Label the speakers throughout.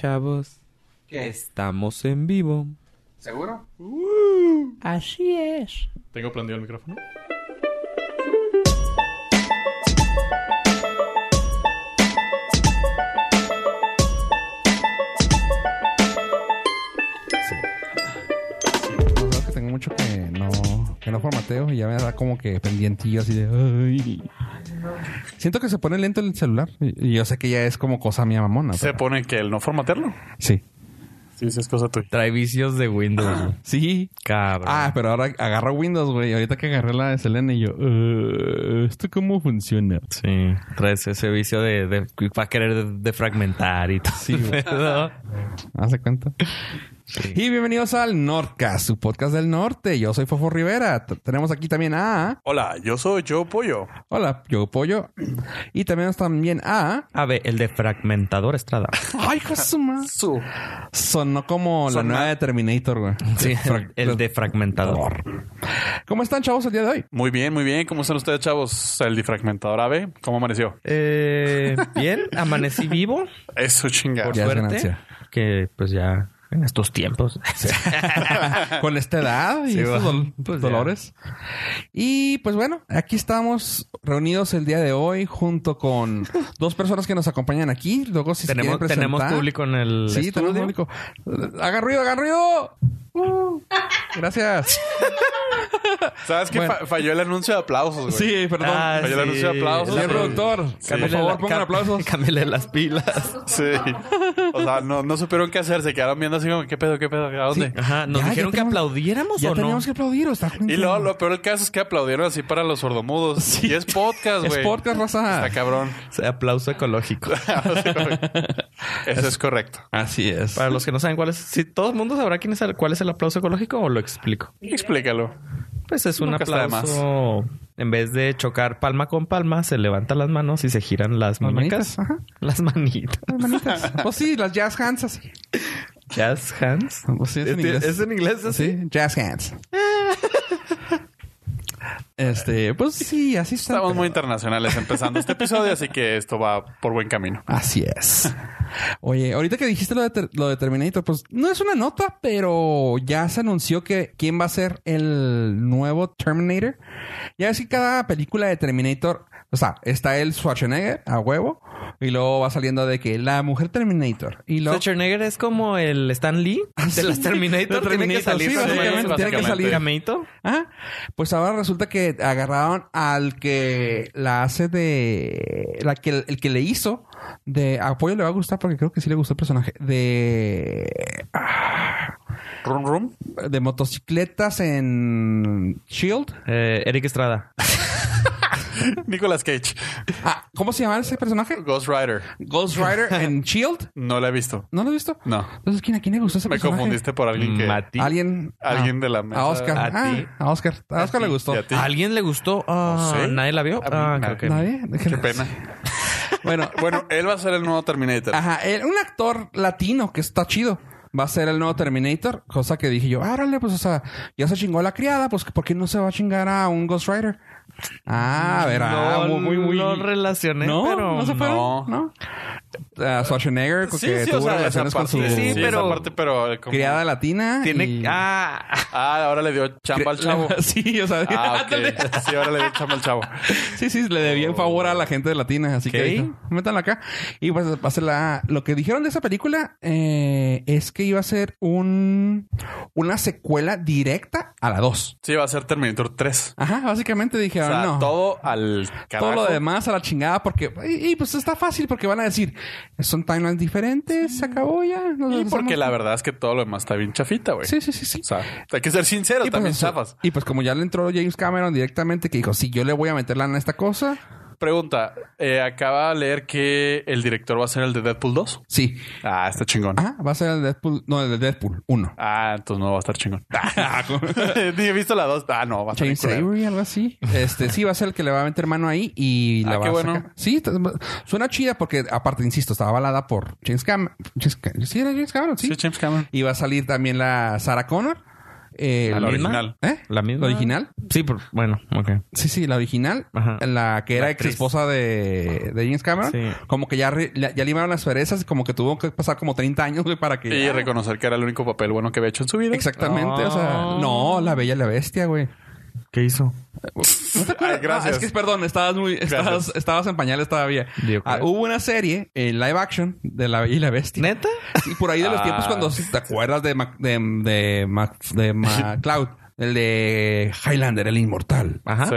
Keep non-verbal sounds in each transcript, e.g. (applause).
Speaker 1: Pichavos.
Speaker 2: ¿Qué?
Speaker 1: Estamos en vivo.
Speaker 2: ¿Seguro?
Speaker 1: Así es.
Speaker 3: Tengo prendido el micrófono.
Speaker 4: Yo creo que tengo mucho que no, que no formateo y ya me da como que pendientillo así de. "Ay". Siento que se pone lento el celular y y yo sé que ya es como cosa mía mamona.
Speaker 3: Se
Speaker 4: pero-
Speaker 3: pone que el no formatearlo.
Speaker 4: Sí.
Speaker 3: Sí, sí, es cosa tuya.
Speaker 5: Trae vicios de Windows. güey.
Speaker 4: Sí.
Speaker 5: Cabrón.
Speaker 4: Ah, pero ahora agarro Windows, güey. Ahorita que agarré la de Selena y yo, "Eh, ¿esto cómo funciona?
Speaker 5: Sí. Traes ese vicio de, de, para querer de, de fragmentar y todo. Sí, (laughs)
Speaker 4: ¿Hace cuenta? Y bienvenidos al Nordcast, su podcast del norte. Yo soy Fofo Rivera. T- tenemos aquí también a...
Speaker 3: Hola, yo soy Joe Pollo.
Speaker 4: Hola, yo Pollo. Y también también a...
Speaker 5: A ver, el de fragmentador
Speaker 4: (laughs)
Speaker 5: Estrada.
Speaker 4: ¡Ay, Josuma!
Speaker 2: Su.
Speaker 4: Sonó como la
Speaker 3: Sonó-
Speaker 4: nueva de Terminator, güey.
Speaker 5: Sí,
Speaker 4: Fra- pues,
Speaker 5: el de fragmentador.
Speaker 4: ¿Cómo están, chavos, el
Speaker 3: (laughs)
Speaker 4: día de hoy?
Speaker 3: Muy bien, muy bien. ¿Cómo están ustedes, chavos? El difragmentador AVE. ¿Cómo amaneció?
Speaker 5: Eh, bien, amanecí vivo.
Speaker 3: Eso chingada.
Speaker 5: Por
Speaker 4: Ya es
Speaker 5: suerte.
Speaker 4: ganancia.
Speaker 5: Que pues ya en estos
Speaker 4: (laughs)
Speaker 5: tiempos.
Speaker 4: Con esta edad y
Speaker 5: Sí,
Speaker 4: estos
Speaker 5: va.
Speaker 4: dol-
Speaker 5: Pues ya.
Speaker 4: dolores. Y pues bueno, aquí estamos reunidos el día de hoy junto con
Speaker 5: (laughs)
Speaker 4: dos personas que nos acompañan aquí. Luego, si
Speaker 5: (laughs)
Speaker 4: se
Speaker 5: tenemos,
Speaker 4: quieren
Speaker 5: tenemos
Speaker 4: presentar-
Speaker 5: público en el.
Speaker 4: Sí,
Speaker 5: estudio.
Speaker 4: tenemos público. Hagan ruido, hagan ruido. Uh,
Speaker 5: (laughs)
Speaker 4: gracias.
Speaker 3: ¿Sabes qué?
Speaker 4: Bueno.
Speaker 3: Fa- falló el anuncio de aplausos, güey.
Speaker 4: Sí, perdón.
Speaker 5: Ah,
Speaker 3: Oye, el anuncio de aplausos.
Speaker 4: Señor
Speaker 3: sí.
Speaker 4: productor, por
Speaker 5: Cámbiale
Speaker 4: favor,
Speaker 5: la-
Speaker 4: pongan
Speaker 5: cam- (laughs)
Speaker 4: aplausos.
Speaker 5: cámbiale las pilas.
Speaker 3: Sí. O sea, no, no supieron qué hacer. Se quedaron viendo así como, ¿qué pedo, qué pedo? ¿A dónde?
Speaker 5: Ajá. Nos
Speaker 4: Ya, ya
Speaker 5: dijeron que
Speaker 4: tenemos-
Speaker 5: aplaudiéramos
Speaker 4: Ya
Speaker 5: o no.
Speaker 4: teníamos que aplaudir, ¿o está
Speaker 3: Y luego, lo peor del caso es que aplaudieron así para los sordomudos. Y es podcast,
Speaker 4: Es
Speaker 3: güey.
Speaker 4: podcast, raza.
Speaker 3: Está (laughs) cabrón.
Speaker 5: O sea, aplauso ecológico.
Speaker 3: Eso es correcto.
Speaker 4: Así es.
Speaker 5: Para los que no saben cuál es, si todo el mundo sabrá quién es el- cuál es el aplauso ecológico o lo explico.
Speaker 3: Explícalo.
Speaker 5: Pues es un
Speaker 3: Nunca está de
Speaker 5: aplauso. En vez de chocar palma con palma, se levantan las manos y se giran las,
Speaker 4: Las
Speaker 5: muñecas.
Speaker 4: manitas, ajá.
Speaker 5: Las manitas.
Speaker 4: (laughs) Manitas. Pues sí, las jazz hands así.
Speaker 5: Jazz hands.
Speaker 4: Pues sí, es en
Speaker 5: Este-
Speaker 4: inglés. Ah,
Speaker 5: ¿Es en inglés así?
Speaker 4: Sí, jazz hands. Este, pues sí, así está.
Speaker 3: Estamos muy internacionales empezando este episodio, así que esto va por buen camino.
Speaker 4: Así es. Oye, ahorita que dijiste lo de, ter- lo de Terminator, pues no es una nota, pero ya se anunció que quién va a ser el nuevo Terminator. Ya ves que cada película de Terminator, o sea, está el Schwarzenegger a huevo y luego va saliendo de que la mujer Terminator y luego Ah,
Speaker 5: Schwarzenegger es como el Stan Lee de las
Speaker 4: (laughs)
Speaker 5: Terminator.
Speaker 4: De
Speaker 5: Tiene que
Speaker 4: Terminator,
Speaker 5: salir.
Speaker 4: sí,
Speaker 5: ¿no?
Speaker 4: básicamente,
Speaker 3: tiene que salir.
Speaker 5: Cameito.
Speaker 4: Ajá. Pues ahora resulta que agarraron al que la hace de. La que, el que le hizo de apoyo le va a gustar porque creo que sí le gustó el personaje. De. ah,
Speaker 3: Rum rum.
Speaker 4: De motocicletas en. Shield.
Speaker 5: Eh, Eric Estrada.
Speaker 3: Nicolas Cage.
Speaker 4: Ah, ¿Cómo se llama ese personaje?
Speaker 3: Ghost Rider. (laughs)
Speaker 4: Ghost Rider en Shield.
Speaker 3: No la he visto.
Speaker 4: ¿No lo has visto?
Speaker 3: No.
Speaker 4: Entonces, ¿quién, ¿a quién le gustó ese
Speaker 3: Me
Speaker 4: personaje?
Speaker 3: confundiste por alguien que.
Speaker 5: Mati.
Speaker 4: Alguien.
Speaker 3: Alguien
Speaker 4: ah,
Speaker 3: de la mesa.
Speaker 4: A Oscar.
Speaker 5: A
Speaker 4: Ah, A,
Speaker 5: ti.
Speaker 4: Oscar. A Oscar le gustó.
Speaker 3: Y a ti.
Speaker 5: ¿A alguien le gustó? Ah,
Speaker 3: No sé.
Speaker 5: ¿Nadie la vio?
Speaker 3: A mí
Speaker 5: Ah, creo
Speaker 3: nadie.
Speaker 5: que no.
Speaker 4: ¿Nadie?
Speaker 3: Qué pena.
Speaker 4: Bueno,
Speaker 3: (laughs) Bueno, Ah, él va a ser el nuevo Terminator.
Speaker 4: Ajá, el- un actor latino que está chido. Va a ser el nuevo Terminator, cosa que dije yo, árale, pues, o sea, ya se chingó a la criada, pues, ¿por qué no se va a chingar a un Ghost Rider? Ah, verá,
Speaker 5: No
Speaker 4: muy, muy, muy.
Speaker 5: lo relacioné,
Speaker 4: no,
Speaker 5: pero
Speaker 4: no se fueron,
Speaker 3: no.
Speaker 4: ¿no? Ah, Schwarzenegger,
Speaker 3: Sí,
Speaker 4: que
Speaker 3: sí,
Speaker 4: tuvo
Speaker 3: o sea, esa
Speaker 4: relaciones con su
Speaker 3: parte-
Speaker 5: Sí,
Speaker 3: esa
Speaker 5: pero-
Speaker 3: parte, pero eh, como-
Speaker 4: criada latina.
Speaker 5: Tiene...
Speaker 4: y-
Speaker 5: Ah,
Speaker 3: Ah, ahora le dio chamba al (laughs) chavo.
Speaker 4: (laughs) sí, o sea,
Speaker 3: Ah,
Speaker 4: ándale.
Speaker 3: ok. Sí, ahora le dio chamba al chavo.
Speaker 4: Sí, sí, le debía en favor a la gente de latina, así
Speaker 5: Ok.
Speaker 4: que dijo, métanla acá. Y pues va a ser la... Lo que dijeron de esa película eh, es que iba a ser un... una secuela directa a la 2.
Speaker 3: Sí, va a ser Terminator 3.
Speaker 4: Ajá, básicamente
Speaker 3: O
Speaker 4: dijeron,
Speaker 3: sea,
Speaker 4: no. Todo,
Speaker 3: todo al carajo.
Speaker 4: lo demás a la chingada porque... Y, y, pues está fácil porque van a decir, son timelines diferentes, se acabó ya. nos
Speaker 3: Y
Speaker 4: regresamos".
Speaker 3: porque la verdad es que todo lo demás está bien chafita, güey.
Speaker 4: Sí, sí, sí, sí.
Speaker 3: O sea, hay que ser sinceros,
Speaker 4: Y
Speaker 3: también
Speaker 4: pues,
Speaker 3: chafas.
Speaker 4: y pues como ya le entró James Cameron directamente que dijo, si yo le voy a meter lana a esta cosa,
Speaker 3: Pregunta, eh, acaba de leer que el director va a ser el de Deadpool 2.
Speaker 4: sí.
Speaker 3: Ah, está chingón.
Speaker 4: Ajá, va a ser el Deadpool, no, el de Deadpool 1.
Speaker 3: Ah, entonces no va a estar
Speaker 4: (laughs)
Speaker 3: chingón.
Speaker 4: Ah,
Speaker 3: (laughs) Ni he visto la 2. Ah, no, va a estar
Speaker 4: Chain
Speaker 3: bien culera.
Speaker 4: Savory, algo así. Este sí va a ser el que le va a meter mano ahí y la
Speaker 3: Ah,
Speaker 4: va
Speaker 3: qué
Speaker 4: a
Speaker 3: bueno.
Speaker 4: sacar. Sí, t- suena chida porque aparte insisto, estaba avalada por James Cameron. Sí, era James Cameron, sí.
Speaker 3: Sí, James Cameron.
Speaker 4: Y va a salir también la Sarah Connor eh,
Speaker 3: ¿La
Speaker 4: el-
Speaker 3: original?
Speaker 4: ¿Eh?
Speaker 5: ¿La misma?
Speaker 4: ¿La original?
Speaker 5: Sí, por- bueno, ok.
Speaker 4: Sí, sí, la original.
Speaker 5: Ajá.
Speaker 4: La que era
Speaker 5: La
Speaker 4: ex
Speaker 5: actriz.
Speaker 4: esposa de, de James Cameron.
Speaker 5: Sí.
Speaker 4: Como que ya, re- la- ya limaron las perezas. Como que tuvo que pasar como 30 años, güey, para que...
Speaker 3: Y
Speaker 4: ya-
Speaker 3: reconocer que era el único papel bueno que había hecho en su vida.
Speaker 4: Exactamente. O sea, no, La Bella y la Bestia, güey.
Speaker 5: ¿Qué hizo?
Speaker 4: ¿No te
Speaker 3: (laughs)
Speaker 4: acuerdas?
Speaker 3: Ay, gracias.
Speaker 4: Ah, es que, perdón, estabas muy... Estabas,
Speaker 3: Gracias.
Speaker 4: estabas en pañales todavía.
Speaker 5: Yo creo.
Speaker 4: Ah, hubo una serie, eh, live action, de La Bella y la Bestia.
Speaker 5: ¿Neta?
Speaker 4: Y por ahí de los
Speaker 3: Ah.
Speaker 4: tiempos cuando te acuerdas de Mac- de, de, Mac-
Speaker 3: (laughs)
Speaker 4: de MacLeod, el de Highlander, el inmortal.
Speaker 5: Ajá.
Speaker 3: Sí.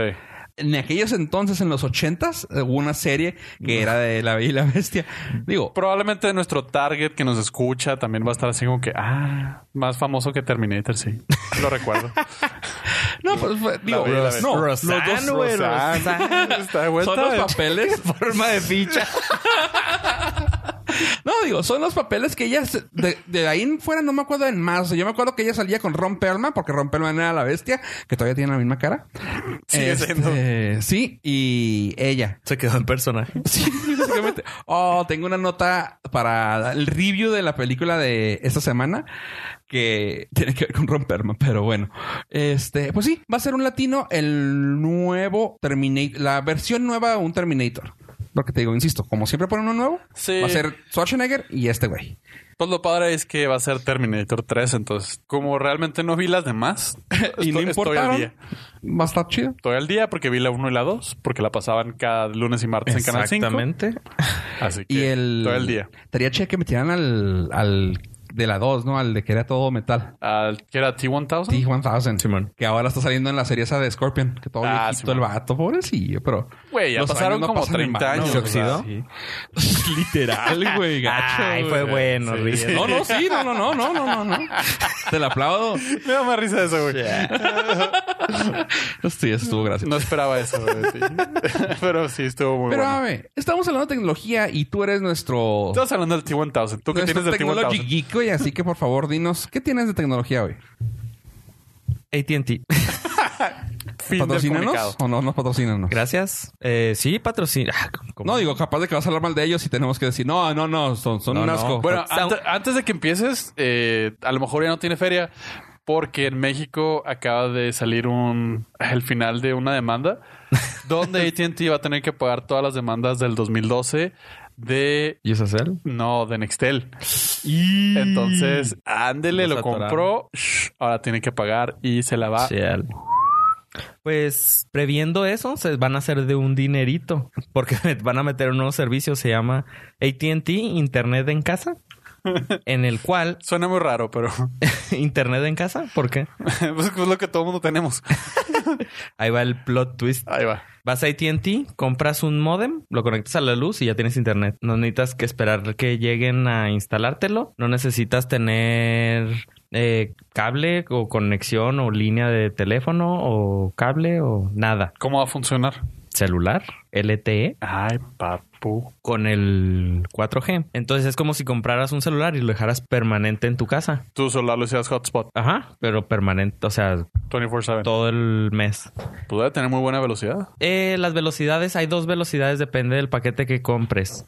Speaker 4: En aquellos entonces, en los ochentas, hubo una serie que era de La Bella y la Bestia. Digo,
Speaker 3: Probablemente nuestro target que nos escucha también va a estar así como que, ah, más famoso que Terminator, sí. Lo
Speaker 4: (laughs)
Speaker 3: recuerdo.
Speaker 4: no, pues fue- digo,
Speaker 3: Bella y la
Speaker 4: no,
Speaker 3: Bestia.
Speaker 5: Rosanne,
Speaker 4: los dos-
Speaker 5: güey,
Speaker 3: Rosanne. (laughs) Está de vuelta.
Speaker 4: son los
Speaker 3: (laughs)
Speaker 4: papeles.
Speaker 5: Forma de ficha.
Speaker 4: (laughs) No, digo, son los papeles que ella se- de, de ahí en fuera no me acuerdo en más. O sea, yo me acuerdo que ella salía con Ron Perlman, porque Ron Perlman era la bestia, que todavía tiene la misma cara.
Speaker 3: Sigue
Speaker 4: Este,
Speaker 3: siendo.
Speaker 4: Sí, y ella.
Speaker 5: Se quedó en personaje.
Speaker 4: Sí, (laughs) básicamente. Oh, tengo una nota para el review de la película de esta semana que tiene que ver con romperma, pero bueno. Este, pues sí, va a ser un latino el nuevo Terminator, la versión nueva de un Terminator. Porque te digo, insisto, como siempre ponen uno nuevo,
Speaker 3: Sí.
Speaker 4: va a ser Schwarzenegger y este güey.
Speaker 3: Pues lo padre es que va a ser Terminator 3, entonces, como realmente no vi las demás,
Speaker 4: (laughs) y no
Speaker 3: estoy-
Speaker 4: importa.
Speaker 3: estoy al día.
Speaker 4: Va a estar chido.
Speaker 3: Estoy al día porque vi la 1 y la 2, porque la pasaban cada lunes y martes en Canal 5.
Speaker 5: Exactamente.
Speaker 3: Así que
Speaker 4: Y el.
Speaker 3: todo el día.
Speaker 4: Estaría chido que metieran al, al de la 2, ¿no? Al de que era todo metal.
Speaker 3: Al- ¿Qué era T-1000?
Speaker 4: T-1000.
Speaker 5: Simón.
Speaker 4: Que ahora está saliendo en la serie esa de Scorpion. Que todo
Speaker 3: Ah,
Speaker 4: viejito el
Speaker 3: Simón.
Speaker 4: vato. Pobrecillo, pero...
Speaker 3: Güey, ya
Speaker 4: los
Speaker 3: pasaron
Speaker 4: años no
Speaker 3: como
Speaker 4: pasan en
Speaker 3: 30
Speaker 4: vano,
Speaker 3: años.
Speaker 5: ¿Se
Speaker 3: o sea,
Speaker 5: oxidó?
Speaker 3: sí.
Speaker 4: (laughs) Literal, güey. Gacho,
Speaker 5: Ay,
Speaker 4: güey.
Speaker 5: fue bueno,
Speaker 3: Sí.
Speaker 5: Ríos. (laughs)
Speaker 4: No, no, sí. No, no, no, no,
Speaker 3: (laughs)
Speaker 4: no, no, no. Te la aplaudo.
Speaker 3: Me da más risa eso, güey.
Speaker 4: Sí, eso estuvo gracioso.
Speaker 3: No esperaba eso, güey. sí. (laughs) Pero sí, estuvo muy
Speaker 4: Pero, a
Speaker 3: bueno.
Speaker 4: ver, estamos hablando de tecnología y tú eres nuestro...
Speaker 3: Estás hablando del T-1000. ¿Tú qué
Speaker 4: nuestro
Speaker 3: tienes del
Speaker 4: technology
Speaker 3: T-1000?
Speaker 4: geek, güey. Así que, por favor, dinos... ¿Qué tienes de tecnología, güey?
Speaker 5: AT&T.
Speaker 3: Fin del comunicado.
Speaker 4: ¿Patrocínanos o no nos patrocinan?
Speaker 5: Gracias. Eh, sí, patrocina. Ah, ¿cómo- cómo?
Speaker 4: No, digo, capaz de que vas a hablar mal de ellos y tenemos que decir... No, no, no. Son, son
Speaker 5: No,
Speaker 4: un
Speaker 5: no.
Speaker 4: asco.
Speaker 3: Bueno,
Speaker 5: Sound-
Speaker 3: ante- antes de que empieces, eh, a lo mejor ya no tiene feria, porque en México acaba de salir un el final de una (laughs) demanda donde AT&T va a tener que pagar todas las demandas del 2012 de
Speaker 5: ¿Yusacel?
Speaker 3: no, de Nextel.
Speaker 5: Y...
Speaker 3: Entonces, ándele,
Speaker 5: Los
Speaker 3: lo
Speaker 5: atoraron.
Speaker 3: compró, shh, ahora tiene que pagar y se la
Speaker 4: ah.
Speaker 3: va.
Speaker 5: Chale. Pues previendo eso, se van a hacer de un dinerito, porque (laughs) van a meter un nuevo servicio, se llama ATT Internet en
Speaker 4: (laughs)
Speaker 5: casa, en el cual,
Speaker 3: Suena muy raro, pero (laughs)
Speaker 5: (laughs) Internet en casa, ¿por qué?
Speaker 3: pues es lo que todo el mundo tenemos.
Speaker 5: Ahí va el plot twist.
Speaker 3: Ahí va.
Speaker 5: Vas a ATT, compras un modem, lo conectas a la luz y ya tienes internet. No necesitas que esperar que lleguen a instalártelo. No necesitas tener eh, cable o conexión o línea de teléfono o cable o nada.
Speaker 3: ¿Cómo va a funcionar?
Speaker 5: Celular, LTE,
Speaker 3: Ay, papu.
Speaker 5: con el 4G. Entonces es como si compraras un celular y lo dejaras permanente en tu casa.
Speaker 3: Tú solo lo hacías hotspot
Speaker 5: Ajá, pero permanente, o sea,
Speaker 3: 24/7.
Speaker 5: todo el mes.
Speaker 3: Pues debe tener muy buena velocidad.
Speaker 5: Eh, las velocidades, hay dos velocidades, depende del paquete que compres.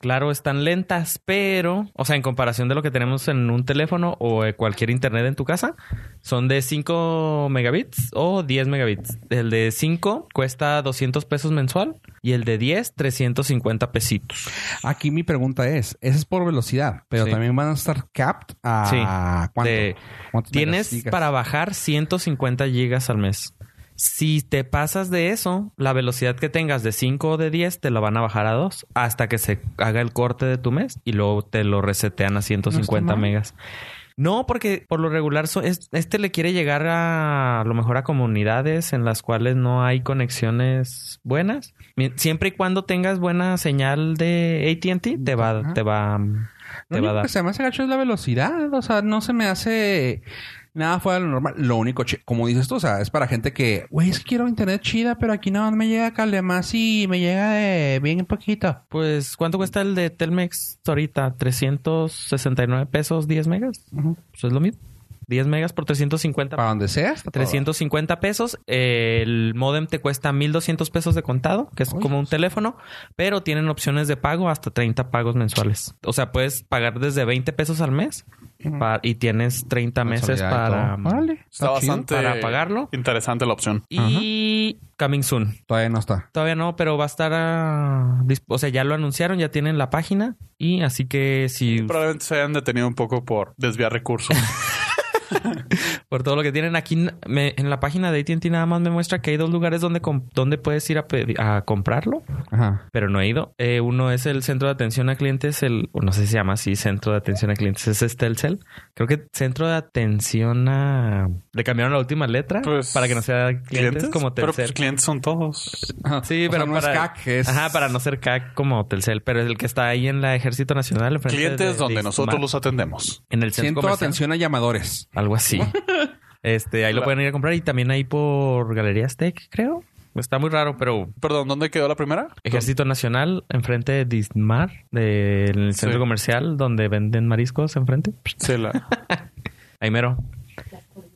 Speaker 5: Claro, están lentas, pero, o sea, en comparación de lo que tenemos en un teléfono o eh, cualquier internet en tu casa, son de 5 megabits o 10 megabits. El de 5 cuesta 200 pesos mensual y el de 10, 350 pesitos.
Speaker 4: Aquí mi pregunta es, esa es por velocidad, pero
Speaker 5: Sí.
Speaker 4: también van a estar capped a
Speaker 5: Sí.
Speaker 4: cuánto?
Speaker 5: De-
Speaker 4: ¿Cuántos
Speaker 5: Tienes
Speaker 4: megas?
Speaker 5: para bajar 150 gigas al mes. Si te pasas de eso, la velocidad que tengas de 5 o de 10 te la van a bajar a 2 hasta que se haga el corte de tu mes y luego te lo resetean a 150
Speaker 4: mal.
Speaker 5: megas. No, porque por lo regular so- es- este le quiere llegar a, a lo mejor a comunidades en las cuales no hay conexiones buenas. Mi- Siempre y cuando tengas buena señal de AT&T te
Speaker 4: Ajá.
Speaker 5: va te va
Speaker 4: Lo
Speaker 5: te va a
Speaker 4: único
Speaker 5: dar.
Speaker 4: que se me hace gacho es la velocidad, o sea, no se me hace nada fuera de lo normal. Lo único, che- como dices tú, o sea, es para gente que, güey, es que quiero internet chida, pero aquí no me llega cable más y me llega de bien poquito.
Speaker 5: Pues, ¿cuánto cuesta el de Telmex ahorita? ¿369 pesos 10 megas?
Speaker 4: Ujú.
Speaker 5: Pues es lo mismo. 10 megas por 350
Speaker 4: Para donde sea. está todo.
Speaker 5: 350 pesos. El modem te cuesta 1200 pesos de contado, que es
Speaker 4: Oye,
Speaker 5: como un teléfono, pero tienen opciones de pago hasta 30 pagos mensuales. O sea, puedes pagar desde 20 pesos al mes pa- y tienes 30 meses
Speaker 4: Mensualidad y
Speaker 5: para,
Speaker 4: todo. Órale.
Speaker 3: Está
Speaker 4: chido.
Speaker 3: bastante
Speaker 5: para pagarlo.
Speaker 3: interesante la opción.
Speaker 5: Y coming soon.
Speaker 4: Todavía no está.
Speaker 5: Todavía no, pero va a estar a... dis- O sea, ya lo anunciaron, ya tienen la página. Y así que si
Speaker 3: Probablemente se hayan detenido un poco por desviar recursos.
Speaker 5: por todo lo que tienen aquí n- me- en la página de AT&T nada más me muestra que hay dos lugares donde, com- donde puedes ir a, pedi- a comprarlo.
Speaker 4: Ajá.
Speaker 5: pero no he ido. Eh, uno es el centro de atención a clientes, el, o no sé si se llama así, centro de atención a clientes, es este el cel. Creo que centro de atención a. Le cambiaron la última letra
Speaker 3: Pues,
Speaker 5: para que no sea clientes, como
Speaker 3: Pero pues,
Speaker 5: Telcel.
Speaker 3: clientes son todos.
Speaker 5: (laughs) sí,
Speaker 4: O
Speaker 5: pero
Speaker 4: sea, no
Speaker 5: para,
Speaker 4: es CAC, es-
Speaker 5: Ajá, para no ser CAC como Telcel, pero es el que está ahí en la Ejército Nacional. enfrente de-
Speaker 3: Clientes
Speaker 5: de
Speaker 3: donde nosotros
Speaker 5: Ismar,
Speaker 3: los atendemos.
Speaker 5: En el centro
Speaker 4: Siento
Speaker 5: comercial.
Speaker 4: atención a llamadores.
Speaker 5: Algo así. (laughs) este, ahí lo
Speaker 3: La-
Speaker 5: pueden ir a comprar y también ahí por Galerías Tech, creo. Está muy raro, pero
Speaker 3: Perdón, ¿dónde quedó la primera?
Speaker 5: Ejército Nacional, enfrente de Dismar, del centro
Speaker 3: Sí.
Speaker 5: comercial donde venden mariscos enfrente.
Speaker 3: Sí,
Speaker 5: (laughs)
Speaker 3: la-
Speaker 5: Ahí mero.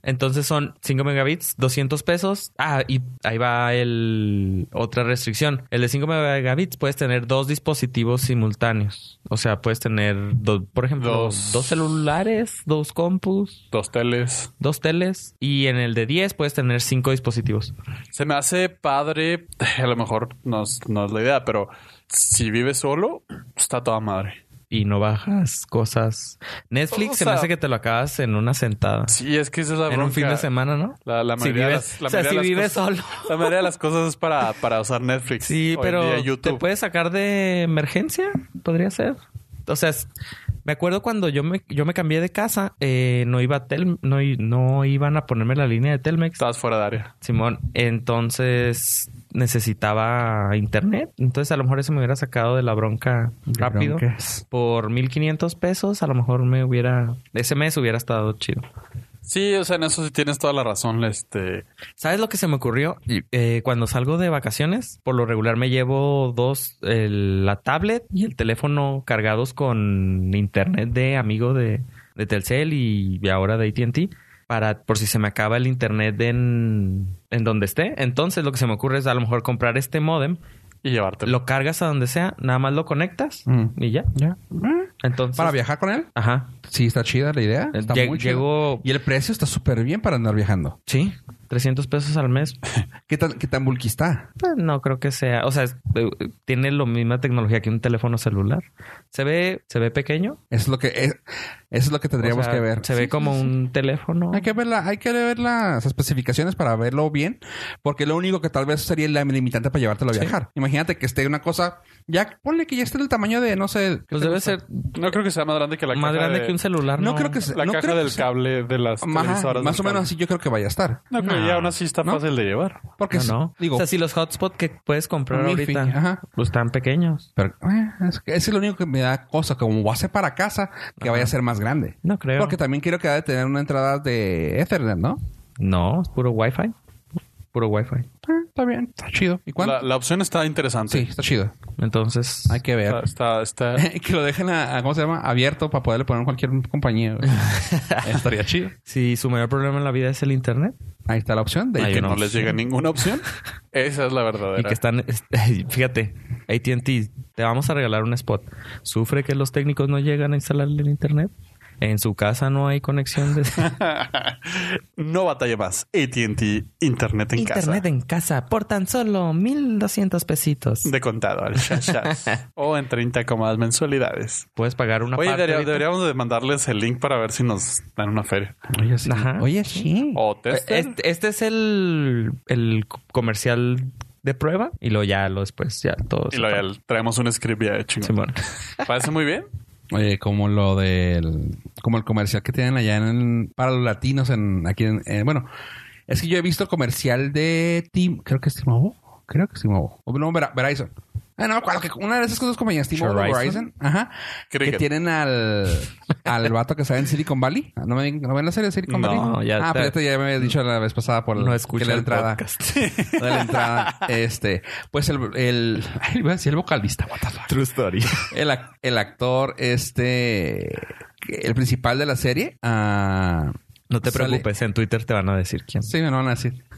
Speaker 5: Entonces son 5 megabits, 200 pesos. Ah, y ahí va el otra restricción. El de 5 megabits puedes tener dos dispositivos simultáneos. O sea, puedes tener, dos, por ejemplo,
Speaker 3: Dos.
Speaker 5: dos. celulares, dos compus,
Speaker 3: dos teles.
Speaker 5: dos teles. Y en el de 10 puedes tener cinco dispositivos.
Speaker 3: Se me hace padre, a lo mejor no es, no es la idea, pero si vives solo, está toda madre.
Speaker 5: Y no bajas cosas. Netflix
Speaker 3: O
Speaker 5: se
Speaker 3: sea-
Speaker 5: me hace que te lo acabas en una sentada.
Speaker 3: Sí, es que esa es la
Speaker 5: en un
Speaker 3: bronca.
Speaker 5: fin de semana, ¿no?
Speaker 3: La, la
Speaker 5: Si
Speaker 3: mayoría de
Speaker 5: vives-
Speaker 3: las- la
Speaker 5: o sea,
Speaker 3: mayoría
Speaker 5: si
Speaker 3: de las
Speaker 5: vives
Speaker 3: cosas-
Speaker 5: solo.
Speaker 3: La mayoría de las cosas es para, para usar Netflix. Hoy
Speaker 5: Sí,
Speaker 3: en
Speaker 5: pero
Speaker 3: día
Speaker 5: te
Speaker 3: YouTube.
Speaker 5: puedes sacar de emergencia, podría ser. O sea, es- me acuerdo cuando yo me yo me cambié de casa, eh, no iba a Tel, no, i- no iban a ponerme la línea de Telmex,
Speaker 3: Estabas fuera de área.
Speaker 5: Simón. Entonces necesitaba internet, entonces a lo mejor eso me hubiera sacado de la bronca rápido.
Speaker 4: broncas.
Speaker 5: Por 1500 pesos, a lo mejor me hubiera ese mes hubiera estado chido.
Speaker 3: Sí, o sea, en eso sí tienes toda la razón. Este,
Speaker 5: ¿Sabes lo que se me ocurrió? Eh, cuando salgo de vacaciones, por lo regular me llevo dos, el- la tablet y el teléfono cargados con internet de amigo de, de Telcel y, y ahora de ATT. Para por si se me acaba el internet en, en donde esté. Entonces lo que se me ocurre es a lo mejor comprar este modem,
Speaker 3: y llevártelo.
Speaker 5: lo cargas a donde sea, nada más lo conectas
Speaker 4: Mm.
Speaker 5: y ya.
Speaker 4: Ya.
Speaker 5: Eh. Entonces.
Speaker 4: Para viajar con él.
Speaker 5: Ajá.
Speaker 4: Sí, está chida la idea. Está
Speaker 5: Lle-
Speaker 4: muy chida.
Speaker 5: llego.
Speaker 4: Y el precio está súper bien para andar viajando.
Speaker 5: Sí, 300 pesos al mes.
Speaker 4: ¿Qué tan, qué tan bulky está?
Speaker 5: Pues no creo que sea, o sea, es- eh, tiene la misma tecnología que un teléfono celular. Se ve, se ve pequeño.
Speaker 4: Eso es lo que, es- eso es lo que
Speaker 5: O
Speaker 4: tendríamos
Speaker 5: sea,
Speaker 4: que ver.
Speaker 5: Se ve
Speaker 4: Sí,
Speaker 5: como
Speaker 4: sí, sí.
Speaker 5: un teléfono.
Speaker 4: Hay que ver, la- hay que ver las especificaciones para verlo bien, porque lo único que tal vez sería la limitante para llevártelo a viajar. Imagínate que esté una cosa, ya ponle que ya esté del tamaño de, no sé, ¿qué
Speaker 5: Pues
Speaker 4: te
Speaker 5: debe
Speaker 4: gusta?
Speaker 5: ser
Speaker 3: No creo que sea más grande que la
Speaker 5: más
Speaker 3: caja
Speaker 5: grande
Speaker 3: de-
Speaker 5: que un celular.
Speaker 4: No creo que sea-
Speaker 3: La
Speaker 4: no
Speaker 3: caja
Speaker 4: creo que
Speaker 3: del
Speaker 4: sea-
Speaker 3: cable de las
Speaker 4: Ajá,
Speaker 3: televisoras.
Speaker 4: más
Speaker 3: del
Speaker 4: o menos
Speaker 3: cable.
Speaker 4: así yo creo que vaya a estar.
Speaker 3: No, pero
Speaker 5: No.
Speaker 3: ya aún así está
Speaker 4: ¿No?
Speaker 3: fácil de llevar.
Speaker 4: Porque
Speaker 5: No,
Speaker 4: es-
Speaker 5: no.
Speaker 4: digo,
Speaker 5: o sea, si los hotspots que puedes comprar
Speaker 4: un wifi,
Speaker 5: ahorita
Speaker 4: ajá.
Speaker 5: pues están pequeños.
Speaker 4: Pero eh, es, que eso es lo único que me da cosa, como va a ser para casa, que vaya a ser más grande.
Speaker 5: No creo.
Speaker 4: Porque también quiero que ha de tener una entrada de Ethernet, ¿no?
Speaker 5: No, es puro wifi. Puro wifi.
Speaker 4: Ah, está bien, está chido. ¿Y cuánto?
Speaker 3: La, la opción está interesante.
Speaker 4: Sí, está chido.
Speaker 5: Entonces,
Speaker 4: Hay que ver.
Speaker 3: Está, está,
Speaker 5: (laughs)
Speaker 3: está-
Speaker 4: (laughs) que lo dejen a, a- ¿cómo se llama? Abierto para poderle poner en cualquier compañía.
Speaker 3: (laughs)
Speaker 4: güey. Estaría chido.
Speaker 5: si su mayor problema en la vida es el internet
Speaker 4: Ahí está la opción de
Speaker 5: Hay
Speaker 3: que
Speaker 5: una
Speaker 3: no les
Speaker 5: opción.
Speaker 3: llega
Speaker 5: (laughs)
Speaker 3: ninguna opción. Esa es la verdadera.
Speaker 5: y que están, (laughs) fíjate, AT&T, te vamos a regalar un spot. Sufre que los técnicos no llegan a instalarle el internet. En su casa no hay conexión
Speaker 3: (laughs)
Speaker 5: de
Speaker 3: (laughs) no batalle más. ATT Internet en
Speaker 5: internet
Speaker 3: casa.
Speaker 5: en casa por tan solo 1200 pesitos.
Speaker 3: De contado
Speaker 5: (laughs)
Speaker 3: al chachas. o en 30 comas mensualidades.
Speaker 5: Puedes pagar una
Speaker 3: Oye,
Speaker 5: parte.
Speaker 3: debería-
Speaker 5: ahorita.
Speaker 3: deberíamos de mandarles el link para ver si nos dan una feria.
Speaker 4: Oye, sí.
Speaker 5: Ajá.
Speaker 4: Oye, sí.
Speaker 3: O tester.
Speaker 5: Este, este (laughs) es el, el comercial de prueba y luego ya lo después ya todo.
Speaker 3: y
Speaker 5: se
Speaker 3: luego
Speaker 5: paga.
Speaker 3: ya traemos un script ya hecho.
Speaker 5: Simón.
Speaker 3: Parece muy bien.
Speaker 4: Oye, eh, como lo del... Como el comercial que tienen allá en... Para los latinos en... Aquí en... eh, bueno, es que yo he visto el comercial de Tim... Creo que es T-Mobile. Creo que es T-Mobile. O No, Vera- Verizon. Ah, no me acuerdo. Que una de esas dos compañías, T-Mobile o
Speaker 5: Verizon.
Speaker 4: Verizon. Ajá.
Speaker 3: Cricket.
Speaker 4: Que tienen al... Al vato que sale en Silicon Valley. Ah, ¿No, me, ¿No ven la serie de Silicon
Speaker 3: No,
Speaker 4: Valley?
Speaker 5: ya
Speaker 4: Ah,
Speaker 5: te-
Speaker 4: pero ya me había dicho la vez pasada por
Speaker 5: No
Speaker 4: que
Speaker 5: escucha
Speaker 4: la
Speaker 5: el
Speaker 4: entrada.
Speaker 5: podcast. (laughs)
Speaker 4: Lo de la entrada. Este, pues el, el ay, iba a decir el vocalista, what the fuck.
Speaker 5: True (laughs) story.
Speaker 4: El, ac- el actor, este, que- el principal de la serie, ah,
Speaker 5: No te
Speaker 4: Sale-
Speaker 5: preocupes, en Twitter te van a decir quién.
Speaker 4: Sí, me lo van a decir. (laughs)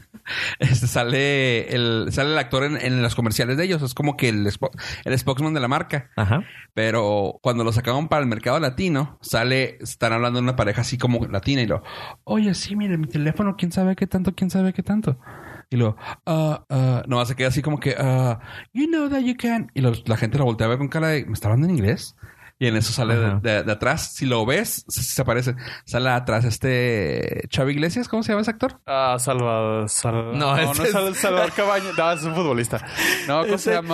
Speaker 4: Este, sale, el, sale el actor en, en los comerciales de ellos. Es como que el, spo- el spokesman de la marca.
Speaker 5: Ajá.
Speaker 4: Pero cuando lo sacaron para el mercado latino, sale, están hablando de una pareja así como latina y lo, oye, sí, mire, mi teléfono, quién sabe qué tanto, quién sabe qué tanto. Y lo, ah, ah, nomás se queda así como que, ah, you know that you can. Y lo- la gente lo voltea a ver con cara de, ¿me está hablando en inglés? Y en eso sale de,
Speaker 5: Ajá.
Speaker 4: de- de atrás. Si lo ves, se, se aparece. Sale atrás este Chavo Iglesias, ¿cómo se llama ese actor?
Speaker 3: Ah, Salvador. Sal-
Speaker 5: No,
Speaker 3: no, no,
Speaker 5: ese
Speaker 3: es
Speaker 5: es-
Speaker 3: Sal- Salvador Cabañas. No, es un futbolista. No, ¿cómo
Speaker 5: Ese-
Speaker 3: se llama?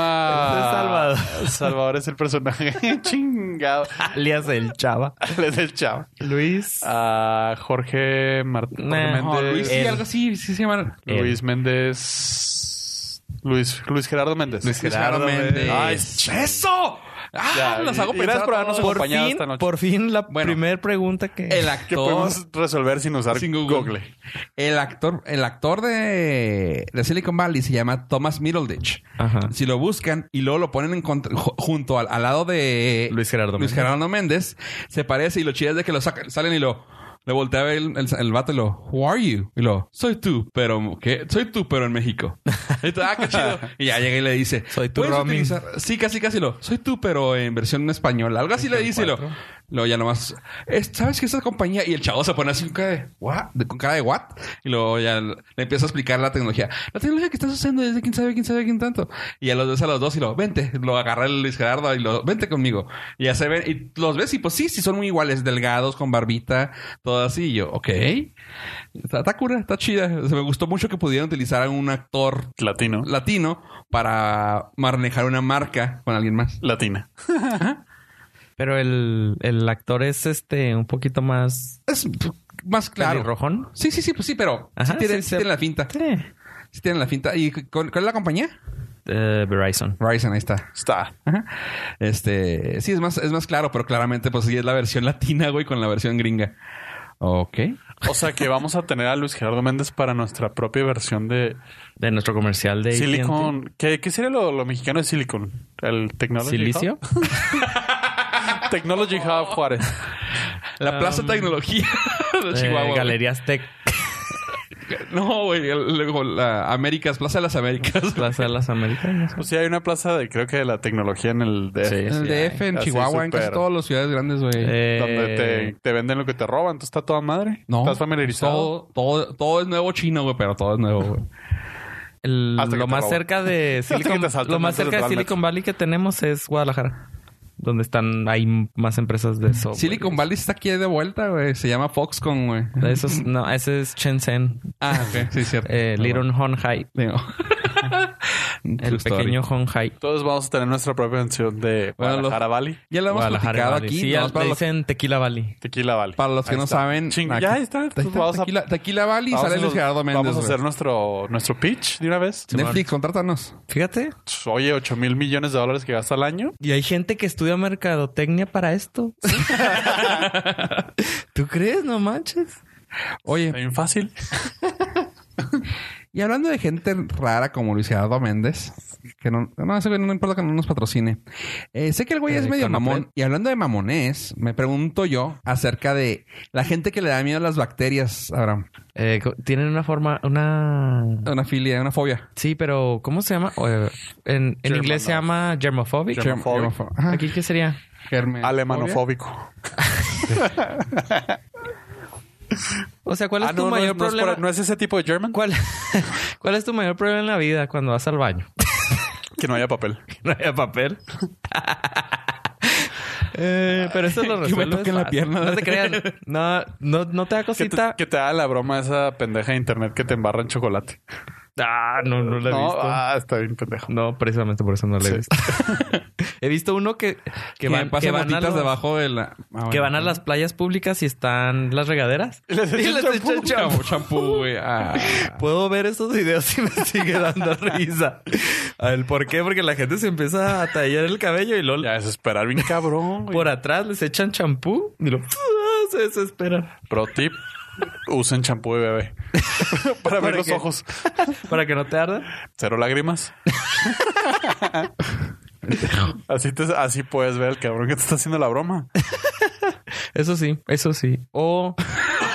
Speaker 5: ese es Salvador.
Speaker 3: Salvador es el personaje. (laughs) Chingado.
Speaker 5: Alias el Chava.
Speaker 3: Él es el chavo.
Speaker 5: Luis.
Speaker 3: Ah, Jorge Martín.
Speaker 5: Nah.
Speaker 4: No, Luis, sí,
Speaker 5: él.
Speaker 4: algo así, sí se llama.
Speaker 5: Él.
Speaker 3: Luis Méndez. Luis, Luis Gerardo Méndez.
Speaker 4: Luis Gerardo Méndez.
Speaker 3: Ay, ches.
Speaker 4: ¡Eso! ¡Ah!
Speaker 3: Ya,
Speaker 4: los hago
Speaker 3: y- y gracias
Speaker 4: pensar.
Speaker 3: por
Speaker 4: a
Speaker 3: habernos
Speaker 4: todos.
Speaker 5: Por
Speaker 3: acompañado
Speaker 5: fin,
Speaker 3: esta noche.
Speaker 5: por fin la primera
Speaker 4: Bueno.
Speaker 5: pregunta que...
Speaker 4: El
Speaker 3: Que
Speaker 4: actor.
Speaker 3: podemos resolver sin usar
Speaker 4: Sin Google.
Speaker 3: Google.
Speaker 4: El actor, el actor de, de Silicon Valley se llama Thomas Middleditch.
Speaker 5: Ajá.
Speaker 4: Si lo buscan y luego lo ponen en contra- ju- junto al, al lado de
Speaker 5: Luis Gerardo
Speaker 4: Luis
Speaker 5: Méndez.
Speaker 4: Gerardo Méndez, se parece y lo chido es de que lo sacan, salen y lo le voltea a ver el, el- el vato y lo, Who are you? Y lo, soy tú, pero ¿qué? Soy tú, pero
Speaker 5: (laughs)
Speaker 4: en México. Y tú, ah, qué chido. Y ya llega y le dice,
Speaker 5: Soy tu
Speaker 4: "¿Puedes
Speaker 5: Romy".
Speaker 4: utilizar-" Sí, casi casi lo, soy tú, pero en versión española. Algo así le dice y lo, lo ya nomás, "Es- ¿sabes qué es esa compañía? Y el chavo se pone así con cara de, "What?" De- con cara de what? Y luego ya le empieza a explicar la tecnología. La tecnología que estás usando es de quién sabe, quién sabe, quién tanto. Y ya los ves a los dos y lo, vente, lo agarra el Luis Gerardo y lo, vente conmigo. Y ya se ven, y los ves y pues sí, sí son muy iguales, delgados, con barbita, todo así. Y yo, ok. Está, está cura, está chida. O sea, me gustó mucho que pudieran utilizar a un actor
Speaker 3: Latino.
Speaker 4: latino para manejar una marca con alguien más.
Speaker 3: Latina.
Speaker 5: Pero el, el actor es este un poquito más
Speaker 4: Es más claro.
Speaker 5: pelirrojón.
Speaker 4: Sí, sí, sí, pues sí, pero
Speaker 5: Ajá,
Speaker 4: sí, tienen,
Speaker 5: sí,
Speaker 4: sí tienen la finta.
Speaker 5: Sí.
Speaker 4: Sí tienen la finta. ¿Y con- cuál es la compañía?
Speaker 5: Eh, Verizon.
Speaker 4: Ryzen, ahí está.
Speaker 3: Está.
Speaker 4: Ajá. Este, sí, es más, es más claro, pero claramente, pues sí, es la versión latina, güey, con la versión gringa. Ok.
Speaker 3: O sea que vamos a tener a Luis Gerardo Méndez para nuestra propia versión de
Speaker 5: De nuestro comercial de... AT&T.
Speaker 3: Silicon. ¿Qué, qué sería lo, lo mexicano de Silicon? El Technology
Speaker 5: Silicio.
Speaker 3: Hub? Technology Hub Juárez.
Speaker 4: La Plaza Tecnología (laughs) de
Speaker 5: Eh,
Speaker 4: Chihuahua. güey.
Speaker 5: Galerías
Speaker 3: (laughs)
Speaker 5: Tech.
Speaker 4: No, güey, el- luego la Américas, Plaza de
Speaker 5: (laughs)
Speaker 4: las Américas.
Speaker 5: Plaza de las Americanas.
Speaker 3: O sea, hay una plaza de, creo que de la tecnología en el DF.
Speaker 5: Sí,
Speaker 4: El DF, en
Speaker 3: Así
Speaker 4: Chihuahua, en casi
Speaker 3: súper.
Speaker 4: todas las ciudades grandes, güey.
Speaker 5: Eh,
Speaker 3: Donde te, te venden lo que te roban. Entonces está toda madre.
Speaker 4: no.
Speaker 3: ¿Estás familiarizado?
Speaker 4: Todo, todo, todo es nuevo chino, güey, pero todo es nuevo, güey.
Speaker 5: el-
Speaker 3: Hasta que
Speaker 5: lo
Speaker 3: te
Speaker 5: más
Speaker 3: roban.
Speaker 5: cerca de
Speaker 3: (laughs) Hasta que
Speaker 5: Silicon,
Speaker 3: te asaltan
Speaker 5: lo más
Speaker 3: antes de
Speaker 5: cerca de
Speaker 3: entrar al
Speaker 5: Silicon Valley que tenemos es Guadalajara, donde están hay más empresas de software.
Speaker 4: Silicon Valley está aquí de vuelta, güey. Se llama Foxconn, güey.
Speaker 5: Eso es- no, ese es Shenzhen,
Speaker 4: Ah, ok. Sí, cierto.
Speaker 5: eh, Little Honhai,
Speaker 4: Digo.
Speaker 5: (laughs) el
Speaker 4: True story.
Speaker 5: pequeño Honhai.
Speaker 3: Todos vamos a tener nuestra propia versión de
Speaker 4: Bueno, lo-
Speaker 3: Guadalajara Valley.
Speaker 4: Ya lo hemos platicado
Speaker 5: Valley.
Speaker 4: aquí.
Speaker 5: Sí,
Speaker 4: nomás
Speaker 5: al-
Speaker 4: para,
Speaker 5: le
Speaker 4: los,
Speaker 5: dicen Tequila Valley.
Speaker 3: Tequila Valley.
Speaker 4: para los que
Speaker 3: Ahí
Speaker 4: no
Speaker 3: está.
Speaker 4: saben.
Speaker 3: Ching-
Speaker 4: aquí-
Speaker 3: ya ahí está.
Speaker 4: Ahí
Speaker 3: Pues vamos a-
Speaker 4: tequila, Tequila Valley
Speaker 3: Vamos
Speaker 4: sale
Speaker 3: a-
Speaker 4: Luis Gerardo Méndez.
Speaker 3: Vamos a
Speaker 4: güey.
Speaker 3: hacer nuestro, nuestro pitch de una vez.
Speaker 4: Netflix, contrátanos.
Speaker 5: Fíjate,
Speaker 3: Oye, 8 mil millones de dólares que gasta al año.
Speaker 5: y hay gente que estudia mercadotecnia para esto. (laughs) ¿Tú crees? No manches.
Speaker 4: Oye,
Speaker 3: Bien fácil.
Speaker 4: y hablando de gente rara como Luis Gerardo Méndez, que no, no, ese güey no importa que no nos patrocine. Eh, sé que el güey
Speaker 5: Eh,
Speaker 4: es medio
Speaker 5: Conopred.
Speaker 4: mamón. Y hablando de mamonés, me pregunto yo acerca de la gente que le da miedo a las bacterias, Abraham.
Speaker 5: Eh, co- tienen una forma, una...
Speaker 4: Una filia, una fobia.
Speaker 5: Sí, pero ¿cómo se llama? Eh, en, en inglés se llama germophobic.
Speaker 3: Germ- Germofobia.
Speaker 4: Germofo- Ajá.
Speaker 5: ¿Aquí qué sería?
Speaker 4: Germen-
Speaker 3: Alemanofóbico.
Speaker 5: O sea, ¿cuál es
Speaker 3: Ah,
Speaker 5: tu
Speaker 3: no, no,
Speaker 5: mayor
Speaker 3: es- no es por-
Speaker 5: problema?
Speaker 3: no es ese tipo de German.
Speaker 5: ¿Cuál, ¿Cuál es tu mayor problema en la vida cuando vas al baño?
Speaker 3: Que no
Speaker 5: (laughs)
Speaker 3: haya papel.
Speaker 5: Que no haya papel. Eh, pero eso lo
Speaker 4: Que me
Speaker 5: resuelves
Speaker 4: toquen la
Speaker 5: fácil.
Speaker 4: pierna.
Speaker 5: No te creas. No, no, no te da
Speaker 3: Que te,
Speaker 5: cosita.
Speaker 3: que te da la broma esa pendeja de internet que te embarra en chocolate.
Speaker 5: Ah, no, no la he
Speaker 3: No,
Speaker 5: visto.
Speaker 3: ah, está bien pendejo.
Speaker 5: No, precisamente por eso no la he
Speaker 3: Sí.
Speaker 5: visto. (laughs) he visto uno que, que
Speaker 4: Que
Speaker 5: van,
Speaker 4: van,
Speaker 5: que van a
Speaker 4: gotitas
Speaker 5: los-
Speaker 4: debajo de la... Ah, bueno.
Speaker 5: que van a
Speaker 4: (laughs)
Speaker 5: las playas públicas y están las regaderas.
Speaker 3: Y les echa champú.
Speaker 5: echa
Speaker 4: Champú, champú, güey. Ah.
Speaker 5: Puedo ver esos videos y me sigue dando risa. A ver, ¿por qué? Porque la gente se empieza a tallar el cabello y luego
Speaker 3: Ya desesperar bien cabrón. güey.
Speaker 5: por atrás les echan champú y lo (laughs) se desesperan
Speaker 3: Pro tip. Usen champú
Speaker 5: (laughs)
Speaker 3: de bebé. Para ver
Speaker 5: ¿Para
Speaker 3: los
Speaker 5: qué?
Speaker 3: ojos.
Speaker 5: para que no te arda.
Speaker 3: Cero
Speaker 4: (laughs)
Speaker 3: lágrimas. así, te- así puedes ver el cabrón que te está haciendo la broma.
Speaker 5: Eso sí, eso sí. O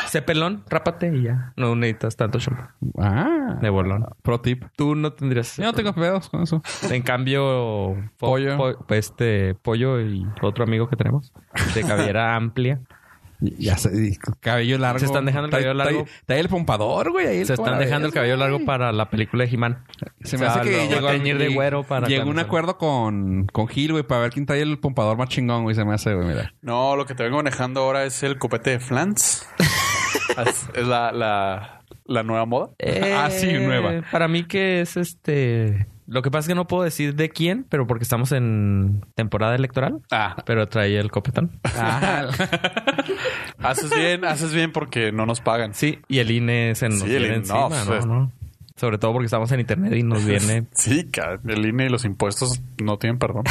Speaker 5: Sé pelón, rápate y ya. No necesitas tanto shampoo
Speaker 4: Ah.
Speaker 5: de bolón.
Speaker 4: Pro tip.
Speaker 5: Tú no tendrías.
Speaker 4: Yo no tengo pedos con eso.
Speaker 5: En cambio, po-
Speaker 4: Pollo.
Speaker 5: po- este pollo y otro amigo que tenemos de
Speaker 4: (laughs)
Speaker 5: cabellera amplia.
Speaker 4: Ya sé, y cabello largo.
Speaker 5: Se están dejando el
Speaker 4: Trae-
Speaker 5: cabello largo.
Speaker 4: Trae, trae el pompador, güey. ahí el
Speaker 5: Se están
Speaker 4: para-
Speaker 5: dejando el cabello largo para la película de He-Man.
Speaker 4: Se me
Speaker 5: Ah,
Speaker 4: hace
Speaker 5: lo
Speaker 4: que
Speaker 5: voy a
Speaker 4: llegó
Speaker 5: teñir de
Speaker 4: y-
Speaker 5: güero para
Speaker 4: Llegó un
Speaker 5: cuando salga.
Speaker 4: acuerdo con, con Gil, güey, para ver quién trae el pompador más chingón, güey. Se me hace, güey, mira.
Speaker 3: No, lo que te vengo manejando ahora es el copete de flans. es es la, la, la nueva moda.
Speaker 4: Eh.
Speaker 3: ah, sí, nueva.
Speaker 5: Eh, Para mí que es este... Lo que pasa es que no puedo decir de quién, pero porque estamos en temporada electoral.
Speaker 3: Ah,
Speaker 5: Pero trae el copetón.
Speaker 4: Ah,
Speaker 3: haces bien, haces bien porque no nos pagan.
Speaker 5: Sí, y el INE se nos
Speaker 3: Sí, el
Speaker 5: viene
Speaker 3: INE,
Speaker 5: encima,
Speaker 3: no,
Speaker 5: ¿no?
Speaker 3: pues.
Speaker 5: ¿no? Sobre todo porque estamos en internet y
Speaker 3: (laughs)
Speaker 5: nos viene...
Speaker 3: Sí, cabrón, el INE y los impuestos no tienen perdón.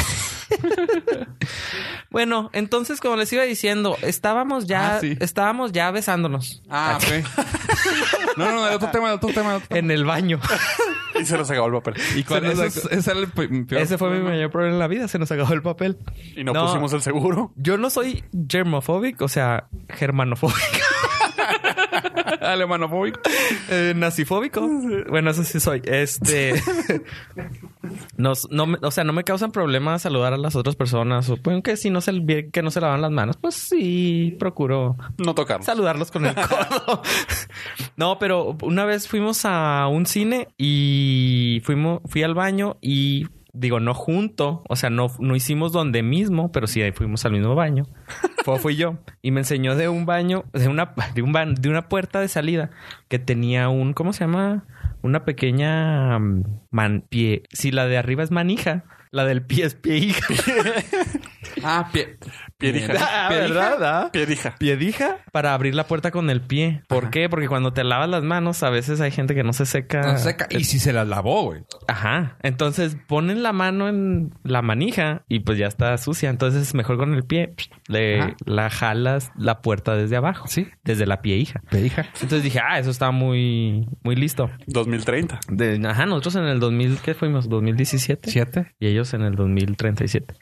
Speaker 5: Bueno, entonces, como les iba diciendo, estábamos ya...
Speaker 4: Ah, sí.
Speaker 5: Estábamos ya besándonos.
Speaker 4: Ah, ok. (laughs) no, no, no, del otro tema, del otro tema. del otro tema.
Speaker 5: En el (laughs) baño.
Speaker 3: Y se nos acabó el papel.
Speaker 4: ¿Y cuál
Speaker 5: Se nos
Speaker 4: ese es? Ese, era el pe- peor
Speaker 5: Ese fue mi mayor problema en la vida. Se nos acabó el papel.
Speaker 3: Y no, pusimos el seguro.
Speaker 5: Yo no soy germofóbico, o sea, germanofóbico, (laughs)
Speaker 4: Alemanofóbico.
Speaker 5: eh, nazifóbico. Bueno, eso sí soy. Este. (laughs) no, no me- o sea, no me causan problemas saludar a las otras personas. Supongo que si no se, bien que no se lavan las manos, pues sí, procuro
Speaker 3: No tocarnos.
Speaker 5: saludarlos con (laughs) el codo. no, pero una vez fuimos a un cine y fuimos, fui al baño y digo, no junto, o sea, no, no hicimos donde mismo, pero sí ahí fuimos al mismo baño. Fue, fui yo y me enseñó de un baño, de una, de un ban- de una puerta de salida que tenía un, ¿cómo se llama? Una pequeña mm, man, pie. Si la de arriba es manija, la del pie es (laughs) piedija.
Speaker 4: Ah, pie.
Speaker 3: Piedija.
Speaker 5: Ah, ¿verdad? Ah.
Speaker 3: Piedija.
Speaker 5: piedija para abrir la puerta con el pie. ¿Por qué? Porque cuando te lavas las manos, a veces hay gente que no se seca.
Speaker 4: No seca. Y si se las lavó, güey.
Speaker 5: Ajá. Entonces ponen la mano en la manija y pues ya está sucia. Entonces mejor con el pie psh,
Speaker 4: Ajá.
Speaker 5: le la jalas la puerta desde abajo.
Speaker 4: Sí.
Speaker 5: Desde la piedija.
Speaker 4: Peija.
Speaker 5: Entonces dije, ah, eso está muy, muy listo.
Speaker 3: 2030.
Speaker 5: De- ajá, nosotros en el 2000, ¿qué fuimos? 2017
Speaker 4: ¿Siete?
Speaker 5: y ellos en el 2037.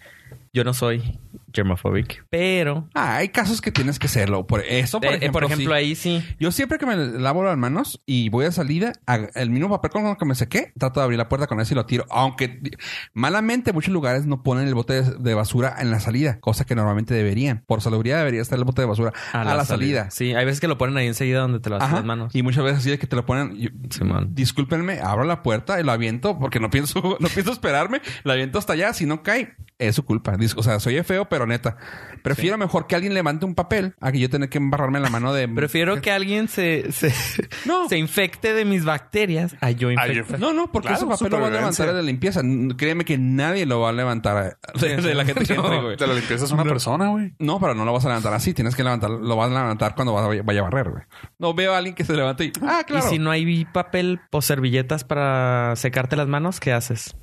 Speaker 5: Yo no soy germophobic, pero
Speaker 4: Ah, hay casos que tienes que hacerlo. Por eso, por
Speaker 5: eh,
Speaker 4: ejemplo,
Speaker 5: por ejemplo
Speaker 4: sí.
Speaker 5: ahí sí.
Speaker 4: Yo siempre que me lavo las manos y voy a salida, ag- el mismo papel con el que me sequé, trato de abrir la puerta con eso y lo tiro. Aunque di- malamente muchos lugares no ponen el bote de, de basura en la salida, cosa que normalmente deberían. Por salubridad debería estar el bote de basura a, la, salida.
Speaker 5: Sí, hay veces que lo ponen ahí enseguida donde te lavas
Speaker 4: Ajá.
Speaker 5: las manos.
Speaker 4: Y muchas veces así de que te lo ponen. yo-
Speaker 5: Simón.
Speaker 4: discúlpenme, abro la puerta y lo aviento porque no pienso, (laughs) no pienso esperarme. Lo aviento hasta allá. Si no cae, es su culpa. Dis- O sea, soy feo, pero neta. Prefiero mejor que alguien levante un papel a que yo tener que embarrarme la mano
Speaker 5: (laughs)
Speaker 4: de.
Speaker 5: Prefiero que alguien se, se,
Speaker 4: No.
Speaker 5: se infecte de mis bacterias a yo
Speaker 3: Ah,
Speaker 5: infectar.
Speaker 4: No, no, porque
Speaker 3: Claro,
Speaker 4: ese papel lo va a
Speaker 3: supervivencia.
Speaker 4: levantar de limpieza. N- Créeme que nadie lo va a levantar
Speaker 5: (laughs)
Speaker 4: eh, de, de la gente que entre, güey.
Speaker 3: Te la limpieza es una persona, güey.
Speaker 4: No, pero no lo vas a levantar así. Tienes que levantar, lo vas a levantar cuando vas a- vaya a barrer, güey. No veo a alguien que se levante y. Ah, claro.
Speaker 5: Y si no hay papel o servilletas para secarte las manos, ¿qué haces?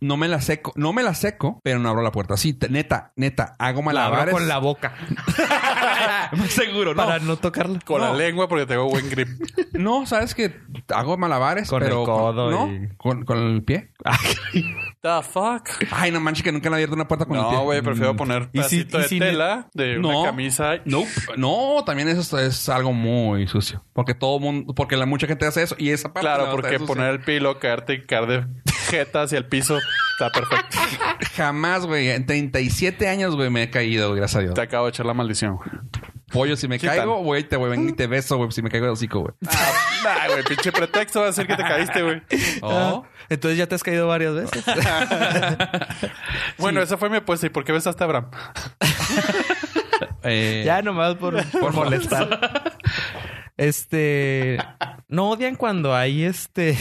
Speaker 4: No me la seco, no me la seco, pero no abro la puerta. Sí, te- neta, neta, hago
Speaker 5: abro
Speaker 4: malabares.
Speaker 5: con la boca
Speaker 4: (laughs) Más seguro, no.
Speaker 5: para no tocarla.
Speaker 3: Con la
Speaker 4: No.
Speaker 3: lengua porque tengo buen
Speaker 4: (laughs)
Speaker 3: grip.
Speaker 4: No, sabes que hago malabares,
Speaker 5: Con
Speaker 4: pero
Speaker 5: el codo
Speaker 4: con,
Speaker 5: y-
Speaker 4: ¿no? con, con el pie.
Speaker 5: (laughs)
Speaker 3: The fuck.
Speaker 4: Ay, no manches que nunca han abierto una puerta con el pie.
Speaker 3: No, güey, prefiero
Speaker 4: Mm.
Speaker 3: poner
Speaker 5: ¿Y si-
Speaker 3: pedacito
Speaker 5: y
Speaker 3: de
Speaker 5: si ne-
Speaker 3: tela de una camisa.
Speaker 4: Nope. No, también eso es, es algo muy sucio. Porque todo mundo, porque la mucha gente hace eso y esa parte.
Speaker 3: Claro,
Speaker 4: la otra
Speaker 3: porque
Speaker 4: es sucia.
Speaker 3: poner el pilo, caerte y caer de jeta hacia el piso está (laughs) perfecto.
Speaker 4: Jamás, güey. En 37 años, güey, me he caído, güey, gracias a Dios.
Speaker 3: Te acabo de echar la maldición. güey.
Speaker 4: Pollo, si me
Speaker 3: Quitan.
Speaker 4: caigo, güey, te güey, ven y te beso, güey, si me caigo de hocico, güey.
Speaker 3: Ah, nah, güey, pinche pretexto va a decir que te caíste, (laughs) güey.
Speaker 4: Oh.
Speaker 5: Ah, Entonces ya te has caído varias veces.
Speaker 3: Bueno, esa fue mi apuesta. ¿Y por qué besaste a este Abraham?
Speaker 4: Eh,
Speaker 5: ya nomás por, por molestar. Este, no odian cuando hay este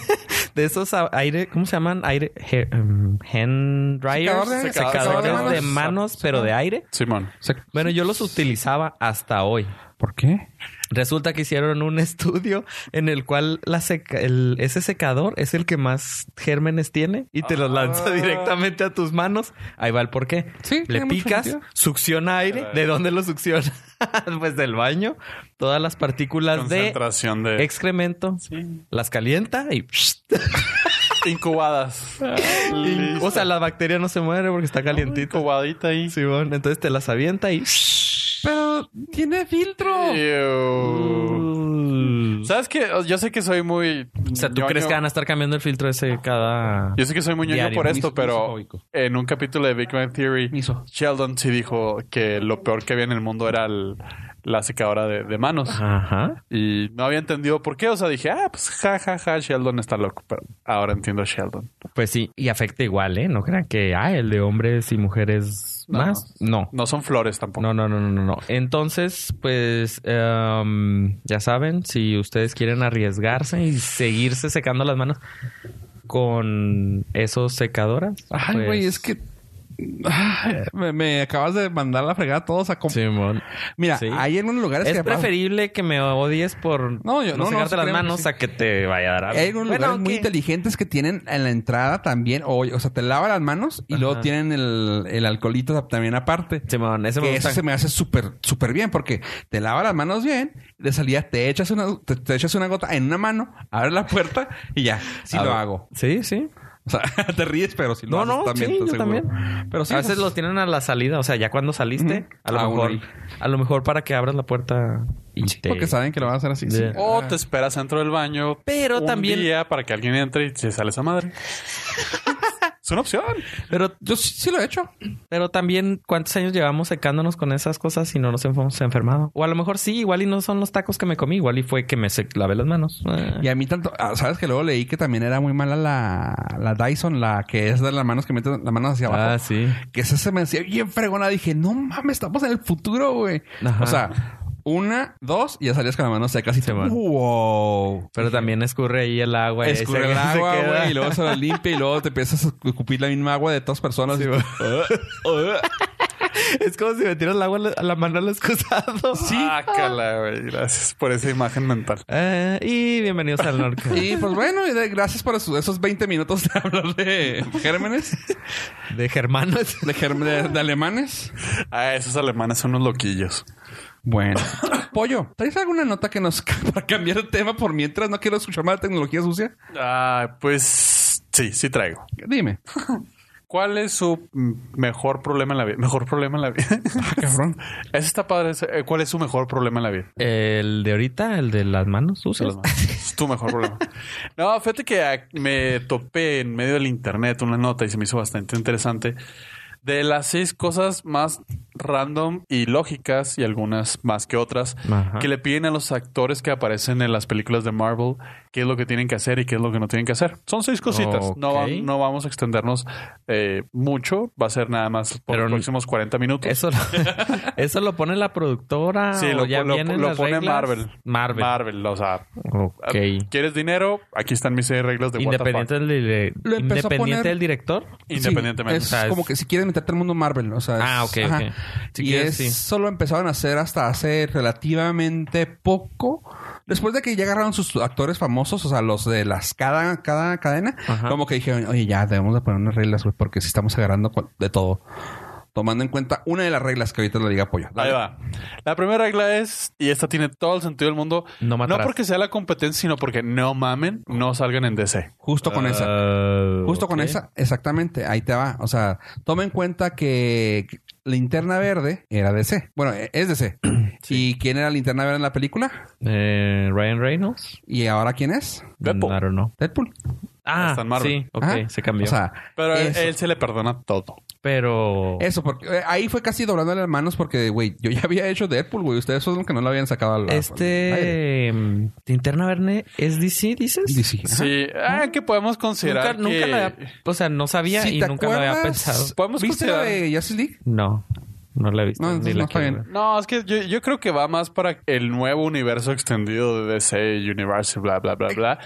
Speaker 5: (laughs) de esos a- aire, ¿cómo se llaman? Aire he- um, hand dryers,
Speaker 4: Secador de-
Speaker 5: secadores
Speaker 4: secador
Speaker 5: de
Speaker 4: de
Speaker 5: manos,
Speaker 4: manos.
Speaker 5: pero de aire.
Speaker 3: Simón.
Speaker 4: se-
Speaker 5: Bueno, yo los utilizaba hasta hoy.
Speaker 4: ¿Por qué?
Speaker 5: Resulta que hicieron un (laughs) estudio en el cual la seca- el- ese secador es el que más gérmenes tiene y te los lanza
Speaker 3: Ah.
Speaker 5: directamente a tus manos. Ahí va el porqué.
Speaker 4: Sí,
Speaker 5: Le
Speaker 4: tiene mucho
Speaker 5: picas,
Speaker 4: sentido.
Speaker 5: succiona aire. ¿De dónde lo succiona? (laughs) pues del baño. Todas las partículas de
Speaker 3: Concentración de...
Speaker 5: excremento
Speaker 3: Sí.
Speaker 5: las calienta y...
Speaker 3: Incubadas.
Speaker 5: o sea, la bacteria no se muere porque está calientita.
Speaker 3: incubadita ahí.
Speaker 5: Simón, entonces te las avienta y...
Speaker 4: Pero tiene
Speaker 5: Oh.
Speaker 4: filtro.
Speaker 3: Ew. ¿Sabes qué? Yo sé que soy muy.
Speaker 5: O sea, ¿tú crees que van a estar cambiando el filtro ese cada...?
Speaker 3: Yo sé que soy muy ñoño
Speaker 5: Diario.
Speaker 3: por esto,
Speaker 4: Mis-
Speaker 3: pero
Speaker 4: misofóbico.
Speaker 3: en un capítulo de Big Bang Theory,
Speaker 4: Miso.
Speaker 3: Sheldon sí dijo que lo peor que había en el mundo era el- la secadora de, de manos.
Speaker 5: Ajá.
Speaker 3: Y no había entendido por qué. O sea, dije, ah, pues ja, ja, ja, Sheldon está loco. Pero ahora entiendo a Sheldon.
Speaker 5: Pues sí, y afecta igual, ¿eh? No crean que, ah, el de hombres y mujeres
Speaker 3: No,
Speaker 5: más. No.
Speaker 3: No son flores tampoco.
Speaker 5: No, no, no, no, no, no. Entonces, pues, em, ya saben, si ustedes quieren arriesgarse y seguirse secando las manos con esos secadoras.
Speaker 4: Ay,
Speaker 5: pues- eh.
Speaker 4: güey, es que. Ay, me, me acabas de mandar la fregada a todos a comp-
Speaker 5: Simón.
Speaker 4: Mira,
Speaker 5: Sí.
Speaker 4: hay algunos lugares
Speaker 5: Es,
Speaker 4: que.
Speaker 5: preferible que me odies por no,
Speaker 4: No, yo- no, no,
Speaker 5: secarte
Speaker 4: sí,
Speaker 5: las
Speaker 4: créeme que
Speaker 5: manos
Speaker 4: sí.
Speaker 5: a que te vaya a dar algo.
Speaker 4: Hay algunos
Speaker 5: Bueno,
Speaker 4: lugares muy
Speaker 5: aunque-
Speaker 4: inteligentes que tienen en la entrada también. O, o sea, te lava las manos y luego
Speaker 5: Ajá.
Speaker 4: tienen el, el alcoholito también aparte.
Speaker 5: Simón, ese me
Speaker 4: que eso
Speaker 5: gusta.
Speaker 4: se me hace súper, súper bien porque te lava las manos bien, de salida te echas una, te, te echas una gota en una mano, abres la puerta y ya, sí
Speaker 5: A
Speaker 4: lo
Speaker 5: ver.
Speaker 4: hago.
Speaker 5: Sí, sí.
Speaker 4: O sea, (laughs) te ríes, pero si lo
Speaker 5: No,
Speaker 4: haces
Speaker 5: no,
Speaker 4: también,
Speaker 5: sí,
Speaker 4: te
Speaker 5: yo
Speaker 4: aseguro.
Speaker 5: también.
Speaker 4: Pero sí,
Speaker 5: a veces
Speaker 4: esas-
Speaker 5: lo tienen a la salida, o sea, ya cuando saliste, a lo
Speaker 4: Ah,
Speaker 5: mejor,
Speaker 4: bueno.
Speaker 5: a lo mejor para que abras la puerta y te...
Speaker 4: Porque saben que lo van a hacer así. sí.
Speaker 5: Yeah.
Speaker 4: Ah,
Speaker 3: O te esperas dentro del baño.
Speaker 5: Pero
Speaker 3: un
Speaker 5: también-
Speaker 3: día para que alguien entre y se sale esa madre. es una opción.
Speaker 5: Pero,
Speaker 4: Yo sí, sí lo he hecho.
Speaker 5: pero también, ¿cuántos años llevamos secándonos con esas cosas y no nos hemos enfermado? O a lo mejor sí, igual y no son los tacos que me comí, igual y fue que me sec- lavé las manos. Eh.
Speaker 4: (laughs) Y a mí tanto, ah, sabes que luego leí que también era muy mala la, la Dyson, la que es de las manos que meten las manos hacia abajo.
Speaker 5: Ah, sí.
Speaker 4: Que esa se me hacía bien fregona. Dije, no mames, estamos en el futuro, güey.
Speaker 5: Ajá.
Speaker 4: O sea, una, dos, y ya salías con la mano seca así.
Speaker 5: Sí, man.
Speaker 4: wow.
Speaker 5: Pero también escurre ahí el agua. y ahí
Speaker 4: Escurre
Speaker 5: se-
Speaker 4: el
Speaker 5: se
Speaker 4: agua,
Speaker 5: queda.
Speaker 4: güey, y luego
Speaker 5: (laughs)
Speaker 4: se lo limpia y luego te empiezas a escupir la misma agua de todas personas. Sí,
Speaker 5: Ah, Es como si metieras el agua a la- a la mano al excusado.
Speaker 4: (laughs)
Speaker 3: Guácala, güey. Gracias por esa imagen mental.
Speaker 5: Eh, y bienvenidos al norte.
Speaker 4: y pues bueno, y de- gracias por esos- esos 20 minutos de hablar de gérmenes,
Speaker 5: De
Speaker 4: (laughs)
Speaker 5: germanos.
Speaker 4: de, germ- de- de alemanes.
Speaker 3: Ah, esos alemanes son unos loquillos.
Speaker 4: Bueno. Pollo, ¿traes alguna nota que nos (laughs) para cambiar el tema por mientras no quiero escuchar más de tecnología sucia?
Speaker 3: Ah, pues sí, sí traigo.
Speaker 4: Dime.
Speaker 3: ¿Cuál es su mm, mejor problema en la vida? (laughs) Mejor problema en la vida.
Speaker 4: Cabrón.
Speaker 3: Ese está padre. ese, eh, ¿Cuál es su mejor problema en la vida?
Speaker 5: El de ahorita, el de las manos
Speaker 3: Se
Speaker 5: sucias.
Speaker 3: los mando. Es tu mejor problema. No, fíjate que ah, me topé en medio del internet una nota y se me hizo bastante interesante de las seis cosas más random y lógicas y algunas más que otras
Speaker 5: Ajá.
Speaker 3: que le piden a los actores que aparecen en las películas de Marvel qué es lo que tienen que hacer y qué es lo que no tienen que hacer. Son seis cositas. No, va-
Speaker 5: Ok.
Speaker 3: no vamos a extendernos eh, mucho. Va a ser nada más por
Speaker 5: Pero
Speaker 3: los
Speaker 5: no-
Speaker 3: próximos 40 minutos.
Speaker 5: Eso lo, (laughs) eso lo pone la productora.
Speaker 3: Sí,
Speaker 5: o
Speaker 3: lo,
Speaker 5: ya
Speaker 3: lo-
Speaker 5: vienen
Speaker 3: lo
Speaker 5: las
Speaker 3: pone
Speaker 5: reglas?
Speaker 3: Marvel. Ah,
Speaker 5: Marvel.
Speaker 3: Marvel, o sea,
Speaker 5: Ok.
Speaker 3: ¿quieres dinero? Aquí están mis seis reglas de
Speaker 5: Independiente,
Speaker 3: WTF.
Speaker 5: del, dire-
Speaker 4: Lo empezó a
Speaker 5: independiente
Speaker 4: poner-
Speaker 5: del director.
Speaker 3: Independientemente.
Speaker 4: (laughs) Sí, es
Speaker 5: O sea, es-
Speaker 4: como que si quieres meterte al mundo Marvel, o sea, es-
Speaker 5: Ah, ok, ok. Si
Speaker 4: y
Speaker 5: quieres,
Speaker 4: es
Speaker 5: sí.
Speaker 4: solo empezaron a hacer hasta hace relativamente poco. Después de que ya agarraron sus actores famosos, o sea, los de las cada, cada cadena,
Speaker 5: Ajá.
Speaker 4: como que dijeron, oye, ya debemos de poner unas reglas, güey, porque si estamos agarrando cual- de todo. Tomando en cuenta una de las reglas que ahorita le diga apoyo.
Speaker 3: Ahí va. La primera regla es, y esta tiene todo el sentido del mundo,
Speaker 5: No matarás.
Speaker 3: porque sea la competencia, sino porque no mamen, no salgan en DC.
Speaker 4: Justo con esa.
Speaker 5: Ah,
Speaker 4: Justo con
Speaker 5: ok.
Speaker 4: esa, exactamente, ahí te va. O sea, toma en cuenta que Linterna Verde era DC. Bueno, e- es
Speaker 5: (clears throat)
Speaker 4: DC. ¿Y quién era Linterna Verde en la película?
Speaker 5: Eh, Ryan Reynolds.
Speaker 4: ¿Y ahora quién es?
Speaker 3: Deadpool.
Speaker 5: I don't know.
Speaker 4: Deadpool.
Speaker 5: Ah,
Speaker 3: Está en Marvel.
Speaker 5: sí. Ok,
Speaker 4: Ajá.
Speaker 5: se cambió.
Speaker 4: O sea,
Speaker 3: Pero él-
Speaker 4: eso,
Speaker 3: él se le perdona todo.
Speaker 5: Pero...
Speaker 4: eso, porque eh, ahí fue casi doblándole las manos porque, güey, yo ya había hecho Deadpool, güey. Ustedes son los que no lo habían sacado al al- al aire.
Speaker 5: Este... em, Linterna Verne es DC, dices?
Speaker 4: DC. ajá.
Speaker 3: Sí, ah, que podemos
Speaker 5: Nunca,
Speaker 3: considerar
Speaker 5: nunca
Speaker 3: que-
Speaker 5: lo había... O sea, no sabía
Speaker 4: Si
Speaker 5: y
Speaker 4: te
Speaker 5: nunca lo había
Speaker 4: acuerdas,
Speaker 5: pensado.
Speaker 3: Podemos
Speaker 4: ¿Viste la de Justice League?
Speaker 5: No, no la he visto.
Speaker 4: No,
Speaker 5: ni
Speaker 4: entonces
Speaker 5: la
Speaker 4: no está
Speaker 5: quiero
Speaker 4: bien.
Speaker 5: ver.
Speaker 3: No, es que yo, yo creo que va más para el nuevo universo extendido de DC Universe, bla, bla, bla, bla.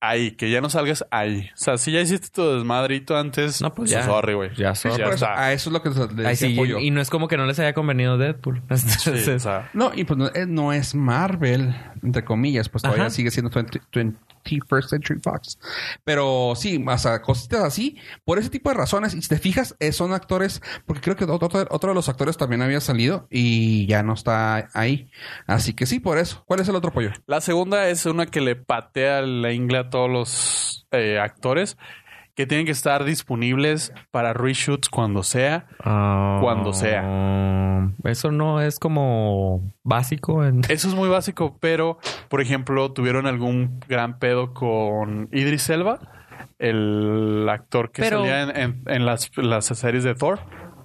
Speaker 3: Ahí, que ya no salgas ahí. O sea, si ya hiciste tu desmadrito antes,
Speaker 5: No, pues
Speaker 3: so
Speaker 5: ya.
Speaker 3: sorry, güey.
Speaker 5: Ya, sorry.
Speaker 3: Ya
Speaker 4: Por eso,
Speaker 3: está.
Speaker 4: a eso es lo que le
Speaker 5: Ay,
Speaker 4: decía
Speaker 5: sí,
Speaker 4: Pollo.
Speaker 5: y, y no es como que no les haya convenido Deadpool. (laughs) Entonces,
Speaker 3: Sí, o sea,
Speaker 4: No, y pues no, eh, no es Marvel, entre comillas, pues todavía
Speaker 5: Ajá.
Speaker 4: sigue siendo 20 21st Century Fox. Pero sí, o sea, cositas así, por ese tipo de razones, y si te fijas, eh, son actores, porque creo que otro, otro- otro de los actores también había salido y ya no está ahí. Así que sí, por eso. ¿Cuál es el otro pollo?
Speaker 3: La segunda es una que le patea la ingle a todos los eh, actores, que tienen que estar disponibles para reshoots cuando sea.
Speaker 5: Ah,
Speaker 3: Cuando
Speaker 5: Eso no es como básico. En...
Speaker 3: Eso es muy básico, pero por ejemplo, tuvieron algún gran pedo con Idris Elba, el actor que
Speaker 5: Pero-
Speaker 3: salía en, en- en las, las series de Thor.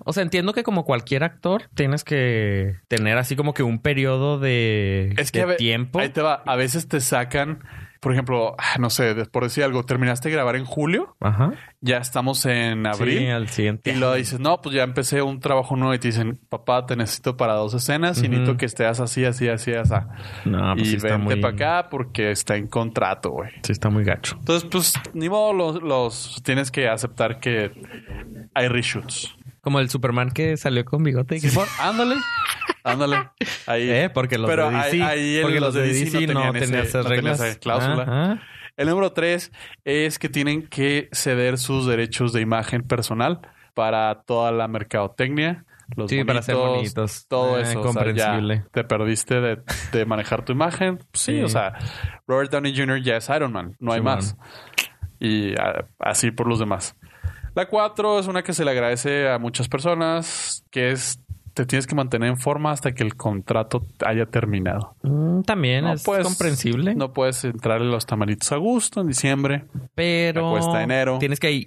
Speaker 5: O sea, entiendo que como cualquier actor tienes que tener así como que un periodo de,
Speaker 3: Es que
Speaker 5: de
Speaker 3: a ve-
Speaker 5: tiempo.
Speaker 3: Ahí te va. A veces te sacan, por ejemplo, ah, no sé, de- por decir algo, terminaste de grabar en julio,
Speaker 5: Ajá.
Speaker 3: ya estamos en abril.
Speaker 5: Sí, al siguiente.
Speaker 3: Y luego dices, no, pues ya empecé un trabajo nuevo y te dicen, papá, te necesito para dos escenas y
Speaker 5: Ujú.
Speaker 3: necesito que estés así, así, así, así.
Speaker 5: No, pues
Speaker 3: y
Speaker 5: sí
Speaker 3: vente
Speaker 5: está muy...
Speaker 3: para acá porque está en contrato, güey.
Speaker 5: Sí está muy gacho.
Speaker 3: Entonces, pues, ni modo, los, los tienes que aceptar que hay reshoots.
Speaker 5: Como el Superman que salió con bigote. y que-
Speaker 3: Simón, ándale, (laughs) ándale. Ahí.
Speaker 5: Eh, porque los
Speaker 3: Pero
Speaker 5: de
Speaker 3: ahí-
Speaker 5: DC,
Speaker 3: ahí el-
Speaker 5: porque
Speaker 3: los
Speaker 5: los
Speaker 3: de
Speaker 5: de
Speaker 3: DC
Speaker 5: DC
Speaker 3: no
Speaker 5: no
Speaker 3: tenían ese-
Speaker 5: tenían esas
Speaker 3: no tenían
Speaker 5: reglas.
Speaker 3: esa cláusula.
Speaker 5: Ah, ah.
Speaker 3: El número tres es que tienen que ceder sus derechos de imagen personal para toda la mercadotecnia. Los
Speaker 5: Sí, para ser
Speaker 3: bonitos,
Speaker 5: bonitos.
Speaker 3: Todo
Speaker 5: Ah,
Speaker 3: eso. Comprensible.
Speaker 5: comprensible.
Speaker 3: te perdiste de, de manejar tu imagen. Pues Sí,
Speaker 5: Sí.
Speaker 3: o sea, Robert Downey Jr. ya es Iron Man. No hay
Speaker 5: Sí,
Speaker 3: más. Y ah, así por los demás. La cuatro es una que se le agradece a muchas personas, que es te tienes que mantener en forma hasta que el contrato haya terminado.
Speaker 5: Mm, También es
Speaker 3: puedes-
Speaker 5: comprensible.
Speaker 3: pues, No puedes entrarle los tamalitos a gusto en diciembre.
Speaker 5: Pero
Speaker 3: La cuesta de enero.
Speaker 5: tienes que eh,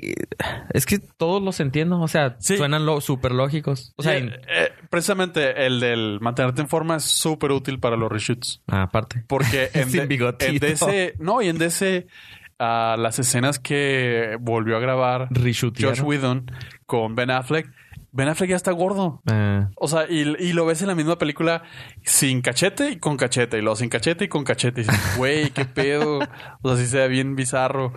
Speaker 5: es que todos los entiendo, o sea,
Speaker 3: Sí.
Speaker 5: suenan lo, súper lógicos. O sea,
Speaker 3: Eh, eh, precisamente el del mantenerte en forma es súper útil para los reshoots.
Speaker 5: ah, aparte. (laughs)
Speaker 3: Porque en,
Speaker 5: Sin
Speaker 3: de-
Speaker 5: bigotito.
Speaker 3: en DC, no, y en DC, ah, las escenas que volvió a grabar Josh
Speaker 5: Reshootearon.
Speaker 3: Whedon con Ben Affleck, Ben Affleck ya está gordo.
Speaker 5: Ah,
Speaker 3: O sea, y, y lo ves en la misma película sin cachete y con cachete, y luego sin cachete y con cachete. Y dices, güey,
Speaker 5: (laughs)
Speaker 3: qué pedo. O sea, sí se ve bien bizarro.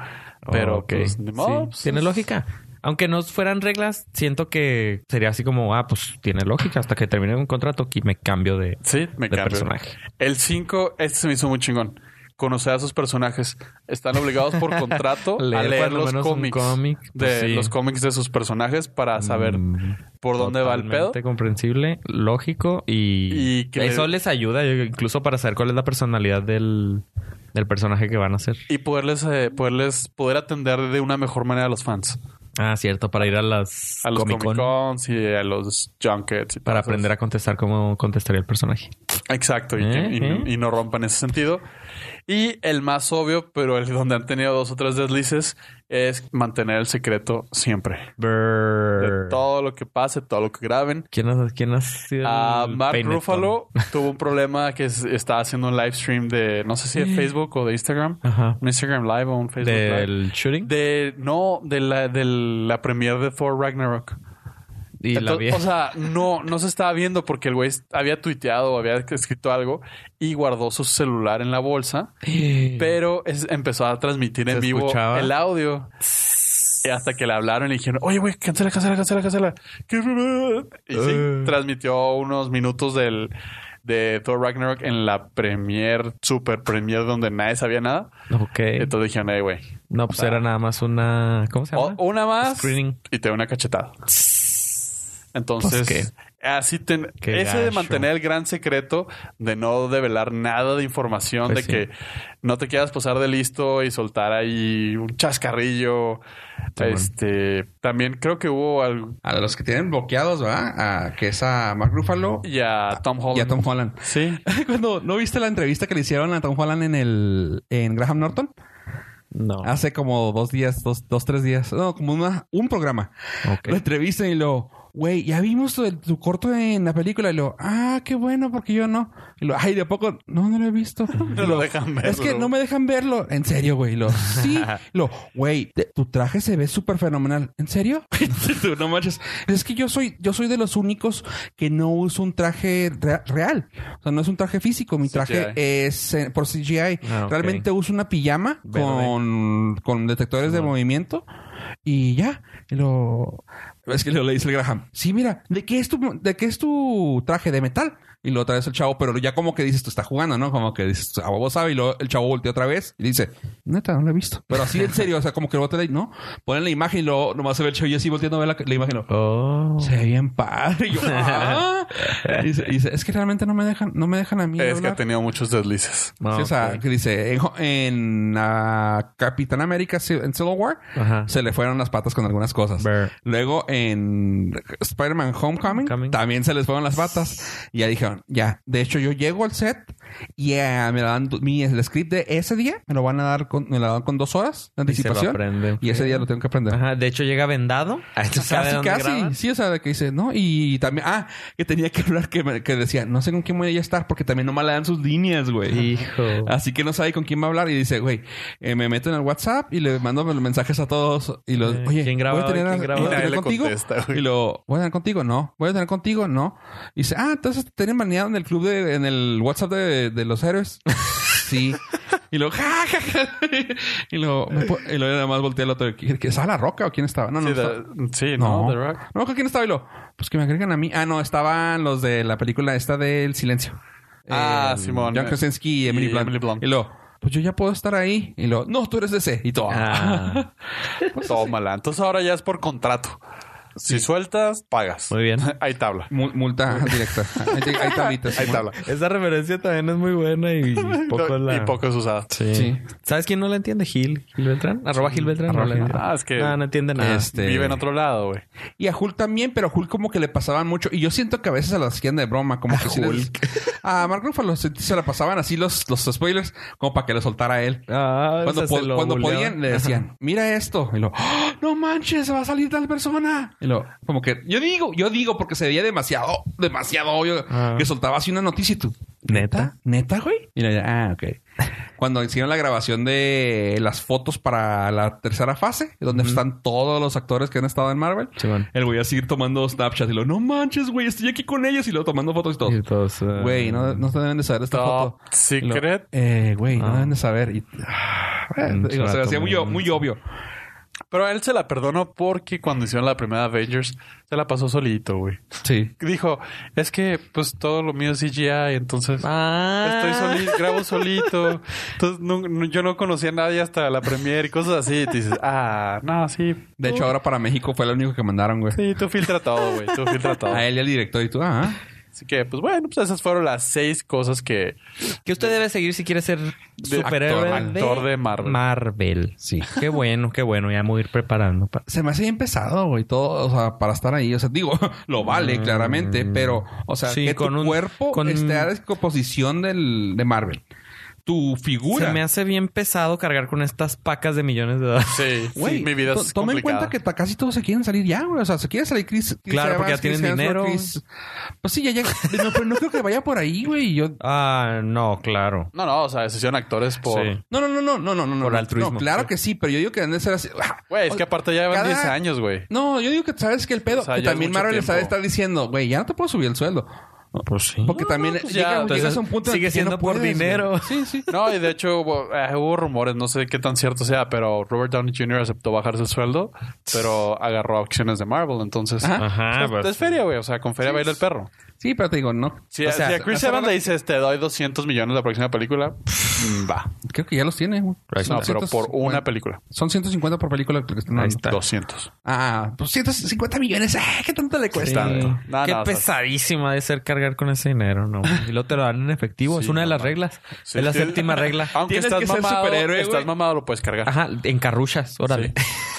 Speaker 3: Pero,
Speaker 5: Ah, ok.
Speaker 3: pues, ni modo,
Speaker 5: Sí,
Speaker 3: pues,
Speaker 5: tiene lógica. Aunque no fueran reglas, siento que sería así como, ah, pues tiene lógica hasta que termine un contrato y me cambio de,
Speaker 3: Sí, me
Speaker 5: de
Speaker 3: cambio.
Speaker 5: personaje.
Speaker 3: El 5, este se me hizo muy chingón. Conocer a sus personajes. Están obligados
Speaker 5: (laughs)
Speaker 3: por contrato a
Speaker 5: Leer
Speaker 3: leer
Speaker 5: cuando
Speaker 3: los
Speaker 5: menos un
Speaker 3: cómics.
Speaker 5: cómic,
Speaker 3: de
Speaker 5: pues, sí.
Speaker 3: los cómics de sus personajes para saber
Speaker 5: Mm,
Speaker 3: por dónde va el pedo.
Speaker 5: totalmente comprensible, lógico y,
Speaker 3: Y que
Speaker 5: eso
Speaker 3: le-
Speaker 5: les ayuda yo- incluso para saber cuál es la personalidad del, del personaje que van a hacer.
Speaker 3: Y poderles, eh, poderles poder atender de una mejor manera a los fans.
Speaker 5: Ah, cierto, para ir a las
Speaker 3: A los Comic
Speaker 5: Comic-Con.
Speaker 3: Cons y a los Junkets. y
Speaker 5: Para
Speaker 3: todas esas-
Speaker 5: aprender a contestar cómo contestaría el personaje.
Speaker 3: Exacto, y, que-
Speaker 5: ¿Eh?
Speaker 3: y-
Speaker 5: ¿Eh?
Speaker 3: y no rompan ese sentido. Y el más obvio, pero el donde han tenido dos o tres deslices, es mantener el secreto siempre. De todo lo que pase, todo lo que graben.
Speaker 5: ¿Quién ha, quién ha sido
Speaker 3: A
Speaker 5: el
Speaker 3: Mark
Speaker 5: peinetón?
Speaker 3: Ruffalo tuvo un problema que es- estaba haciendo un live stream de, no sé si de Facebook o de Instagram.
Speaker 5: Ajá.
Speaker 3: Un Instagram Live o un Facebook Live.
Speaker 5: Del shooting.
Speaker 3: De, no, de la, de la premiere de Thor Ragnarok.
Speaker 5: y la
Speaker 3: Entonces,
Speaker 5: vieja. (laughs)
Speaker 3: o sea, no, no se estaba viendo porque el güey había tuiteado, había escrito algo y guardó su celular en la bolsa, pero es- empezó a transmitir en
Speaker 5: ¿Se
Speaker 3: vivo
Speaker 5: escuchaba?
Speaker 3: el audio. Y hasta que le hablaron y dijeron, oye, güey, cancela, cancela, cancela, cancela. Y sí,
Speaker 5: Eh.
Speaker 3: transmitió unos minutos del de Thor Ragnarok en la premier, super premier, donde nadie sabía nada.
Speaker 5: ok.
Speaker 3: Entonces dijeron, "Ey, güey,
Speaker 5: no, pues era nada más una... ¿Cómo se
Speaker 3: o-
Speaker 5: llama?
Speaker 3: una más
Speaker 5: Screening.
Speaker 3: y te da una cachetada. Entonces,
Speaker 5: Pues,
Speaker 3: así ten-
Speaker 5: Qué
Speaker 3: ese de
Speaker 5: gacho.
Speaker 3: mantener el gran secreto de no develar nada de información,
Speaker 5: Pues
Speaker 3: de
Speaker 5: sí.
Speaker 3: que no te quieras posar de listo y soltar ahí un chascarrillo.
Speaker 5: Simón.
Speaker 3: este, también creo que hubo al
Speaker 4: A los que tienen bloqueados, ¿verdad? A, que es a Mark Ruffalo
Speaker 3: y a Tom Holland.
Speaker 4: y a Tom Holland.
Speaker 3: Sí.
Speaker 4: (laughs) Cuando no viste la entrevista que le hicieron a Tom Holland en el en Graham Norton
Speaker 5: No.
Speaker 3: Ah.
Speaker 4: hace como dos días, dos, dos tres días, no, como una- un programa.
Speaker 5: Ok.
Speaker 4: La entrevista y lo, güey, ya vimos tu, tu corto en la película y lo, ah, qué bueno porque yo no. Y lo, ay, de a poco, no, no lo he visto.
Speaker 3: No (laughs)
Speaker 4: Y
Speaker 3: lo dejan verlo.
Speaker 4: Es que no me dejan verlo. En serio, güey. Y Lo, sí. Y Lo, güey, te- tu traje se ve súper fenomenal. ¿En serio? Y tú, no manches. Es que yo soy, yo soy de los únicos que no uso un traje re- real. O sea, no es un traje físico. Mi traje es eh, por CGI.
Speaker 5: Ah, ok.
Speaker 4: Realmente uso una pijama
Speaker 5: Verde.
Speaker 4: con, con detectores de movimiento y ya. Y lo es que lo le dice el Graham. Sí, mira, ¿de qué es tu de qué es tu traje de metal? y luego otra vez el chavo, pero ya como que dices, tú estás jugando, ¿no? Como que dices, a vos sabe, y luego el chavo voltea otra vez y dice, neta, no lo he visto. Pero así en serio, o sea, como que el bote de no, ponen la imagen y luego nomás se ve el chavo y yo así volteando a ver la, la imagen. y lo,
Speaker 5: Oh.
Speaker 4: Se ve bien padre. Y yo, "Ah". Y dice, y dice, es que realmente no me dejan, no me dejan a mí.
Speaker 3: Es que ha
Speaker 4: hablar".
Speaker 3: tenido muchos deslices.
Speaker 5: Ah,
Speaker 4: Sí, o sea,
Speaker 5: ok.
Speaker 4: que dice, en, en, ah, Capitán América Ci- en Civil War
Speaker 5: Ajá.
Speaker 4: se le fueron las patas con algunas cosas.
Speaker 5: Ver.
Speaker 4: Luego en Spider-Man Homecoming
Speaker 5: Homecoming.
Speaker 4: también se les fueron las patas. Y ya dijeron, ya. De hecho, yo llego al set y ah, me dan tu- mi el script de ese día, me lo van a dar con, me lo dan con dos horas
Speaker 5: Y
Speaker 4: de
Speaker 5: se lo
Speaker 4: anticipación.
Speaker 5: aprenden.
Speaker 4: Y ese día lo tengo que aprender.
Speaker 5: Ajá, de hecho llega vendado. Ah, esto sabe
Speaker 4: Casi,
Speaker 5: dónde
Speaker 4: casi.
Speaker 5: graban.
Speaker 4: Sí, o sea, de que dice, ¿no? Y también, ah, que tenía que hablar, que, me- que decía, no sé con quién voy a estar porque también nomás le dan sus líneas, güey.
Speaker 5: Hijo.
Speaker 4: Así que no sabe con quién va a hablar y dice, güey, eh, me meto en el WhatsApp y le mando mensajes a todos y los,
Speaker 5: Eh,
Speaker 4: oye,
Speaker 5: ¿quién graba
Speaker 4: voy a tener,
Speaker 5: hoy?
Speaker 4: a-
Speaker 5: ¿Quién graba
Speaker 4: voy a
Speaker 3: hoy?
Speaker 4: tener
Speaker 3: Nadie le
Speaker 4: contigo
Speaker 3: contesta, güey.
Speaker 4: y lo voy a tener contigo, no, voy a tener contigo, no. Y dice, ah, entonces te tienen baneado en el club de, en el WhatsApp de, de los héroes. (laughs) sí. Y lo, ja, ja, ja. Y lo, me po- y luego nada más volteé al otro. ¿Quién- ¿Estaba la roca o quién estaba? No, no.
Speaker 3: Sí,
Speaker 4: estaba-
Speaker 3: The- sí,
Speaker 4: no,
Speaker 3: no, The Rock.
Speaker 4: no, ¿con quién estaba y lo? Pues que me agregan a mí. Ah, no, estaban los de la película esta del silencio.
Speaker 3: Ah,
Speaker 4: El
Speaker 3: Simón.
Speaker 4: Eh, John Em, Krasinski y Emily
Speaker 3: Y
Speaker 4: Blunt.
Speaker 3: Emily Blunt.
Speaker 4: Y lo, pues yo ya puedo estar ahí. Y lo, no, tú eres de ese. Y todo. (laughs)
Speaker 5: Ah,
Speaker 3: Tómala. Entonces ahora ya es por contrato. Si sueltas, pagas. (laughs)
Speaker 5: Muy bien.
Speaker 3: Hay tabla.
Speaker 4: Mu- Multa (laughs) directa. Ahí te- Hay tablitas.
Speaker 3: Hay
Speaker 4: Simón.
Speaker 3: tabla.
Speaker 5: esa referencia también es muy buena
Speaker 4: (laughs)
Speaker 5: y (laughs) poco la...
Speaker 3: Y poco es usada.
Speaker 5: Sí.
Speaker 4: Sí.
Speaker 5: ¿Sabes quién no la entiende? Gil. Gil Beltrán. Arroba Gil Beltrán.
Speaker 4: Arroba
Speaker 5: no la
Speaker 4: Gil
Speaker 5: entiende.
Speaker 3: Beltrán. Ah, es que-
Speaker 5: No, no entiende nada.
Speaker 4: Es- Este-
Speaker 3: Vive en otro lado, güey.
Speaker 4: Y a Hulk también, pero a Hulk como que le pasaban mucho. Y yo siento que a veces se las hacían de broma. Como que sí les- a Mark Ruffalo se, se la pasaban así los, los spoilers como para que lo soltara a él.
Speaker 5: Ah,
Speaker 4: Cuando,
Speaker 5: o sea,
Speaker 4: po-
Speaker 5: se lo
Speaker 4: cuando
Speaker 5: buleaban.
Speaker 4: podían, le decían, mira esto. Y lo, "¡Ah! no manches, se va a salir tal persona. Y lo, como que, yo digo, yo digo, porque se veía demasiado, demasiado obvio
Speaker 5: Ah.
Speaker 4: que soltaba así una noticia y tú,
Speaker 5: ¿Neta?
Speaker 4: ¿Neta, güey? Y le ah,
Speaker 5: (laughs)
Speaker 4: ok. Cuando hicieron la grabación de las fotos para la tercera fase, donde están todos los actores que han estado en Marvel,
Speaker 5: Simón.
Speaker 4: el güey a seguir tomando Snapchat y lo, no manches, güey, estoy aquí con ellos y lo tomando fotos y todo.
Speaker 5: Y todos, ah,
Speaker 4: Güey, no, no te deben de saber esta
Speaker 3: Top
Speaker 4: foto.
Speaker 3: secret.
Speaker 4: Y lo, eh, güey, no
Speaker 5: Ah.
Speaker 4: deben de saber. Y, eh,
Speaker 5: Mm,
Speaker 4: digo, se me
Speaker 5: rato,
Speaker 4: hacía muy,
Speaker 5: güey.
Speaker 4: muy obvio.
Speaker 3: Pero a él se la perdono porque cuando hicieron la primera Avengers, se la pasó solito, güey.
Speaker 4: Sí.
Speaker 3: Dijo, es que pues todo lo mío es CGI, entonces
Speaker 5: Ah.
Speaker 3: estoy solito, grabo solito. Entonces nu- nu- yo no conocía a nadie hasta la premiere y cosas así. Y te dices, ah, no, sí.
Speaker 4: De
Speaker 3: tú-
Speaker 4: hecho, ahora para México fue el único que mandaron, güey.
Speaker 3: Sí, tú filtra todo, güey. Tú filtra todo.
Speaker 4: A él y al director y tú, ah.
Speaker 3: Así que, pues bueno, pues esas fueron las seis cosas que
Speaker 5: Que usted debe seguir si quiere ser superhéroe.
Speaker 4: actor,
Speaker 3: actor de Marvel.
Speaker 5: Marvel.
Speaker 4: Sí.
Speaker 5: Qué bueno, qué bueno. Ya me voy a ir preparando. para-
Speaker 4: se me hace bien pesado, güey, todo, o sea, para estar ahí. O sea, digo, (laughs) lo vale, claramente, pero, o sea,
Speaker 5: Sí,
Speaker 4: que
Speaker 5: con
Speaker 4: tu
Speaker 5: un-
Speaker 4: cuerpo
Speaker 5: con-
Speaker 4: esté a descomposición del, de Marvel. Tu figura.
Speaker 5: Se me hace bien pesado cargar con estas pacas de millones de dólares.
Speaker 3: Sí, sí,
Speaker 4: Güey,
Speaker 3: mi vida
Speaker 4: to-
Speaker 3: es
Speaker 4: toma en
Speaker 3: complicada.
Speaker 4: cuenta que ta- casi todos se quieren salir ya, güey. O sea, se quiere salir Chris. Chris
Speaker 5: Claro, porque ya
Speaker 4: Chris
Speaker 5: tienen dinero.
Speaker 4: Pues sí, ya llega. (laughs) No, pero no creo que vaya por ahí, güey. Yo...
Speaker 5: Ah, no, claro.
Speaker 3: No, no, o sea, se hicieron actores por...
Speaker 5: Sí.
Speaker 4: No, no, no, no, no, no, no.
Speaker 5: Por
Speaker 4: no,
Speaker 5: altruismo.
Speaker 4: No, claro que sí, pero yo digo que han de ser así.
Speaker 3: Güey, es que aparte ya llevan
Speaker 4: Cada-
Speaker 3: 10 años, güey.
Speaker 4: No, yo digo que sabes que el pedo,
Speaker 3: O sea,
Speaker 4: que
Speaker 3: ya es
Speaker 4: también
Speaker 3: mucho
Speaker 4: Marvel está,
Speaker 3: tiempo.
Speaker 4: está diciendo, güey, ya no te puedo subir el sueldo.
Speaker 5: Pues sí.
Speaker 4: Porque
Speaker 3: No,
Speaker 4: también
Speaker 3: no, pues
Speaker 4: llega,
Speaker 3: ya,
Speaker 4: llegas
Speaker 5: entonces
Speaker 4: a un punto en el
Speaker 5: sigue
Speaker 4: que ya
Speaker 5: siendo
Speaker 4: no
Speaker 5: por
Speaker 4: puedes,
Speaker 5: dinero.
Speaker 4: güey. Sí, sí.
Speaker 3: No, y de hecho hubo, eh, hubo rumores, no sé qué tan cierto sea, pero Robert Downey Jr. aceptó bajarse el sueldo, pero agarró acciones de Marvel, entonces...
Speaker 4: Ajá.
Speaker 5: Ajá.
Speaker 3: Es-
Speaker 5: pues,
Speaker 3: es feria, güey. O sea, con feria baila el perro.
Speaker 4: Sí, pero te digo, no.
Speaker 3: Si,
Speaker 4: O sea,
Speaker 3: si a Chris
Speaker 4: hasta
Speaker 3: Evans
Speaker 4: ahora-
Speaker 3: le dices, te doy 200 millones la próxima película, mm, va.
Speaker 4: Creo que ya los tiene, güey. Son
Speaker 3: No, pero por
Speaker 4: 150
Speaker 3: una película.
Speaker 4: Son 150 por película. que le están
Speaker 5: Ahí
Speaker 4: dando.
Speaker 5: está.
Speaker 3: 200.
Speaker 4: Ah, pues 150 millones. ¡Ah, ¿Qué tanto le
Speaker 5: Sí.
Speaker 4: cuesta?
Speaker 3: No, no,
Speaker 5: Qué
Speaker 3: o sea-
Speaker 5: pesadísima de ser cargar con ese dinero, ¿no? Y luego te lo dan en efectivo.
Speaker 3: Sí,
Speaker 5: es una de
Speaker 3: no
Speaker 5: las
Speaker 3: mames.
Speaker 5: reglas.
Speaker 3: Sí.
Speaker 5: es la
Speaker 3: Sí.
Speaker 5: séptima regla.
Speaker 3: (laughs) Aunque
Speaker 4: Tienes
Speaker 3: estás
Speaker 4: que ser
Speaker 3: mamado,
Speaker 4: superhéroe, güey.
Speaker 3: estás mamado, lo puedes cargar.
Speaker 5: Ajá, en carruchas, órale.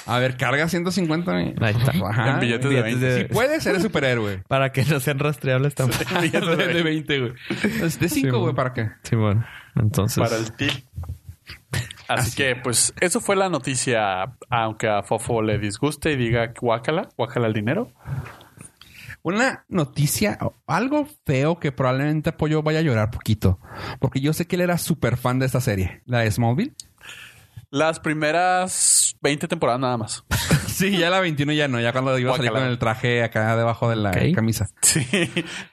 Speaker 4: A ver, carga 150 millones.
Speaker 5: (laughs) Ahí está.
Speaker 4: Ajá.
Speaker 3: En billetes de
Speaker 5: Billetes
Speaker 3: 20.
Speaker 5: de-
Speaker 4: Si puedes,
Speaker 5: (laughs)
Speaker 4: eres superhéroe.
Speaker 5: Para que no sean rastreables tampoco.
Speaker 3: Billetes de 20.
Speaker 4: 20, güey. Es De 5,
Speaker 5: güey.
Speaker 4: güey, ¿para qué?
Speaker 5: Simón. Entonces.
Speaker 3: Para el TIL. Así que, pues, eso fue la noticia. Aunque a Fofo le disguste y diga guácala, guácala el dinero.
Speaker 4: Una noticia, algo feo que probablemente Apoyo vaya a llorar poquito. Porque yo sé que él era súper fan de esta serie, la de Smallville.
Speaker 3: Las primeras 20 temporadas nada más.
Speaker 4: (laughs)
Speaker 3: (laughs)
Speaker 4: Sí, ya la 21 ya no. Ya cuando iba a salir
Speaker 3: Guácala.
Speaker 4: con el traje acá debajo de la
Speaker 5: Ok.
Speaker 4: camisa.
Speaker 3: Sí.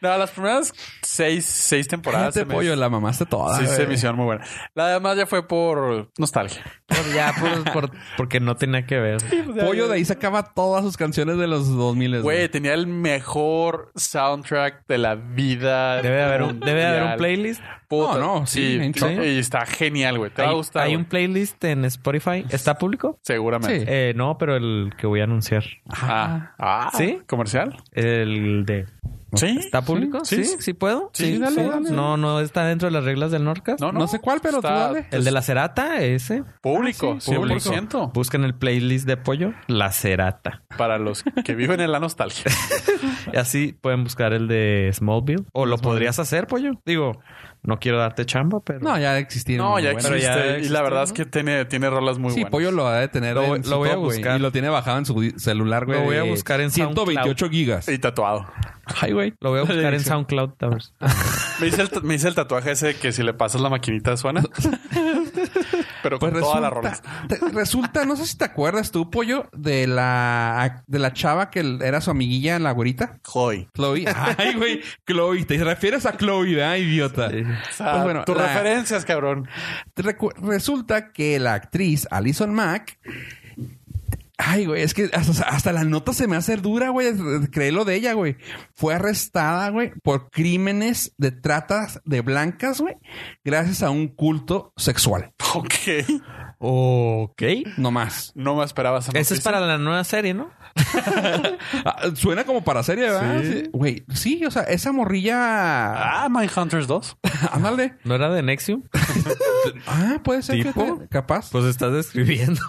Speaker 3: No, las primeras seis, seis temporadas.
Speaker 4: Este
Speaker 3: se me-
Speaker 4: pollo la mamaste toda.
Speaker 3: Sí, se
Speaker 4: güey.
Speaker 3: me hicieron muy buena. La demás ya fue por nostalgia.
Speaker 5: Por- ya, por- por- porque no tenía que ver.
Speaker 4: Pollo de ahí sacaba todas sus canciones de los 2000.
Speaker 3: Güey, tenía el mejor soundtrack de la vida.
Speaker 5: Debe de haber un,
Speaker 3: mundial.
Speaker 5: debe de haber un playlist.
Speaker 3: Puta.
Speaker 4: No, no, sí, en
Speaker 5: chorro.
Speaker 3: Y está genial, güey. Te va a
Speaker 5: Hay,
Speaker 3: gustar.
Speaker 5: hay un
Speaker 3: güey.
Speaker 5: playlist en Spotify. ¿Está público?
Speaker 3: Seguramente.
Speaker 4: Sí.
Speaker 5: Eh, no, pero el que voy a anunciar.
Speaker 3: Ah, ah,
Speaker 5: ¿Sí?
Speaker 3: ¿Comercial?
Speaker 5: El de...
Speaker 3: Sí.
Speaker 5: ¿Está público?
Speaker 3: Sí,
Speaker 5: Sí,
Speaker 3: sí.
Speaker 5: sí, puedo.
Speaker 3: Sí, dale, dale.
Speaker 5: No, no está dentro de las reglas del Norcas.
Speaker 3: No, pues no.
Speaker 4: No sé cuál, pero tú
Speaker 3: Está
Speaker 4: dale.
Speaker 5: El de la cerata, ese.
Speaker 3: Público,
Speaker 4: Ah, sí,
Speaker 3: 100%.
Speaker 5: Busquen el playlist de pollo, la cerata.
Speaker 3: Para los que viven en la nostalgia.
Speaker 5: Y así pueden buscar el de Smallville. O lo podrías hacer, pollo. Digo, no quiero darte chamba, pero
Speaker 4: No, ya existía.
Speaker 3: No, ya
Speaker 5: bueno,
Speaker 3: existe.
Speaker 5: ya
Speaker 3: y
Speaker 5: existe,
Speaker 3: la verdad
Speaker 5: ¿no?
Speaker 3: es que tiene, tiene rolas muy
Speaker 4: Sí,
Speaker 3: buenas.
Speaker 4: Pollo lo va a detener.
Speaker 5: Lo-
Speaker 4: en su
Speaker 5: lo voy a
Speaker 4: top, güey,
Speaker 5: buscar.
Speaker 4: Y lo tiene bajado en su celular, güey.
Speaker 5: Lo voy a
Speaker 4: de
Speaker 5: buscar en
Speaker 4: 128 gigas.
Speaker 3: Y tatuado.
Speaker 4: Ay, güey.
Speaker 5: lo voy a buscar en SoundCloud. Towers.
Speaker 3: Me hice, el, ta- me hice el tatuaje ese que si le pasas la maquinita
Speaker 4: (laughs)
Speaker 3: suena. Pero con
Speaker 4: Pues
Speaker 3: todas las
Speaker 4: resulta,
Speaker 3: rolas.
Speaker 4: te- resulta, no sé si te acuerdas tú, pollo, de la de la chava que l- era su amiguilla, la güerita.
Speaker 3: Joy. (laughs)
Speaker 4: Chloe. Ay, güey. Chloe. Te refieres a Chloe, ¿verdad, idiota?
Speaker 3: O sea,
Speaker 4: Pues bueno,
Speaker 3: tus
Speaker 4: la-
Speaker 3: referencias, cabrón. (laughs)
Speaker 4: Recu- Resulta que la actriz Alison Mack. Ay, güey, es que hasta, hasta la nota se me hace dura, güey. Créelo de ella, güey. Fue arrestada, güey, por crímenes de tratas de blancas, güey, gracias a un culto sexual.
Speaker 3: Ok.
Speaker 5: Ok.
Speaker 4: No más.
Speaker 3: No me esperaba esa
Speaker 5: Esa es
Speaker 3: noticia.
Speaker 5: para la nueva serie, ¿no?
Speaker 4: Ah, Suena como para serie, ¿verdad?
Speaker 3: Sí.
Speaker 4: Sí, Güey, sí, o sea, esa morrilla.
Speaker 3: Ah, Mindhunters 2.
Speaker 4: Ándale.
Speaker 5: ¿No era de Nexium?
Speaker 3: Pues,
Speaker 4: Ah, puede ser
Speaker 5: ¿Tipo?
Speaker 4: fíjate, capaz.
Speaker 5: Pues estás describiendo.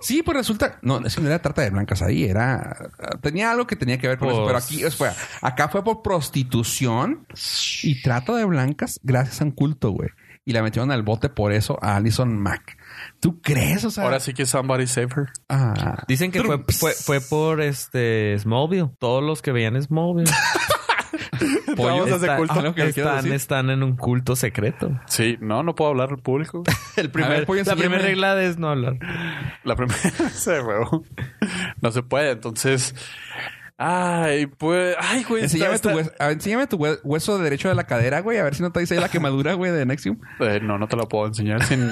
Speaker 4: Sí, pues resulta. No, es que no era trata de blancas ahí, era. Tenía algo que tenía que ver con eso,
Speaker 5: Pues-
Speaker 4: pero aquí fue. Acá fue por prostitución y trata de blancas gracias a un culto, güey. Y la metieron al bote por eso a Alison Mack. ¿Tú crees? O sea.
Speaker 3: Ahora sí que somebody save her.
Speaker 4: ah,
Speaker 5: Dicen que fue, fue, fue por este Smallville. Todos los que veían
Speaker 3: (laughs)
Speaker 5: Smallville
Speaker 3: Vamos a ese
Speaker 5: Está-
Speaker 3: culto.
Speaker 4: algo que quieras
Speaker 5: están,
Speaker 4: decir.
Speaker 5: están en un culto secreto.
Speaker 3: Sí, no, no puedo hablar al público.
Speaker 4: (laughs) el
Speaker 5: A ver,
Speaker 4: pues,
Speaker 5: la primera regla es no hablar.
Speaker 3: La primera (laughs) se huevo. No se puede, entonces. Ay, pues. Ay, güey.
Speaker 4: Enséñame
Speaker 3: está-
Speaker 4: tu,
Speaker 3: está-
Speaker 4: hueso, a ver, enséñame tu hue- hueso derecho de la cadera, güey. A ver si no te dice ahí la quemadura, güey, de Nexium.
Speaker 3: Eh, no, no te lo puedo
Speaker 5: (laughs)
Speaker 3: enseñar sin.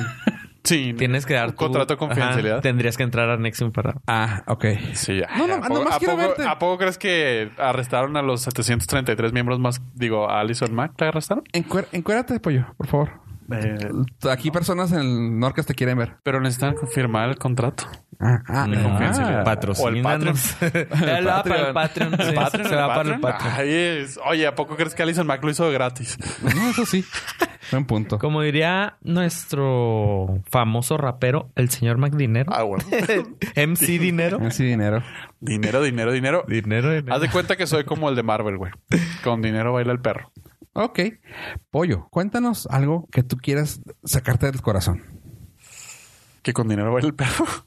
Speaker 3: sin
Speaker 5: Tienes que dar
Speaker 3: un
Speaker 5: tu-
Speaker 3: contrato de
Speaker 5: ajá,
Speaker 3: confidencialidad.
Speaker 5: tendrías que entrar a Nexium para.
Speaker 4: Ah, ok.
Speaker 3: Sí, ya.
Speaker 4: No, no,
Speaker 3: ¿A
Speaker 4: no
Speaker 3: poco-
Speaker 4: más
Speaker 3: a
Speaker 4: quiero
Speaker 3: poco-
Speaker 4: verte.
Speaker 3: ¿A poco crees que arrestaron a los 733 miembros más? Digo, a Alison Mack la arrestaron.
Speaker 4: Encuer- encuérate, pollo, por favor.
Speaker 3: Eh,
Speaker 4: Aquí personas en el Norcas te quieren ver.
Speaker 3: pero necesitan confirmar el contrato.
Speaker 4: Ah, ah,
Speaker 5: No, (laughs)
Speaker 3: confidencialidad.
Speaker 5: patrocínanos. Él va para el Patreon. sí,
Speaker 3: Patreon,
Speaker 5: Se va para el Patreon.
Speaker 3: Ahí es. Oye, ¿a poco crees que Alison Mack lo hizo gratis?
Speaker 4: No, eso sí. Buen
Speaker 3: Ah.
Speaker 4: punto.
Speaker 5: Como diría nuestro famoso rapero, el señor McDinero. (laughs)
Speaker 3: Ah, bueno.
Speaker 5: MC
Speaker 3: (laughs)
Speaker 5: Dinero.
Speaker 4: Así dinero.
Speaker 3: dinero, dinero, dinero.
Speaker 5: Dinero, dinero.
Speaker 3: Haz de cuenta que soy como el de Marvel, güey. Con dinero baila el perro.
Speaker 4: Ok. Pollo, cuéntanos algo que tú quieras sacarte del corazón.
Speaker 3: Que con dinero baila el perro. (laughs)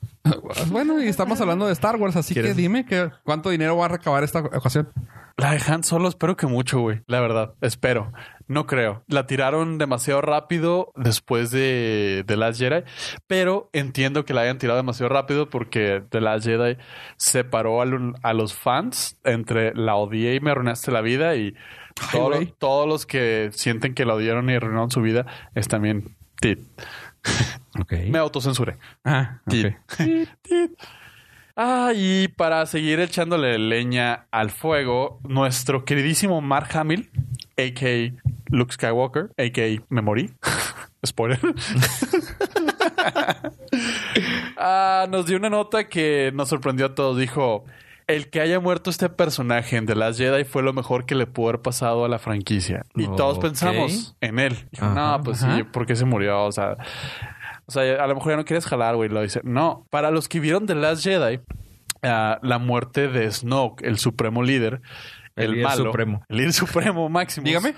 Speaker 4: Bueno, y estamos hablando de Star Wars, así que dime que cuánto dinero va a recabar esta ocasión.
Speaker 3: La de Han Solo espero que mucho, güey. La verdad, espero. No creo. La tiraron demasiado rápido después de The Last Jedi, pero entiendo que la hayan tirado demasiado rápido porque The Last Jedi separó a, lo- a los fans entre la odié y me arruinaste la vida y todo-
Speaker 4: güey.
Speaker 3: todos los que sienten que la odiaron y arruinaron su vida están bien. Tit.
Speaker 4: Ok.
Speaker 3: Me autocensuré.
Speaker 4: Ah,
Speaker 3: Tit.
Speaker 4: ok.
Speaker 3: Tit. Ah, y para seguir echándole leña al fuego, nuestro queridísimo Mark Hamill, a.k.a. Luke Skywalker, a.k.a. me morí. (laughs) Spoiler. Ah, nos dio una nota que nos sorprendió a todos. Dijo, el que haya muerto este personaje en The Last Jedi fue lo mejor que le pudo haber pasado a la franquicia. Y todos
Speaker 5: Ok.
Speaker 3: pensamos en él. Dijo,
Speaker 5: Ajá,
Speaker 3: no, pues
Speaker 4: ajá.
Speaker 3: sí, ¿por qué se murió? O sea, o sea, a lo mejor ya no quieres jalar, güey. Lo dice. No, para los que vieron The Last Jedi, ah, la muerte de Snoke, el supremo líder,
Speaker 5: El
Speaker 3: el,
Speaker 5: líder
Speaker 3: malo,
Speaker 5: supremo.
Speaker 3: el líder supremo máximo. (laughs)
Speaker 4: Dígame.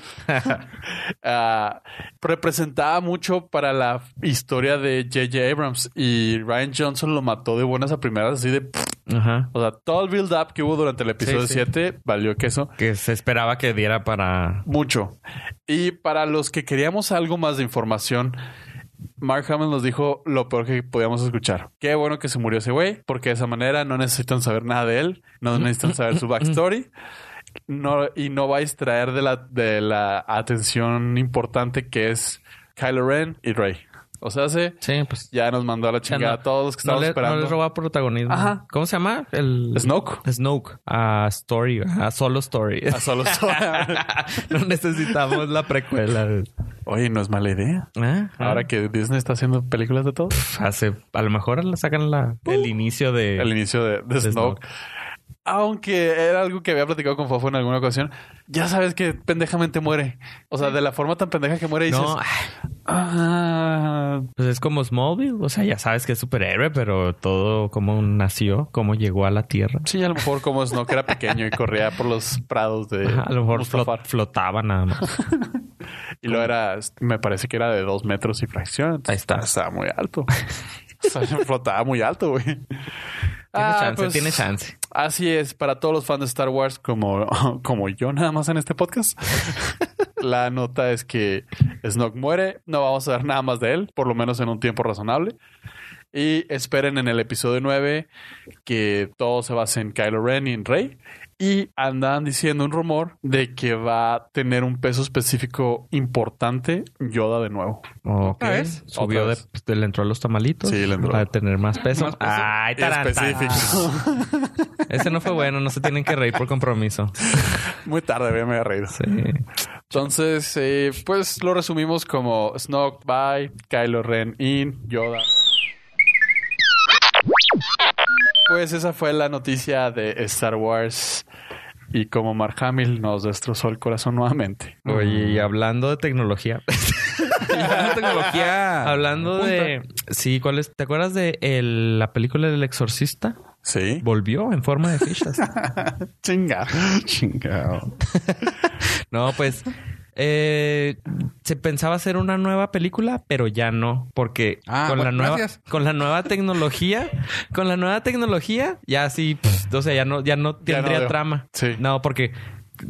Speaker 3: representaba mucho para la historia de J.J. Abrams y Ryan Johnson lo mató de buenas a primeras, así de.
Speaker 5: Ajá.
Speaker 3: O sea, todo el build up que hubo durante el episodio
Speaker 5: sí.
Speaker 3: 7 valió queso.
Speaker 5: Que se esperaba que diera para.
Speaker 3: Mucho. Y para los que queríamos algo más de información, Mark Hamill nos dijo lo peor que podíamos escuchar. Qué bueno que se murió ese güey, porque de esa manera no necesitan saber nada de él, no necesitan saber su backstory. No, y no va a distraer de la, de la atención importante que es Kylo Ren y Rey. O sea, se
Speaker 5: Sí, pues.
Speaker 3: ya nos mandó a la chingada
Speaker 5: no-
Speaker 3: a todos los que
Speaker 5: No,
Speaker 3: estábamos
Speaker 5: le, no
Speaker 3: esperando.
Speaker 5: les roba protagonismo.
Speaker 3: Ajá.
Speaker 5: ¿Cómo se llama? El
Speaker 3: Snoke.
Speaker 5: Snoke. A Story. A Solo Story.
Speaker 3: A solo
Speaker 5: (laughs)
Speaker 3: (laughs)
Speaker 5: no necesitamos la
Speaker 3: (laughs)
Speaker 5: precuela.
Speaker 3: Oye, no es mala idea.
Speaker 5: Ah,
Speaker 3: Ahora que Disney está haciendo películas de todo.
Speaker 5: hace, a lo mejor la sacan la, el inicio de
Speaker 3: Uh. El inicio de, de
Speaker 5: de
Speaker 3: Snoke. Aunque era algo que había platicado con Fofo en alguna ocasión, ya sabes que pendejamente muere. O sea, de la forma tan pendeja que muere, dices,
Speaker 5: No, ay,
Speaker 3: "Ah,
Speaker 5: pues es como Smallville, o sea, ya sabes que es superhéroe, pero todo cómo nació, cómo llegó a la Tierra.
Speaker 3: sí, a lo mejor como Snoke era pequeño y corría por los prados de
Speaker 5: Ajá, a lo mejor flot-
Speaker 3: Mustafar.
Speaker 5: flotaba nada más.
Speaker 3: Y lo era, me parece que era de dos metros y fracción. Entonces,
Speaker 5: Ahí está.
Speaker 3: Estaba muy
Speaker 5: (laughs)
Speaker 3: alto. O sea, flotaba muy alto, güey. pues, Tiene Ah,
Speaker 5: Tiene chance, tiene chance.
Speaker 3: Así es, para todos los fans de Star Wars, como, (laughs) como yo nada más en este podcast, (laughs) la nota es que Snoke muere, no vamos a ver nada más de él, por lo menos en un tiempo razonable. Y esperen en el episodio 9 que todo se base en Kylo Ren y en Rey. Y andan diciendo un rumor de que va a tener un peso específico importante Yoda de nuevo.
Speaker 5: Ok.
Speaker 4: ¿Otra vez?
Speaker 5: Subió
Speaker 3: Otra
Speaker 5: de,
Speaker 3: vez.
Speaker 5: pues, le entró a los tamalitos.
Speaker 3: Sí, le entró.
Speaker 5: Para tener más peso.
Speaker 4: Más peso.
Speaker 5: Ay, tarantán.
Speaker 3: Específico. (laughs)
Speaker 5: Ese no fue bueno, no se tienen que reír por compromiso.
Speaker 3: Muy tarde, me había reído.
Speaker 5: Sí.
Speaker 3: Entonces, eh, pues lo resumimos como Snoke, bye, Kylo Ren, in, Yoda. Pues esa fue la noticia de Star Wars y como Mark Hamill nos destrozó el corazón nuevamente.
Speaker 5: Oye, y hablando de tecnología.
Speaker 4: La (laughs) tecnología.
Speaker 5: hablando de. Sí, ¿cuál es? ¿Te acuerdas de el- la película del exorcista?
Speaker 3: Sí.
Speaker 5: Volvió en forma de fichas.
Speaker 3: Chinga. Chingao.
Speaker 5: No, pues eh, se pensaba hacer una nueva película, pero ya no, porque
Speaker 4: Ah,
Speaker 5: con la
Speaker 4: bueno,
Speaker 5: nueva,
Speaker 4: gracias.
Speaker 5: con la nueva tecnología, con la nueva tecnología, ya sí, pf, o sea, ya no, ya no
Speaker 3: Ya no
Speaker 5: tendría
Speaker 3: dio.
Speaker 5: trama.
Speaker 3: Sí.
Speaker 5: No, porque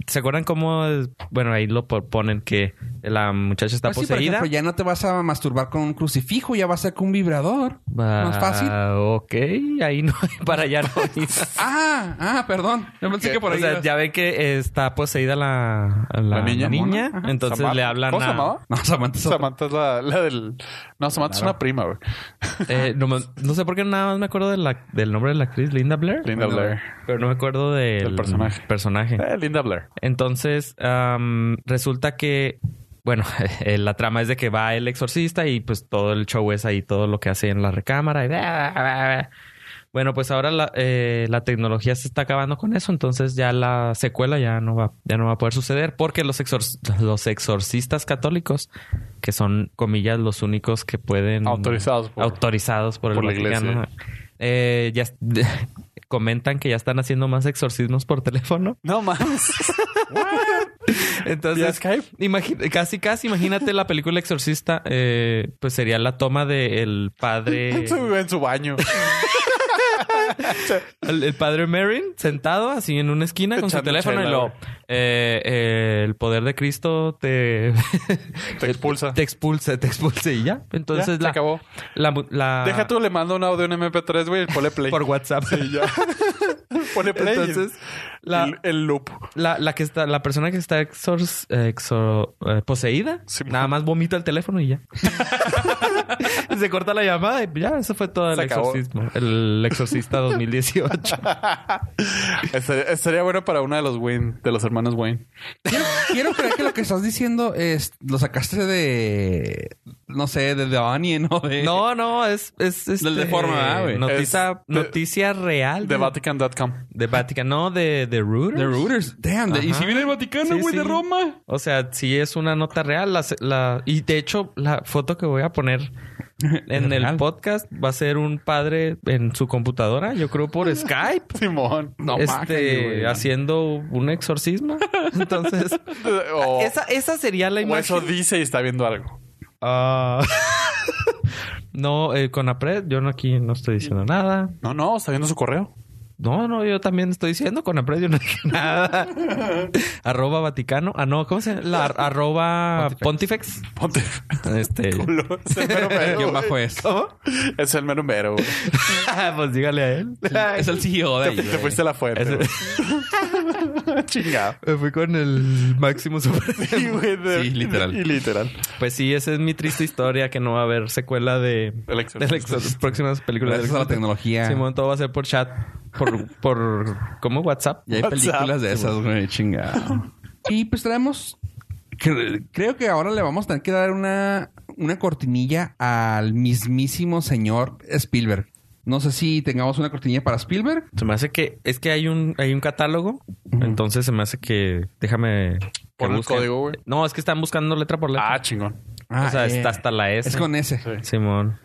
Speaker 5: se acuerdan cómo, es? bueno, ahí lo po- ponen que la muchacha está
Speaker 4: Pues sí, por
Speaker 5: poseída.
Speaker 4: ejemplo, ya no te vas a masturbar con un crucifijo, ya vas a ser con un vibrador. Más fácil.
Speaker 5: Ah, Ok, ahí no, para allá no.
Speaker 4: (laughs)
Speaker 5: ir.
Speaker 4: Ah, ah, perdón. Yo pensé que por ahí.
Speaker 5: o sea,
Speaker 4: ibas.
Speaker 5: ya ven que eh, está poseída la, la
Speaker 3: La niña.
Speaker 5: niña,
Speaker 3: Ajá.
Speaker 5: entonces
Speaker 3: Samantha.
Speaker 5: le hablan
Speaker 3: ¿Cómo se
Speaker 5: a-
Speaker 3: llamaba?
Speaker 4: No, Samantha. es otra.
Speaker 3: Samantha es la, la del... No, Samantha es una prima, güey.
Speaker 5: Eh, no, me- no sé por qué nada más me acuerdo de la- del nombre de la actriz, Linda Blair.
Speaker 3: Linda
Speaker 4: Bueno,
Speaker 3: Blair.
Speaker 5: Pero no me acuerdo del
Speaker 3: Del personaje.
Speaker 5: personaje.
Speaker 3: Eh, Linda Blair.
Speaker 5: Entonces, am, resulta que, bueno, (laughs) eh, la trama es de que va el exorcista y pues todo el show es ahí, todo lo que hace en la recámara. y bla, bla, bla, bla. Bueno, pues ahora la, eh, la tecnología se está acabando con eso, entonces ya la secuela ya no va, ya no va a poder suceder porque los, exor- los exorcistas católicos, que son, comillas, los únicos que pueden...
Speaker 3: Autorizados por-
Speaker 5: Autorizados por el
Speaker 3: por la
Speaker 5: Vaticano.
Speaker 3: iglesia.
Speaker 5: Eh, ya (laughs) comentan que ya están haciendo más exorcismos por teléfono.
Speaker 3: No mames. ¿Vía
Speaker 5: Entonces,
Speaker 3: Skype?
Speaker 5: imagi- casi, casi, imagínate la película Exorcista, eh, pues sería la toma del
Speaker 3: (laughs)
Speaker 5: padre,
Speaker 3: Se vive en su baño.
Speaker 5: el, el padre Merrin sentado así en una esquina con su
Speaker 3: Echando
Speaker 5: teléfono
Speaker 3: chela,
Speaker 5: y lo, eh,
Speaker 3: güey.
Speaker 5: el poder de Cristo te, (laughs)
Speaker 3: Te expulsa.
Speaker 5: te expulsa, te expulsa y ya.
Speaker 3: Ya,
Speaker 5: Entonces,
Speaker 3: se
Speaker 5: la, Ah.
Speaker 3: acabó.
Speaker 5: la mu- la-
Speaker 3: Deja tú, le mando un audio en MP3, güey, y
Speaker 5: (laughs)
Speaker 3: ponle play.
Speaker 5: por WhatsApp.
Speaker 3: Y (laughs) ya. Ponle play.
Speaker 5: Entonces,
Speaker 3: y-
Speaker 5: la-
Speaker 3: el, el loop.
Speaker 5: La, la que está, la persona que está exor- exor- eh, poseída,
Speaker 3: Sí.
Speaker 5: nada más vomita el teléfono y ya. (laughs) Se corta la llamada y ya, eso fue todo el
Speaker 3: Se acabó.
Speaker 5: exorcismo. El exorcista 2018.
Speaker 3: Estaría, estaría bueno para uno de los Wayne, de los hermanos Wayne.
Speaker 4: Quiero, quiero creer que lo que estás diciendo es lo sacaste de no sé, de The Onion o de
Speaker 5: no, no, es, es este,
Speaker 4: Del de forma, ¿verdad, güey?
Speaker 5: Noticia,
Speaker 3: Es de-
Speaker 5: noticia real.
Speaker 3: De Vatican.com.
Speaker 5: de Vatican, no, de, de Reuters.
Speaker 4: The Rooters. Damn, de- y
Speaker 5: Ajá.
Speaker 4: si viene el Vaticano,
Speaker 5: Sí,
Speaker 4: güey, de
Speaker 5: sí.
Speaker 4: Roma.
Speaker 5: O sea, sí es una nota real. La, la- y de hecho, la foto que voy a poner en el
Speaker 4: Real.
Speaker 5: podcast va a ser un padre en su computadora, yo creo por Skype.
Speaker 3: Simón.
Speaker 4: No
Speaker 5: este,
Speaker 4: mames, güey.
Speaker 5: haciendo un (laughs) exorcismo. Entonces,
Speaker 3: O,
Speaker 5: esa, esa sería la
Speaker 3: o eso
Speaker 5: imagen.
Speaker 3: dice y está viendo algo.
Speaker 5: Ah. (laughs) no, eh, con APRED, yo no aquí no estoy diciendo nada.
Speaker 3: No, no, está viendo su correo.
Speaker 5: No, no, yo también estoy diciendo con yo no dije (laughs) nada. arroba Vaticano. Ah, no, ¿cómo se llama? La ar- arroba Pontifex.
Speaker 3: Ponte.
Speaker 5: Este. (laughs)
Speaker 3: culo. (laughs) Es el mero
Speaker 4: (laughs)
Speaker 3: mero.
Speaker 4: Guión
Speaker 3: güey.
Speaker 4: bajo es.
Speaker 3: ¿Cómo? Es el mero mero, (laughs) güey.
Speaker 5: pues dígale a él.
Speaker 4: Es el CEO de
Speaker 3: Te,
Speaker 4: ahí,
Speaker 3: te
Speaker 4: güey.
Speaker 3: fuiste a la fuerte.
Speaker 5: Ese-
Speaker 3: (laughs)
Speaker 5: (laughs)
Speaker 3: güey. Chingado.
Speaker 5: Me fui con el máximo
Speaker 3: (laughs) Sí,
Speaker 5: sobre.
Speaker 3: güey, de-
Speaker 4: Sí, literal.
Speaker 3: Y literal.
Speaker 5: Pues sí, esa es mi triste historia que no va a haber secuela de,
Speaker 3: El
Speaker 5: (laughs) de
Speaker 3: Exorcista.
Speaker 5: las exor- próximas películas.
Speaker 4: Gracias a la
Speaker 5: Exorcista.
Speaker 4: tecnología.
Speaker 5: Simón, todo va a ser por chat, por, por ¿cómo? WhatsApp.
Speaker 4: Y hay
Speaker 3: WhatsApp,
Speaker 4: películas de esas, güey, chingada. (laughs) Y pues traemos. cre- Creo que ahora le vamos a tener que dar una, una cortinilla al mismísimo señor Spielberg. No sé si tengamos una cortinilla para Spielberg.
Speaker 5: Se me hace que es que hay un hay un catálogo, entonces se me hace que déjame que
Speaker 3: Pon el
Speaker 5: busque.
Speaker 3: código, güey.
Speaker 5: No, es que están buscando letra por letra.
Speaker 3: Ah, chingón.
Speaker 5: o sea, está hasta la S.
Speaker 4: eh, Es con ese.
Speaker 3: Sí.
Speaker 5: Simón.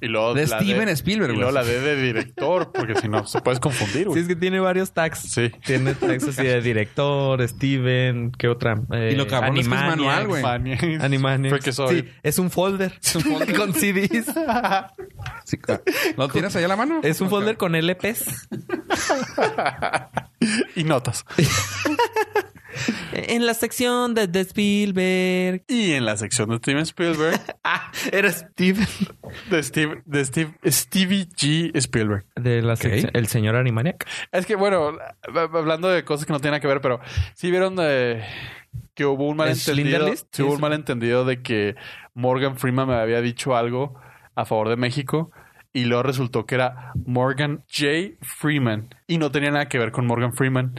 Speaker 3: Y luego
Speaker 4: De
Speaker 3: la
Speaker 4: Steven Spielberg,
Speaker 3: Y
Speaker 4: güey.
Speaker 3: luego la D de director, porque si no, se puedes (laughs) confundir,
Speaker 5: Sí,
Speaker 3: güey.
Speaker 5: es que tiene varios tags.
Speaker 3: Sí.
Speaker 5: Tiene tags así de director, Steven, ¿qué otra? Eh,
Speaker 4: Y lo cabrón es que es
Speaker 5: Animaniacs.
Speaker 4: manual, güey.
Speaker 3: Animaniacs.
Speaker 5: Animaniacs.
Speaker 3: Porque soy.
Speaker 5: Sí, es un folder. (laughs) con CDs.
Speaker 4: Sí, claro. ¿Lo tienes ahí a la mano?
Speaker 5: Es un folder con LPs.
Speaker 3: (laughs) Y notas.
Speaker 5: En la sección de, de Spielberg.
Speaker 3: Y en la sección de Steven Spielberg,
Speaker 5: Ah, era Steven.
Speaker 3: de Steve, de Steve, Stevie G. Spielberg.
Speaker 5: De la sección. El señor Animaniac.
Speaker 3: Es que, bueno, hab- hablando de cosas que no tienen nada que ver, pero sí vieron eh, que hubo un malentendido.
Speaker 5: Schindler's List?
Speaker 3: sí hubo
Speaker 5: Sí,
Speaker 3: un
Speaker 5: sí.
Speaker 3: malentendido de que Morgan Freeman me había dicho algo a favor de México y luego resultó que era Morgan J. Freeman y no tenía nada que ver con Morgan Freeman.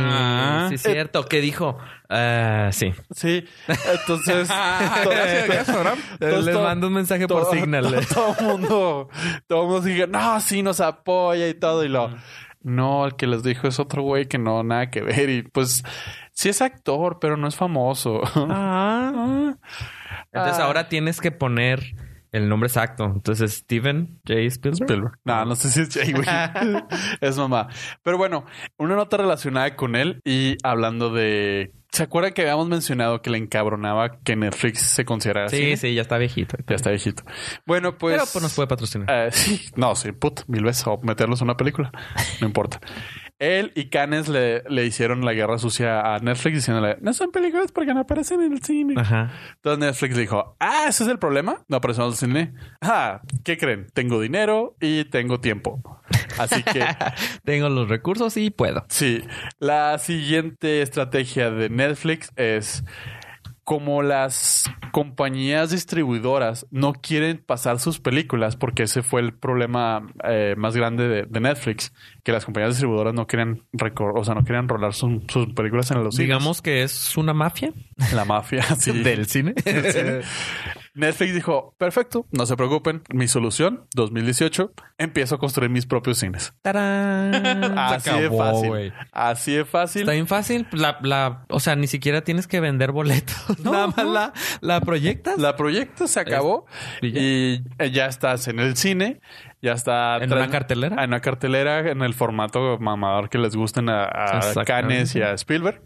Speaker 4: Ah.
Speaker 5: Sí, es cierto. ¿Qué dijo? Ah, sí.
Speaker 3: Sí,
Speaker 4: (laughs)
Speaker 3: entonces.
Speaker 4: Ah, gracias, gracias, Abraham.
Speaker 3: Entonces,
Speaker 5: Les
Speaker 3: todo-
Speaker 5: mando un mensaje por Signal. eh.
Speaker 3: Todo, (laughs) todo el mundo, todo el mundo sigue, no, sí nos apoya y todo. Y lo, no, el que les dijo es otro güey que no, nada que ver. Y pues, sí es actor, pero no es famoso. (laughs)
Speaker 5: Ah. (laughs) Entonces
Speaker 3: Ah.
Speaker 5: ahora tienes que poner el nombre exacto. Entonces, Steven J. Spielberg.
Speaker 3: Spielberg. No, no sé si
Speaker 5: (laughs)
Speaker 3: es Jay, güey. es mamá. Pero bueno, una nota relacionada con él y hablando de. ¿Se acuerdan que habíamos mencionado que le encabronaba que Netflix se considerara
Speaker 5: Sí,
Speaker 3: cine?
Speaker 5: sí, ya está viejito.
Speaker 3: Ya está viejito. Bueno, pues.
Speaker 5: Pero pues nos puede patrocinar.
Speaker 3: Eh, (laughs) sí, no, sí, put, mil veces, o meterlos en una película, no importa. Él y Canes le, le hicieron la guerra sucia a Netflix diciéndole, no son películas porque no aparecen en el cine.
Speaker 5: Ajá.
Speaker 3: Entonces Netflix le dijo, ah, ese es el problema, no aparecen en el cine. Ah, ¿qué creen? Tengo dinero y tengo tiempo. Así que
Speaker 5: Tengo los recursos y puedo.
Speaker 3: Sí, la siguiente estrategia de Netflix es como las compañías distribuidoras no quieren pasar sus películas, porque ese fue el problema eh, más grande de, de Netflix, que las compañías distribuidoras no quieren recor- o sea, no quieren rolar su- sus películas en los cines.
Speaker 5: Digamos que es una mafia (laughs)
Speaker 3: la mafia sí.
Speaker 5: del cine.
Speaker 3: Netflix dijo, perfecto, no se preocupen, mi solución, 2018, empiezo a construir mis propios cines.
Speaker 5: ¡Tarán! Se
Speaker 3: Así
Speaker 5: Ah, acabó,
Speaker 3: de fácil.
Speaker 5: güey.
Speaker 3: Así de fácil.
Speaker 5: Está bien fácil. La, la, o sea, ni siquiera tienes que vender boletos. (laughs)
Speaker 3: No,
Speaker 5: Nada más
Speaker 3: no.
Speaker 5: la, la proyectas.
Speaker 3: La proyecto se acabó
Speaker 5: y ya.
Speaker 3: y eh, ya estás en el cine, ya está
Speaker 5: En
Speaker 3: tran-
Speaker 5: una cartelera.
Speaker 3: en una cartelera en el formato mamador que les gusten a, a
Speaker 5: Exactamente.
Speaker 3: Cannes y a Spielberg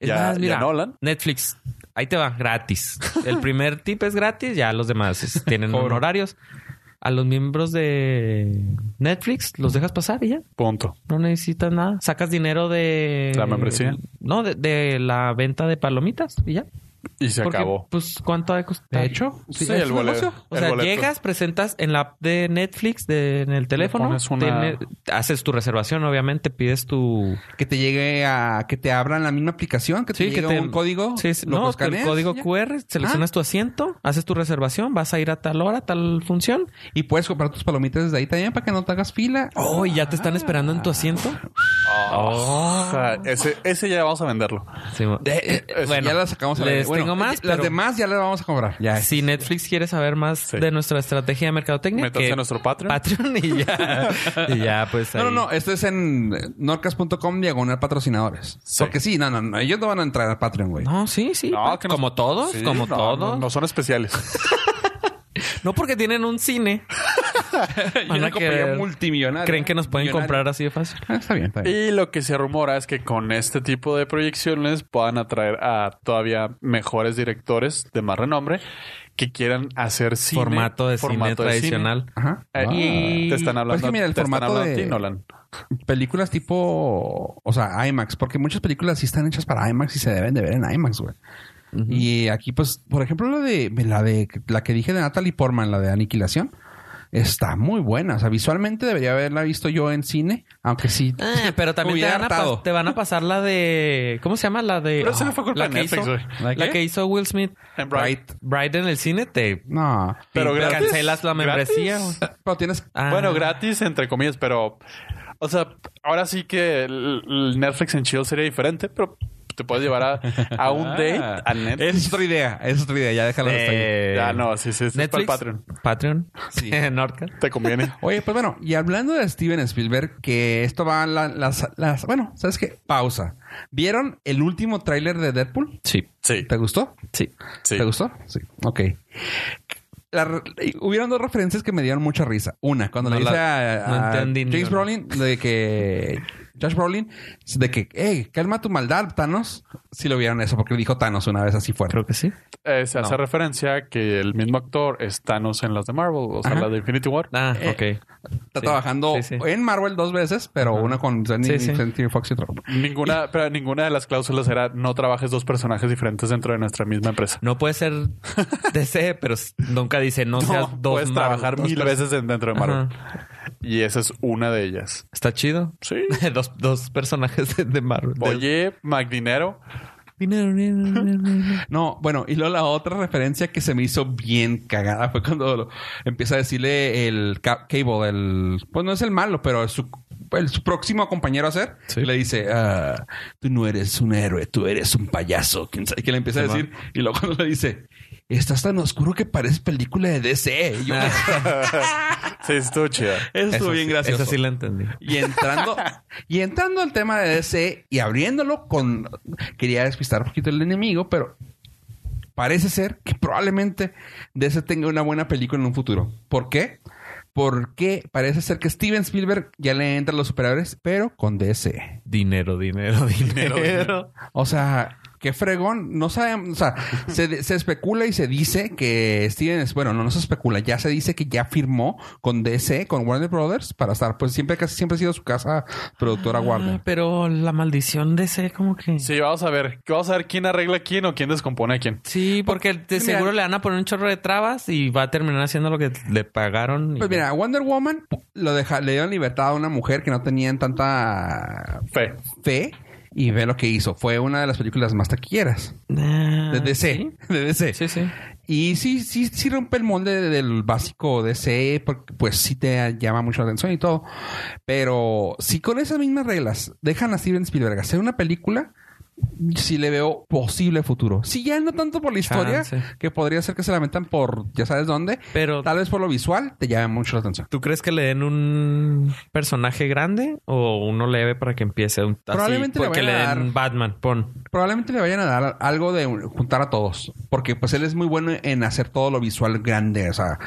Speaker 5: Es
Speaker 3: y a,
Speaker 5: más,
Speaker 3: y a
Speaker 5: mira,
Speaker 3: Nolan.
Speaker 5: Netflix. Ahí te va, gratis.
Speaker 3: (laughs)
Speaker 5: El primer tip es gratis, ya los demás es- tienen
Speaker 4: Cobro.
Speaker 5: honorarios. A los miembros de Netflix los dejas pasar y ya.
Speaker 3: Punto.
Speaker 5: No necesitas nada. Sacas dinero de...
Speaker 3: ¿La membresía?
Speaker 5: No, de, de la venta de palomitas y ya.
Speaker 3: Y se
Speaker 5: Porque,
Speaker 3: acabó.
Speaker 5: Pues, ¿cuánto ha costado?
Speaker 4: De hecho,
Speaker 3: Sí,
Speaker 4: sí,
Speaker 3: el
Speaker 4: ¿es un
Speaker 3: boleto.
Speaker 4: negocio?
Speaker 5: O
Speaker 3: El
Speaker 5: sea,
Speaker 3: boleto.
Speaker 5: llegas, presentas en la app de Netflix, de- en el teléfono,
Speaker 3: pones una-
Speaker 5: tiene- haces tu reservación, obviamente, pides tu...
Speaker 4: Que te llegue a... Que te abran la misma aplicación. Que te llegue un código.
Speaker 5: Sí, sí.
Speaker 4: lo
Speaker 5: no,
Speaker 4: escaneas
Speaker 5: el código
Speaker 4: y ya.
Speaker 5: QR, seleccionas tu asiento, haces tu reservación, vas a ir a tal hora, tal función.
Speaker 4: Y puedes comprar tus palomitas desde ahí también para que no te hagas fila.
Speaker 5: Oh, y ya te están esperando en tu asiento.
Speaker 3: O sea, ese, ese ya vamos a venderlo.
Speaker 5: Sí, mo-
Speaker 4: Eh, eh,
Speaker 5: ¡Oh! bueno,
Speaker 4: ya las sacamos a la
Speaker 5: les
Speaker 4: vez. Bueno,
Speaker 5: tengo más,
Speaker 4: Las
Speaker 5: pero-
Speaker 4: demás ya las vamos a cobrar. Ya.
Speaker 5: si Netflix quiere saber más
Speaker 3: Sí.
Speaker 5: de nuestra estrategia de mercadotecnia,
Speaker 3: Métanse
Speaker 5: que
Speaker 3: a nuestro Patreon.
Speaker 5: Patreon y ya, y ya pues
Speaker 4: No, no,
Speaker 5: ahí.
Speaker 4: no. Esto es en norcas.com diagonal patrocinadores.
Speaker 3: Sí.
Speaker 4: Porque sí, no, no, no. Ellos no van a entrar a
Speaker 3: (laughs)
Speaker 4: Patreon, güey.
Speaker 5: No, sí, sí.
Speaker 3: No, que no-
Speaker 5: como todos,
Speaker 3: Sí,
Speaker 5: como
Speaker 3: no,
Speaker 5: todos.
Speaker 3: No, no son especiales.
Speaker 5: No porque tienen un cine.
Speaker 3: (laughs)
Speaker 4: Y
Speaker 5: Van
Speaker 4: una
Speaker 5: a
Speaker 4: compañía
Speaker 5: querer-
Speaker 4: multimillonaria.
Speaker 5: Creen que nos pueden
Speaker 4: Millonaria.
Speaker 5: comprar así de fácil.
Speaker 4: Ah, está bien, está bien.
Speaker 3: y lo que se rumora es que con este tipo de proyecciones puedan atraer a todavía mejores directores de más renombre que quieran hacer cine.
Speaker 5: formato de cine
Speaker 3: formato de
Speaker 5: tradicional.
Speaker 4: Ajá.
Speaker 3: Eh,
Speaker 4: Ah.
Speaker 5: Y-
Speaker 3: Te están hablando,
Speaker 4: Pues que mira, el
Speaker 3: te están
Speaker 4: formato
Speaker 3: hablando a
Speaker 4: de-
Speaker 3: ti, Nolan.
Speaker 4: películas tipo, o sea, IMAX, porque muchas películas sí están hechas para IMAX y se deben de ver en IMAX, güey. Y aquí, pues, por ejemplo, la de, la de la que dije de Natalie Portman, la de Aniquilación, está muy buena. O sea, visualmente debería haberla visto yo en cine, aunque sí.
Speaker 5: Ah, pero también te
Speaker 4: Hubiera
Speaker 5: van, a
Speaker 4: hartado.
Speaker 5: pas- te van a pasar la de. ¿Cómo se llama? La de. ah,
Speaker 3: Pero esa no fue culpa
Speaker 5: la
Speaker 3: de
Speaker 5: que
Speaker 3: Netflix,
Speaker 5: hizo-
Speaker 3: güey.
Speaker 5: La
Speaker 4: ¿La qué?
Speaker 5: que hizo Will Smith.
Speaker 3: En Bright.
Speaker 5: Bride en el cine te.
Speaker 4: No.
Speaker 3: Pero
Speaker 5: te
Speaker 3: gratis.
Speaker 5: cancelas la membresía.
Speaker 3: Gratis.
Speaker 5: güey.
Speaker 4: Pero tienes.
Speaker 5: Ah.
Speaker 3: Bueno, gratis, entre comillas, pero. O sea, ahora sí que el el Netflix en chill sería diferente, pero te puedes llevar a, a
Speaker 5: (laughs) Ah.
Speaker 3: un date a Netflix.
Speaker 4: Es otra idea, es otra idea, ya déjala hasta ahí.
Speaker 5: Eh,
Speaker 3: Ya, no, sí, sí, sí, es para
Speaker 5: Netflix.
Speaker 3: el Patreon.
Speaker 5: Patreon. (laughs)
Speaker 4: Sí.
Speaker 5: Nordcat.
Speaker 3: Te conviene.
Speaker 4: Oye, pues bueno, y hablando de Steven Spielberg, que esto va a la- las, las... Bueno, ¿sabes qué? Pausa. ¿Vieron el último tráiler de Deadpool?
Speaker 5: (laughs) Sí,
Speaker 3: Sí,
Speaker 4: ¿Te gustó?
Speaker 5: sí.
Speaker 3: sí.
Speaker 4: ¿Te gustó? Sí. Ok. La re- hubieron dos referencias que me dieron mucha risa. Una, cuando
Speaker 5: No
Speaker 4: le
Speaker 5: la-
Speaker 4: dice a,
Speaker 5: no
Speaker 4: a
Speaker 5: entendí ni
Speaker 4: James
Speaker 5: una.
Speaker 4: Brolin de que... Josh Brolin, de que, hey, calma tu maldad, Thanos. Si lo vieron eso, porque dijo Thanos una vez así fuerte.
Speaker 5: Creo que sí.
Speaker 3: Eh, se hace
Speaker 4: No.
Speaker 3: referencia a que el mismo actor es Thanos en las de Marvel, o sea,
Speaker 4: Ajá.
Speaker 3: las de Infinity War.
Speaker 5: Ah,
Speaker 4: Eh,
Speaker 5: ok.
Speaker 4: Está
Speaker 5: Sí.
Speaker 4: trabajando
Speaker 5: Sí, sí.
Speaker 4: en Marvel dos veces, pero una con Sandy
Speaker 5: Sí, sí.
Speaker 4: Fox y otra.
Speaker 3: Ninguna, pero ninguna de las cláusulas era no trabajes dos personajes diferentes dentro de nuestra misma empresa.
Speaker 5: No puede
Speaker 3: (laughs)
Speaker 5: ser DC, pero s- nunca dice no, seas
Speaker 3: No,
Speaker 5: dos
Speaker 3: puedes
Speaker 5: Marvel.
Speaker 3: trabajar
Speaker 5: Dos
Speaker 3: mil
Speaker 5: pers-
Speaker 3: veces en- dentro de Marvel.
Speaker 5: Ajá.
Speaker 3: Y esa es una de ellas.
Speaker 5: Está chido. (laughs)
Speaker 3: Sí.
Speaker 5: dos, dos personajes de, de Marvel.
Speaker 3: Oye, McDinero.
Speaker 4: No, bueno, y luego la otra referencia que se me hizo bien cagada fue cuando lo- empieza a decirle el Ca- Cable, el, pues no es el malo, pero es su, el- su próximo compañero a ser,
Speaker 5: Sí.
Speaker 4: y le dice, "Ah, tú no eres un héroe, tú eres un payaso, quién sabe qué le empieza a decir, y luego cuando le dice, estás tan oscuro que parece película de DC. Y yo, "Ah,
Speaker 3: Sí, estuvo chida.
Speaker 4: eso estuvo bien
Speaker 5: sí,
Speaker 4: gracioso.
Speaker 5: Eso sí lo entendí.
Speaker 4: Y entrando, y entrando al tema de DC y abriéndolo con. Quería despistar un poquito el enemigo, pero parece ser que probablemente DC tenga una buena película en un futuro. ¿Por qué? Porque parece ser que Steven Spielberg ya le entra a los superhéroes, pero con DC.
Speaker 5: Dinero, dinero, (laughs) dinero.
Speaker 3: dinero.
Speaker 4: O sea, qué fregón. No sabemos. O sea, se, se especula y se dice que Steven. Bueno, no, no se especula. Ya se dice que ya firmó con DC, con Warner Brothers, para estar. Pues siempre, casi siempre ha sido su casa productora Warner.
Speaker 5: Ah, pero la maldición DC como que...
Speaker 3: Sí, vamos a ver. Vamos a ver quién arregla a quién o quién descompone a quién.
Speaker 5: Sí, porque de
Speaker 4: Mira.
Speaker 5: seguro le van a poner un chorro de trabas y va a terminar haciendo lo que le pagaron. y-
Speaker 4: Pues mira, Wonder Woman lo deja, le dio libertad a una mujer que no tenían tanta
Speaker 3: Fe.
Speaker 4: fe y ve lo que hizo. Fue una de las películas más taquilleras
Speaker 5: Ah,
Speaker 4: de DC. De DC.
Speaker 5: Sí, sí. sí.
Speaker 4: Y sí, sí, sí rompe el molde del básico DC, porque pues sí te llama mucho la atención y todo. Pero si con esas mismas reglas dejan a Steven Spielberg hacer una película, sí le veo posible futuro. Si ya no tanto por la historia,
Speaker 5: Chance.
Speaker 4: que podría ser que se la metan por ya sabes dónde,
Speaker 5: Pero-
Speaker 4: tal vez por lo visual te llame mucho la atención.
Speaker 5: ¿Tú crees que le den un personaje grande o uno leve para que empiece? Un, así,
Speaker 4: Probablemente le
Speaker 5: porque le,
Speaker 4: vayan a
Speaker 5: den
Speaker 4: dar-
Speaker 5: Batman, pon.
Speaker 4: Probablemente le vayan a dar algo de juntar a todos, porque pues él es muy bueno en hacer todo lo visual grande, o sea,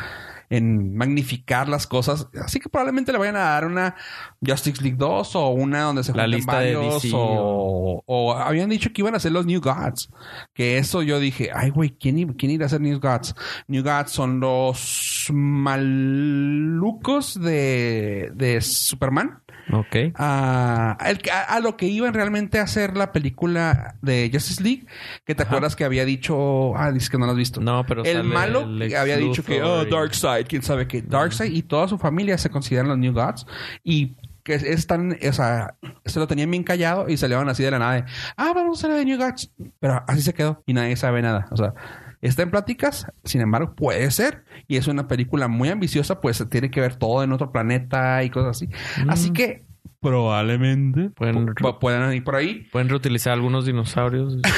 Speaker 4: en magnificar las cosas. Así que probablemente le vayan a dar una Justice League 2 o una donde se
Speaker 5: La
Speaker 4: junten
Speaker 5: lista de
Speaker 4: varios
Speaker 5: DC
Speaker 4: o, o habían dicho que iban a ser los New Gods, que eso yo dije, ay güey, ¿quién, i- ¿quién irá a ser New Gods? New Gods son los malucos de, de Superman
Speaker 5: Ok.
Speaker 4: a, el que- a- a lo que iban realmente a hacer la película de Justice League, que te acuerdas que había dicho, ah, dices que no lo has visto.
Speaker 5: No, pero
Speaker 4: el
Speaker 5: sale
Speaker 4: malo
Speaker 5: el
Speaker 4: que
Speaker 5: Lex
Speaker 4: había dicho que, oh,
Speaker 5: Luthor y-
Speaker 4: Darkseid, quién sabe qué, Darkseid y toda su familia se consideran los New Gods y que es- están, o sea, se lo tenían bien callado y salieron así de la nada de, ah, vamos a hacer de New Gods, pero así se quedó y nadie sabe nada, o sea. Está en pláticas, sin embargo, puede ser. Y es una película muy ambiciosa, pues se tiene que ver todo en otro planeta y cosas así. Así que
Speaker 5: Mm. Probablemente. Pueden,
Speaker 4: Pu- pueden ir por
Speaker 5: (laughs)
Speaker 4: ahí.
Speaker 5: pueden reutilizar algunos dinosaurios. de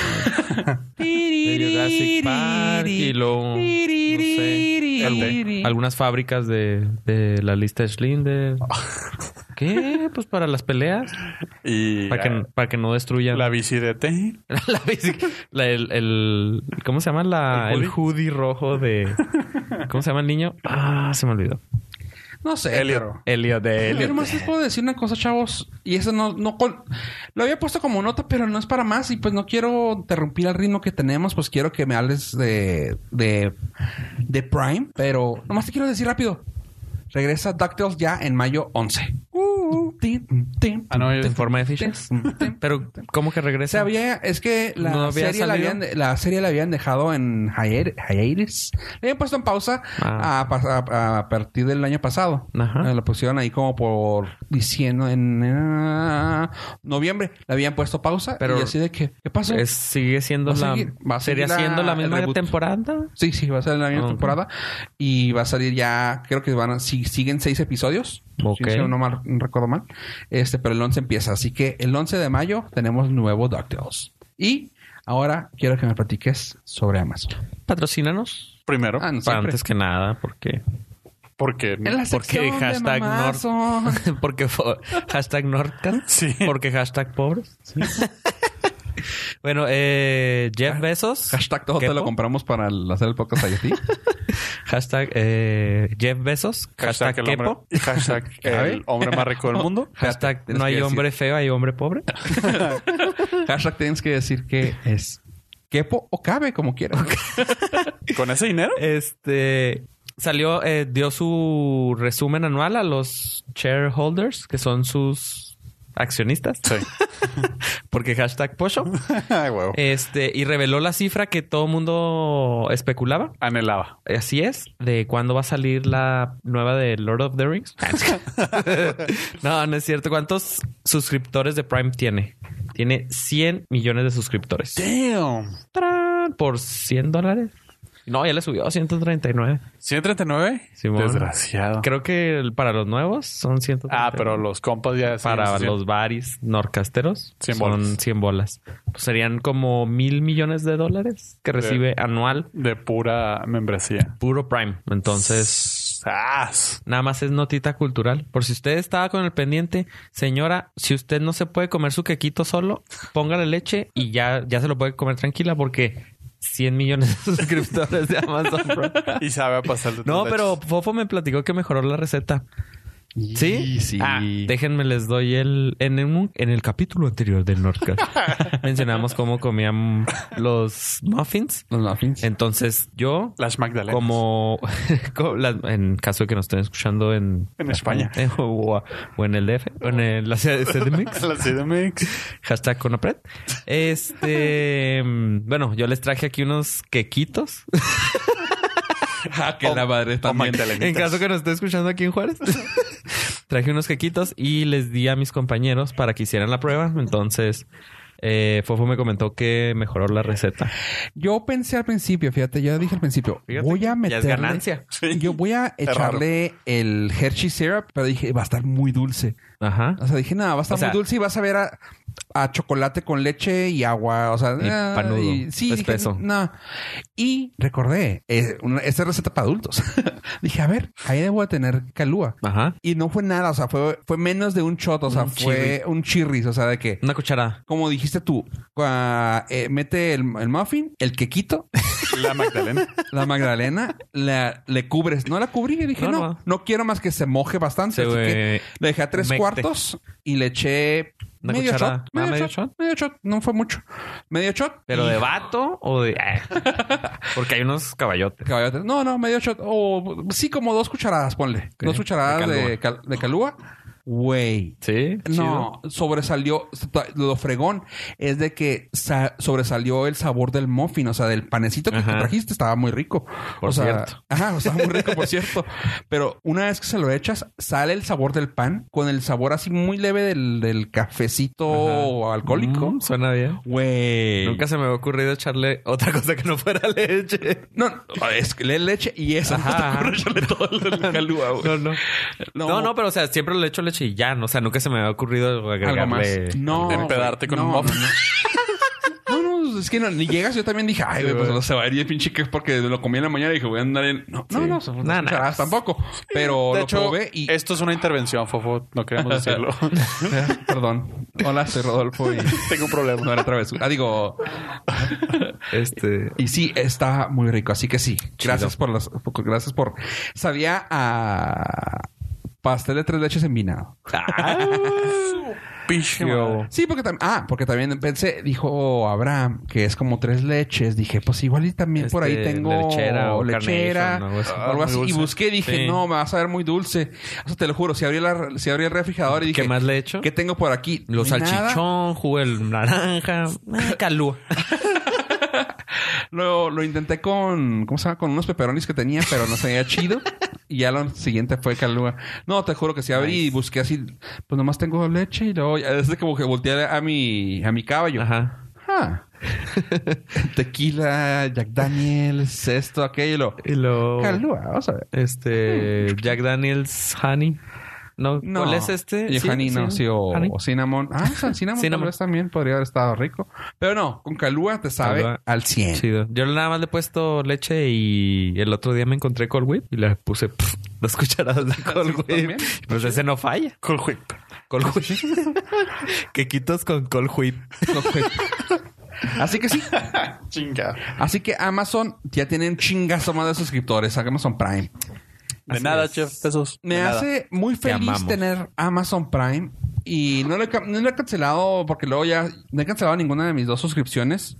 Speaker 5: Jurassic Park y luego, no sé, algo- algunas fábricas de, de la lista Schlinder. ¿Qué? Pues para las peleas.
Speaker 3: Y
Speaker 5: Para que, para que no destruyan
Speaker 3: la bici de T.
Speaker 5: (laughs) La bici- la- el, el- ¿Cómo se llama? La,
Speaker 3: ¿El
Speaker 5: el, hoodie? rojo
Speaker 4: (laughs)
Speaker 5: de. ¿Cómo se llama el niño? Ah, se me olvidó.
Speaker 4: No sé,
Speaker 3: Elliot.
Speaker 4: pero-
Speaker 5: Elliot de
Speaker 4: Yo
Speaker 5: Elliot.
Speaker 4: nomás les puedo decir una cosa, chavos. Y eso no, no col- lo había puesto como nota, pero no es para más. Y pues no quiero interrumpir el ritmo que tenemos, pues quiero que me hables de, de, de Prime.
Speaker 5: Uh,
Speaker 4: Pero nomás te quiero decir rápido. Regresa DuckTales ya en mayo 11. Tin,
Speaker 3: Ah, no, yo-
Speaker 5: en forma de fichas. Pero, ¿cómo que
Speaker 4: O sea,
Speaker 5: regresa?
Speaker 4: había, es que la,
Speaker 5: ¿No había
Speaker 4: serie la,
Speaker 5: salido?
Speaker 4: habían, la serie la habían dejado en hiatus. hiatus. Le habían puesto en pausa
Speaker 5: Ah.
Speaker 4: a, pas- a- a partir del año pasado.
Speaker 5: Ajá.
Speaker 4: Eh, La pusieron ahí como por diciendo en eh, noviembre. Le habían puesto pausa.
Speaker 5: Pero-
Speaker 4: Pero y así de que, ¿qué pasó?
Speaker 5: Es- sigue siendo
Speaker 4: Va a
Speaker 5: la.
Speaker 4: seguir- va a
Speaker 5: ¿Sería
Speaker 4: seguir la-
Speaker 5: siendo la
Speaker 4: el
Speaker 5: misma
Speaker 4: reboot.
Speaker 5: temporada?
Speaker 4: Sí, sí, va a salir la misma
Speaker 5: Ah, ok.
Speaker 4: temporada. Y va a salir ya, creo que van a, si, siguen seis episodios.
Speaker 5: Ok.
Speaker 4: Si no, mal- no recuerdo mal. Este, pero el 11 empieza. Así que el 11 de mayo tenemos nuevo DuckTales. Y ahora quiero que me platiques sobre Amazon.
Speaker 5: Patrocínanos.
Speaker 3: Primero,
Speaker 4: Ah, no,
Speaker 5: Para
Speaker 4: siempre.
Speaker 5: antes que nada, porque.
Speaker 3: porque
Speaker 4: En la
Speaker 5: ¿Por qué
Speaker 4: sección de
Speaker 5: hashtag
Speaker 4: Mamazon?
Speaker 5: (laughs) porque fo- hashtag Nordcast.
Speaker 3: Sí.
Speaker 5: Porque hashtag pobres. bueno, eh, Jeff Bezos.
Speaker 4: Hashtag todo te
Speaker 5: ¿Quepo?
Speaker 4: lo compramos para el- hacer el podcast ahí
Speaker 5: (laughs)
Speaker 4: a ti.
Speaker 5: Hashtag eh, Jeff Bezos. Hashtag,
Speaker 3: hashtag el
Speaker 5: Kepo.
Speaker 3: hombre, hashtag (laughs) el
Speaker 4: ¿Sabe?
Speaker 3: hombre más rico del mundo.
Speaker 5: Hashtag
Speaker 4: Tienes
Speaker 5: no
Speaker 4: que
Speaker 5: hay
Speaker 4: decir-
Speaker 5: hombre feo, hay hombre pobre.
Speaker 4: Hashtag tienes que decir que es quepo o cabe, como quieras.
Speaker 3: (laughs) Con ese dinero,
Speaker 5: Este salió, eh, dio su resumen anual a los shareholders, que son sus accionistas.
Speaker 3: sí.
Speaker 5: (laughs) Porque hashtag Pocho.
Speaker 3: Ay, huevo.
Speaker 5: Este, y reveló la cifra que todo mundo especulaba.
Speaker 3: Anhelaba.
Speaker 5: Así es, de cuándo va a salir la nueva de Lord of the Rings. Ah, (laughs) no, no es cierto. ¿Cuántos suscriptores de Prime tiene? Tiene 100 millones de suscriptores.
Speaker 3: Damn.
Speaker 5: ¡Tarán! Por 100 dólares. No, ya le subió a 139.
Speaker 3: 139.
Speaker 5: Simón.
Speaker 3: Desgraciado.
Speaker 5: Creo que el- para los nuevos son 139.
Speaker 3: Ah, pero los compas ya se-
Speaker 5: Para
Speaker 3: se-
Speaker 5: los baris norcasteros
Speaker 3: 100
Speaker 5: son
Speaker 3: bolas.
Speaker 5: 100 bolas. Pues serían como mil millones de dólares que recibe anual
Speaker 3: de pura membresía.
Speaker 5: puro Prime. Entonces,
Speaker 3: ¡Sas!
Speaker 5: nada más es notita cultural. Por si usted estaba con el pendiente, señora, si usted no se puede comer su quequito solo, póngale leche y ya, ya se lo puede comer tranquila porque 100 millones de (laughs) suscriptores de Amazon Prime.
Speaker 3: Y sabe a pasar de
Speaker 5: No,
Speaker 3: tus
Speaker 5: pero
Speaker 3: leches.
Speaker 5: Fofo me platicó que mejoró la receta. ¿Sí?
Speaker 4: Y sí.
Speaker 5: Ah, déjenme les doy el... En, un- en el capítulo anterior del Nordcast mencionamos cómo comían los muffins.
Speaker 4: Los muffins.
Speaker 5: Entonces yo,
Speaker 3: Las Magdalenas.
Speaker 5: como... (laughs) como las- en caso de que nos estén escuchando en...
Speaker 3: En (laughs) España.
Speaker 5: en- o, o en el DF, o en el- la ciudad de
Speaker 3: (laughs)
Speaker 5: CDMX.
Speaker 3: Las CDMX.
Speaker 5: Hashtag Conapred. Este... mm, Bueno, yo les traje aquí unos quequitos.
Speaker 4: Ah, que la madre
Speaker 3: O
Speaker 4: también.
Speaker 3: Magdalenitas.
Speaker 5: (laughs) En caso que nos esté escuchando aquí en Juárez, (laughs) traje unos quequitos y les di a mis compañeros para que hicieran la prueba. Entonces, eh, Fofo me comentó que mejoró la receta.
Speaker 4: Yo pensé al principio, fíjate, yo dije al principio,
Speaker 5: Fíjate
Speaker 4: voy
Speaker 5: que ya
Speaker 4: a
Speaker 5: es
Speaker 4: meterle... (laughs)
Speaker 5: ganancia.
Speaker 3: Sí.
Speaker 4: Yo voy a
Speaker 3: Está raro.
Speaker 4: echarle el Hershey syrup, pero dije, va a estar muy dulce.
Speaker 5: Ajá.
Speaker 4: O sea, dije, nada, va a estar
Speaker 5: O sea-
Speaker 4: muy dulce y vas a ver a, a chocolate con leche y agua. O sea,
Speaker 5: Y
Speaker 4: ah,
Speaker 5: panudo,
Speaker 4: sí, dije,
Speaker 5: espeso.
Speaker 4: no. Y recordé, eh, una- esta es receta para adultos. (laughs) dije, a ver, ahí debo de tener calúa.
Speaker 5: Ajá.
Speaker 4: Y no fue nada, o sea, fue, fue menos de un shot, o sea,
Speaker 5: Un
Speaker 4: fue un chirris, o sea, de que
Speaker 5: Una cucharada.
Speaker 4: como dijiste tú, cua- eh, mete el, el muffin, el quequito,
Speaker 5: (laughs)
Speaker 3: La Magdalena.
Speaker 4: la magdalena, la, le cubres. No la cubrí, dije,
Speaker 5: No,
Speaker 4: no,
Speaker 5: no.
Speaker 4: no, quiero más que se moje bastante.
Speaker 5: Se,
Speaker 4: así
Speaker 5: eh,
Speaker 4: que le dejé a tres
Speaker 5: humecte.
Speaker 4: cuartos y le eché
Speaker 5: Una
Speaker 4: medio
Speaker 5: cucharada.
Speaker 4: shot,
Speaker 5: Ah,
Speaker 4: medio,
Speaker 5: ¿medio
Speaker 4: shot,
Speaker 5: shot?
Speaker 4: medio shot, no fue mucho. Medio shot.
Speaker 5: ¿Pero
Speaker 4: y-
Speaker 5: de vato o de...? (laughs) eh? Porque hay unos caballotes.
Speaker 4: Caballote. No, no, medio shot. O sí, como dos cucharadas, ponle. Dos cucharadas de, cal- de calúa. Güey.
Speaker 5: Sí. chido.
Speaker 4: No, sobresalió lo fregón es de que sa- sobresalió el sabor del muffin, o sea, del panecito que
Speaker 5: Ajá.
Speaker 4: te trajiste estaba muy rico.
Speaker 5: Por
Speaker 4: o sea,
Speaker 5: cierto.
Speaker 4: (laughs) Ajá, estaba muy rico, por cierto. Pero una vez que se lo echas, sale el sabor del pan con el sabor así muy leve del, del cafecito alcohólico.
Speaker 5: Mm, suena bien.
Speaker 4: Güey.
Speaker 5: Nunca se me había ocurrido echarle otra (laughs) cosa que no fuera leche.
Speaker 4: No, no, es que le leche y esa no
Speaker 5: Ajá,
Speaker 4: (laughs) te ocurre
Speaker 5: ajá.
Speaker 4: echarle todo el calúa, güey.
Speaker 5: No, no. No,
Speaker 4: No.
Speaker 5: no, pero o sea, siempre le echo leche y ya. no, O sea, nunca se me había ocurrido agregarle...
Speaker 4: Algo más. No.
Speaker 3: Empedarte con
Speaker 4: no,
Speaker 3: un muffin.
Speaker 4: no, No, no, es que no, ni llegas. Yo también dije, ay, güey, pues no se va a ir el pinche que es porque lo comí en la mañana y dije, voy a andar en. No, no, no, no,
Speaker 5: Nah, nah.
Speaker 4: cucharadas tampoco. Pero
Speaker 3: De
Speaker 4: lo
Speaker 3: hecho,
Speaker 4: probé y. (laughs)
Speaker 3: esto es una intervención, Fofo. No queremos
Speaker 5: (laughs)
Speaker 3: decirlo. (laughs)
Speaker 4: Ah, Perdón. Hola, soy Rodolfo y.
Speaker 3: Tengo un problema.
Speaker 4: No era otra vez. Ah, digo.
Speaker 5: Este...
Speaker 4: Y sí, está muy rico. Así que sí. Gracias por las. por- Gracias por. Ah,
Speaker 5: (laughs)
Speaker 4: Sabía a. Pastel de tres leches en vinado.
Speaker 3: pinche
Speaker 5: Yo-
Speaker 3: madre.
Speaker 4: Sí, porque también. Ah, porque también pensé, dijo Abraham, que es como tres leches. Dije, pues igual y también por ahí
Speaker 5: Este,
Speaker 4: tengo
Speaker 5: lechera
Speaker 4: lechera
Speaker 5: o
Speaker 4: o
Speaker 5: Carnation, algo así.
Speaker 4: o algo
Speaker 3: Ah,
Speaker 4: así.
Speaker 3: muy
Speaker 4: Y
Speaker 3: dulce.
Speaker 4: busqué, dije,
Speaker 5: Sí.
Speaker 4: no, me vas a ver muy dulce. Eso te lo juro. Si abrí, la, si abrí el refrigerador y dije,
Speaker 5: ¿Qué más le he hecho?
Speaker 4: ¿Qué tengo por aquí?
Speaker 5: Los
Speaker 4: No hay nada.
Speaker 5: salchichón, jugo el naranja, ah, calúa.
Speaker 4: Lo, lo intenté con, ¿cómo se llama? Con unos peperonis que tenía, pero no sabía chido. Y ya lo siguiente fue calúa. No, te juro que si abrí y busqué así, pues nomás tengo leche y luego, ya desde como que volteé a mi, a mi
Speaker 5: (laughs)
Speaker 4: caballo.
Speaker 5: Ajá.
Speaker 4: Ah. (laughs) Tequila, Jack Daniels, esto, aquello.
Speaker 5: Y lo
Speaker 4: Calúa, Mm. vamos a ver.
Speaker 5: este Jack Daniels Honey. No, ¿cuál es este?
Speaker 4: Y
Speaker 5: Sí,
Speaker 4: honey, no, sí, o,
Speaker 5: honey.
Speaker 4: o cinnamon.
Speaker 5: (laughs)
Speaker 4: Ah, o sea, cinnamon,
Speaker 5: Cinnamon.
Speaker 4: tal vez también podría haber estado rico. Pero no, con calúa te sabe
Speaker 5: Calúa.
Speaker 4: al 100. (laughs)
Speaker 5: Chido. Yo nada más le he puesto leche y el otro día me encontré Cold Whip y le puse pff, dos (laughs) cucharadas de Cold Whip.
Speaker 4: también.
Speaker 5: Pues ese no falla.
Speaker 3: Cool whip.
Speaker 5: Cold Whip. (laughs) Quequitos con Cold Whip.
Speaker 4: Así que sí.
Speaker 3: Chinga.
Speaker 4: Así que Amazon ya tiene un chingazo más de suscriptores. Amazon Prime.
Speaker 3: De nada, chef. Besos.
Speaker 4: Me
Speaker 3: De nada.
Speaker 4: hace muy feliz
Speaker 5: amamos.
Speaker 4: tener Amazon Prime. Y no lo, he, ca- no lo he cancelado porque luego ya no he cancelado ninguna de mis dos suscripciones.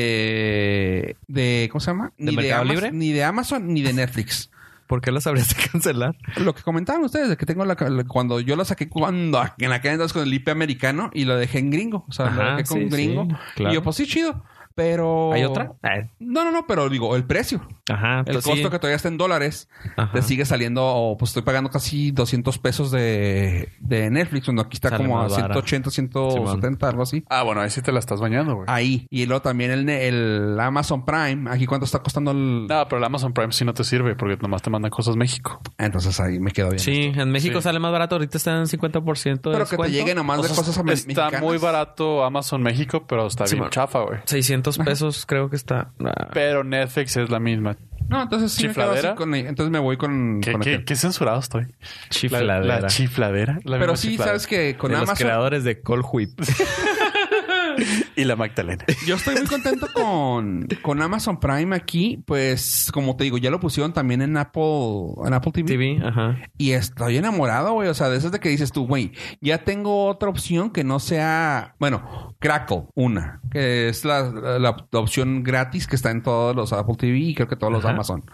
Speaker 4: De, de ¿cómo se llama?
Speaker 5: ¿De Mercado
Speaker 4: Amaz-
Speaker 5: Libre?
Speaker 4: ni de Amazon ni
Speaker 5: (laughs)
Speaker 4: de Netflix.
Speaker 5: ¿Por qué las habrías de cancelar?
Speaker 4: Lo que comentaban ustedes de que tengo la, la- cuando yo la saqué cuando en aquel entonces con el IP americano y lo dejé en gringo, o sea,
Speaker 5: Ajá,
Speaker 4: lo dejé con
Speaker 5: sí,
Speaker 4: gringo
Speaker 5: sí, claro.
Speaker 4: y yo pues sí chido, pero
Speaker 5: ¿Hay otra?
Speaker 4: No, no, no, pero digo, el precio.
Speaker 5: Oh. Ah, Ajá.
Speaker 4: El
Speaker 5: pues
Speaker 4: costo
Speaker 5: sí.
Speaker 4: que todavía está en dólares
Speaker 5: Ajá.
Speaker 4: te sigue saliendo, o pues estoy pagando casi 200 pesos de, de Netflix, cuando aquí está
Speaker 5: Sale
Speaker 4: como a
Speaker 5: más barato.
Speaker 4: 180, 170, algo así.
Speaker 3: Ah, bueno, ahí sí te la estás bañando, güey.
Speaker 4: Ahí. Y luego también el, ne- el Amazon Prime, aquí cuánto está costando el...
Speaker 3: No, pero el Amazon Prime sí no te sirve porque nomás te mandan cosas México.
Speaker 4: Entonces ahí me quedo bien.
Speaker 5: Sí, en México
Speaker 3: Sí.
Speaker 5: sale más barato. Ahorita está en 50% de
Speaker 4: Pero que
Speaker 5: descuento.
Speaker 4: te llegue nomás
Speaker 3: O
Speaker 4: de
Speaker 3: sea,
Speaker 4: cosas
Speaker 3: está
Speaker 4: ame- mexicanas.
Speaker 3: muy barato Amazon México, pero está
Speaker 5: Sí,
Speaker 3: bien
Speaker 5: man.
Speaker 3: chafa, güey.
Speaker 5: 600 pesos creo que está. Ah.
Speaker 3: Pero Netflix es la misma.
Speaker 4: No, entonces sí me quedo así
Speaker 3: ¿Chifladera?
Speaker 4: con- Entonces me voy con...
Speaker 3: Qué,
Speaker 4: con
Speaker 3: qué-
Speaker 4: aquel.
Speaker 3: qué censurado estoy. La-
Speaker 5: Chifladera.
Speaker 3: La, chifladera. La
Speaker 4: Pero
Speaker 3: misma
Speaker 4: sí,
Speaker 3: chifladera.
Speaker 4: sabes que con
Speaker 5: de los
Speaker 4: Amazon...
Speaker 5: creadores de Cold Whip.
Speaker 3: Y la Magdalena.
Speaker 4: Yo estoy muy contento con, con Amazon Prime aquí, pues como te digo, ya lo pusieron también en Apple, en Apple TV.
Speaker 5: TV, ajá.
Speaker 4: Y estoy enamorado, güey. O sea, de esas de que dices tú, güey, ya tengo otra opción que no sea, bueno, Crackle, una, que es la, la- la opción gratis que está en todos los Apple TV y creo que todos los
Speaker 5: Ajá.
Speaker 4: Amazon.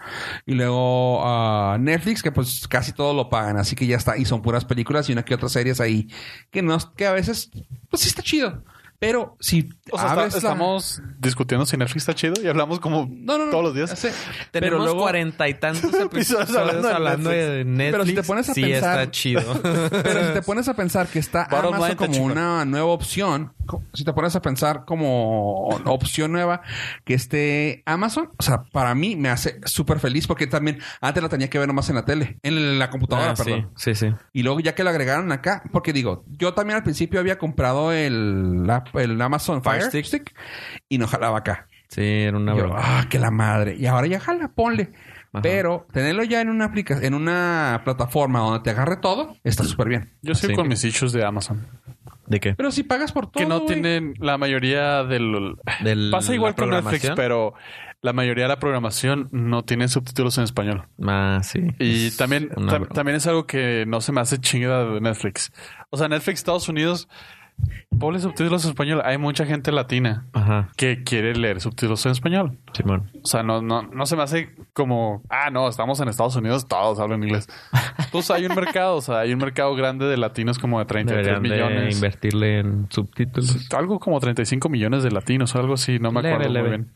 Speaker 4: Y luego ah, Netflix, que pues casi todo lo pagan, así que ya está. Y son puras películas y una que otra series ahí, que no, que a veces, pues sí está chido. Pero si
Speaker 3: O sea, está-
Speaker 4: abres Ah, la-
Speaker 3: estamos discutiendo si Netflix está chido y hablamos como
Speaker 4: No, no, no.
Speaker 3: todos los días.
Speaker 4: ya sé.
Speaker 5: Tenemos
Speaker 4: Pero luego-
Speaker 5: cuarenta y tantos episodios hablando,
Speaker 3: hablando de
Speaker 5: de Netflix.
Speaker 4: Pero si te pones a
Speaker 5: sí
Speaker 4: pensar-
Speaker 5: está chido.
Speaker 4: Pero si te pones a pensar que está
Speaker 3: Bottom line,
Speaker 4: Amazon
Speaker 3: está
Speaker 4: como
Speaker 3: chingón.
Speaker 4: una nueva opción, co- si te pones a pensar como opción nueva que esté Amazon, o sea, para mí me hace súper feliz porque también antes la tenía que ver nomás en la tele, en la computadora,
Speaker 5: Ah, sí,
Speaker 4: perdón.
Speaker 5: sí, sí.
Speaker 4: Y luego ya que la agregaron acá, porque digo, yo también al principio había comprado el, la- el Amazon Fire,
Speaker 5: Fire Stick.
Speaker 4: Stick. y no jalaba acá.
Speaker 5: Sí, era una
Speaker 4: Y yo,
Speaker 5: broma.
Speaker 4: ah, que la madre. Y ahora ya jala, ponle.
Speaker 5: Ajá.
Speaker 4: Pero tenerlo ya en una aplica en una plataforma donde te agarre todo, está súper bien.
Speaker 3: Yo sigo
Speaker 5: Sí.
Speaker 3: con mis issues de Amazon.
Speaker 5: ¿De qué?
Speaker 4: Pero si pagas por todo.
Speaker 3: que no
Speaker 4: güey.
Speaker 3: tienen la mayoría del...
Speaker 5: Del-
Speaker 3: Pasa igual
Speaker 5: la
Speaker 3: con Netflix,
Speaker 5: programación.
Speaker 3: pero la mayoría de la programación no tiene subtítulos en español.
Speaker 5: Ah, sí.
Speaker 3: Y
Speaker 5: Es
Speaker 3: también,
Speaker 5: una
Speaker 3: tam-
Speaker 5: broma.
Speaker 3: también es algo que no se me hace chingada de Netflix. O sea, Netflix Estados Unidos, ponle subtítulos en español. Hay mucha gente latina
Speaker 5: Ajá,
Speaker 3: que quiere leer subtítulos en español.
Speaker 5: Simón.
Speaker 3: O sea, no, no, no se me hace como, ah, no, estamos en Estados Unidos, todos hablan inglés. Entonces hay un mercado, o sea, hay un mercado grande de latinos como de 33
Speaker 5: Deberían de
Speaker 3: millones.
Speaker 5: invertirle en subtítulos.
Speaker 3: Pues, Algo como 35 millones de latinos o algo así, no me acuerdo
Speaker 5: Leve, leve.
Speaker 3: muy bien.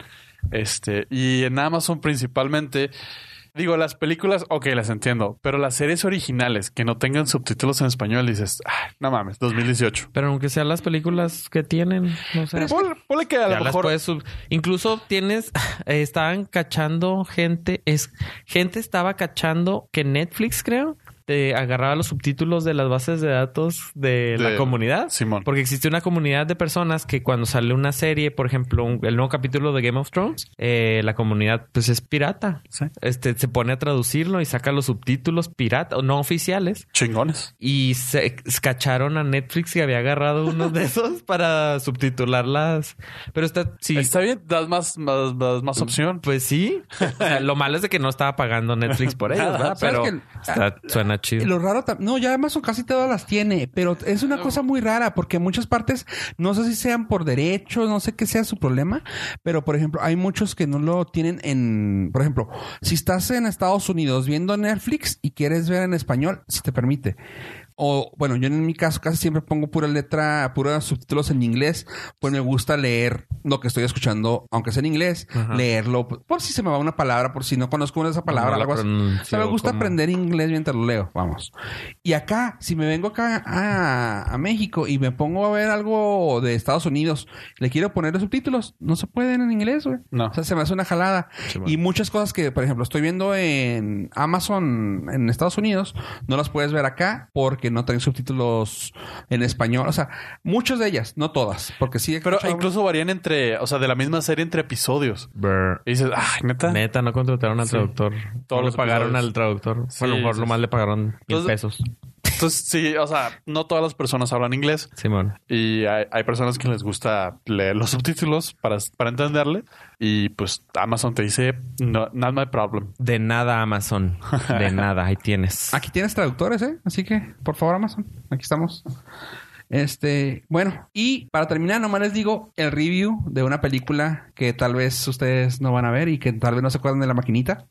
Speaker 3: Este, y en Amazon principalmente, digo, las películas, ok, las entiendo, pero las series originales que no tengan subtítulos en español, dices, "Ay, no mames, 2018.
Speaker 5: Pero aunque sean las películas que tienen, no sé.
Speaker 3: Pon- ponle que a
Speaker 5: Ya
Speaker 3: lo
Speaker 5: las
Speaker 3: mejor
Speaker 5: puedes sub- Incluso tienes, (laughs) eh, estaban cachando gente, es gente estaba cachando que Netflix, creo, te agarraba los subtítulos de las bases de datos de, la
Speaker 3: De-
Speaker 5: comunidad.
Speaker 3: Simón.
Speaker 5: Porque existe una comunidad de personas que cuando sale una serie, por ejemplo, un- el nuevo capítulo de Game of Thrones, eh, la comunidad pues es pirata.
Speaker 3: Sí.
Speaker 5: Este se pone a traducirlo y saca los subtítulos pirata, o no oficiales.
Speaker 3: Chingones.
Speaker 5: Y se cacharon a Netflix que había agarrado uno
Speaker 3: (laughs)
Speaker 5: de esos para subtitularlas. Pero está, sí, Mm.
Speaker 3: Está bien, das más, más, das más opción.
Speaker 5: pues sí. O sea, lo malo es de que no estaba pagando Netflix por ellas,
Speaker 3: (laughs) Nada,
Speaker 5: ¿verdad?
Speaker 4: ¿sabes
Speaker 5: Pero
Speaker 4: que-
Speaker 5: está- suena chido.
Speaker 4: Lo raro, tam- no, ya Amazon casi todas las tiene, pero es una cosa muy rara porque en muchas partes, no sé si sean por derecho, no sé qué sea su problema, pero por ejemplo, hay muchos que no lo tienen en, por ejemplo, si estás en Estados Unidos viendo Netflix y quieres ver en español, si te permite. O bueno, yo en mi caso casi siempre pongo pura letra, puros subtítulos en inglés, pues me gusta leer lo que estoy escuchando, aunque sea en inglés,
Speaker 5: Ajá.
Speaker 4: leerlo, por si se me va una palabra, por si no conozco una de esas palabras,
Speaker 5: No la
Speaker 4: algo así.
Speaker 5: pronuncio
Speaker 4: O sea, me gusta
Speaker 5: como-
Speaker 4: aprender inglés mientras lo leo, vamos. Y acá, si me vengo acá a, a México y me pongo a ver algo de Estados Unidos, le quiero poner los subtítulos, no se pueden en inglés, güey.
Speaker 3: No.
Speaker 4: O sea, se me hace una jalada.
Speaker 5: Sí, bueno.
Speaker 4: y muchas cosas que, por ejemplo, estoy viendo en Amazon en Estados Unidos, no las puedes ver acá porque no traen subtítulos en español. O sea, muchas de ellas, no todas, porque sí. he
Speaker 3: Pero
Speaker 4: escuchado-
Speaker 3: incluso varían entre, o sea, de la misma serie entre episodios.
Speaker 5: Brr.
Speaker 3: Y dices, ah, neta.
Speaker 5: Neta, no contrataron al
Speaker 3: Sí.
Speaker 5: traductor.
Speaker 3: Todos
Speaker 5: Todos
Speaker 3: los
Speaker 5: le pagaron
Speaker 3: episodios.
Speaker 5: al traductor.
Speaker 3: Sí,
Speaker 5: a lo mejor
Speaker 3: sí,
Speaker 5: nomás
Speaker 3: sí.
Speaker 5: le pagaron mil
Speaker 3: Entonces-
Speaker 5: pesos.
Speaker 3: Entonces, sí, o sea, no todas las personas hablan inglés.
Speaker 5: Simón.
Speaker 3: Y hay, hay personas que les gusta leer los (laughs) subtítulos para, para entenderle. Y pues Amazon te dice, no, not my problem.
Speaker 5: De nada, Amazon. (laughs) De nada, ahí tienes.
Speaker 4: Aquí tienes traductores, ¿eh? Así que, por favor, Amazon, aquí estamos. Este, bueno, y para terminar, nomás les digo el review de una película que tal vez ustedes no van a ver y que tal vez no se acuerdan de la maquinita,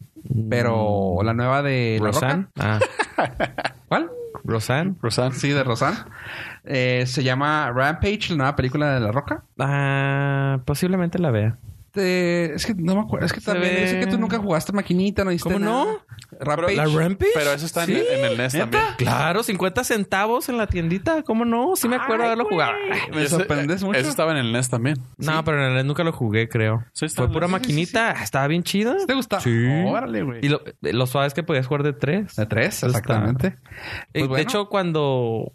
Speaker 4: pero la nueva de La
Speaker 5: Mm. Rosan.
Speaker 4: Roca.
Speaker 5: Ah,
Speaker 4: ¿Cuál?
Speaker 5: Rosan.
Speaker 3: Rosan,
Speaker 4: Sí, de Rosan. Eh, se llama Rampage, la nueva película de La Roca.
Speaker 5: Ah, posiblemente la vea.
Speaker 4: Te- es que no me acuerdo, es que
Speaker 5: Se
Speaker 4: también
Speaker 5: ve-
Speaker 4: yo sé que tú nunca jugaste maquinita, no hiciste
Speaker 5: ¿Cómo no?
Speaker 4: nada. Rampage.
Speaker 5: ¿La Rampage?
Speaker 3: Pero eso está en,
Speaker 5: Sí,
Speaker 3: el- en el NES
Speaker 5: ¿neta?
Speaker 3: también.
Speaker 5: Claro, 50 centavos en la tiendita. ¿Cómo no? Sí me acuerdo haberlo jugado.
Speaker 3: Y
Speaker 4: Me
Speaker 3: ese-
Speaker 4: sorprendes mucho.
Speaker 3: Eso estaba en el NES también.
Speaker 5: No, pero en realidad nunca lo jugué, creo.
Speaker 3: Sí, está-
Speaker 5: Fue pura
Speaker 3: sí, sí,
Speaker 5: maquinita. Estaba bien chida.
Speaker 4: ¿Te gusta?
Speaker 5: Sí.
Speaker 3: Órale, güey.
Speaker 5: Y lo, lo suave es que podías jugar de tres.
Speaker 4: De tres,
Speaker 5: Está-
Speaker 4: exactamente.
Speaker 5: Eh,
Speaker 4: Pues
Speaker 5: De
Speaker 4: bueno.
Speaker 5: hecho, cuando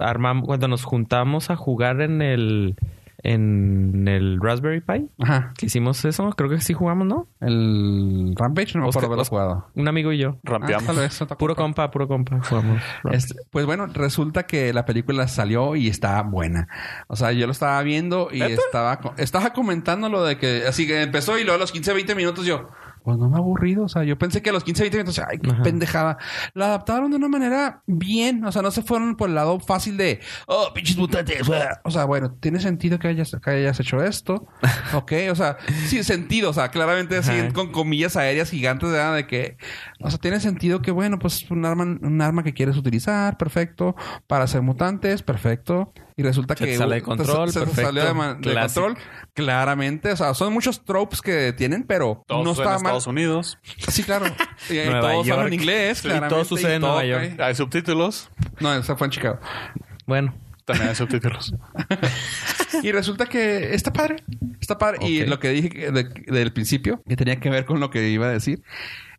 Speaker 5: armamos, cuando nos juntamos a jugar en el en el Raspberry Pi,
Speaker 4: Ajá.
Speaker 5: que hicimos eso, creo que sí jugamos, ¿no?
Speaker 4: El Rampage no me
Speaker 5: Oscar-
Speaker 4: acuerdo haberlo
Speaker 5: Oscar-
Speaker 4: jugado.
Speaker 5: Un amigo y yo.
Speaker 3: Rampeamos.
Speaker 4: Ah, tal vez, otra
Speaker 5: Puro
Speaker 4: cosa.
Speaker 5: compa, puro compa. Jugamos.
Speaker 4: Este, pues bueno, resulta que la película salió y está buena. O sea, yo lo estaba viendo y estaba co- estaba comentando lo de que así que empezó y luego a los 15, 20 minutos yo, pues no me ha aburrido. O sea, yo pensé que a los 15, 20 minutos, ay, qué
Speaker 5: Ajá.
Speaker 4: pendejada. La adaptaron de una manera bien. O sea, no se fueron por el lado fácil de, oh, pinches mutantes. ah". O sea, bueno, tiene sentido que hayas, que hayas hecho
Speaker 5: (laughs)
Speaker 4: esto. ok, o sea, sí, sentido. O sea, claramente así
Speaker 5: Ajá.
Speaker 4: con comillas aéreas gigantes, ¿verdad? De que, o sea, tiene sentido que, bueno, pues un arma, un arma que quieres utilizar, perfecto. Para hacer mutantes, perfecto. Y resulta
Speaker 5: Se
Speaker 4: que.
Speaker 5: te sale de
Speaker 4: uh,
Speaker 5: control,
Speaker 4: se- se te
Speaker 5: perfecto.
Speaker 4: salió de, man- de
Speaker 5: Clásico.
Speaker 4: control, claramente. O sea, son muchos tropes que tienen, pero
Speaker 3: Todos
Speaker 4: no
Speaker 3: en
Speaker 4: está mal.
Speaker 3: Estados Unidos.
Speaker 5: (laughs)
Speaker 4: Sí, claro. Y, y
Speaker 5: Nueva
Speaker 4: todos hablan
Speaker 5: York.
Speaker 4: inglés,
Speaker 5: Sí,
Speaker 4: claramente.
Speaker 5: todo sucede en Nueva York.
Speaker 4: ok.
Speaker 3: Hay subtítulos.
Speaker 4: No, esa fue en Chicago.
Speaker 5: Bueno,
Speaker 3: También hay
Speaker 4: (laughs)
Speaker 3: subtítulos.
Speaker 4: Y resulta que está padre. Está padre. Y
Speaker 5: Ok.
Speaker 4: lo que dije que de- del principio, que tenía que ver con lo que iba a decir.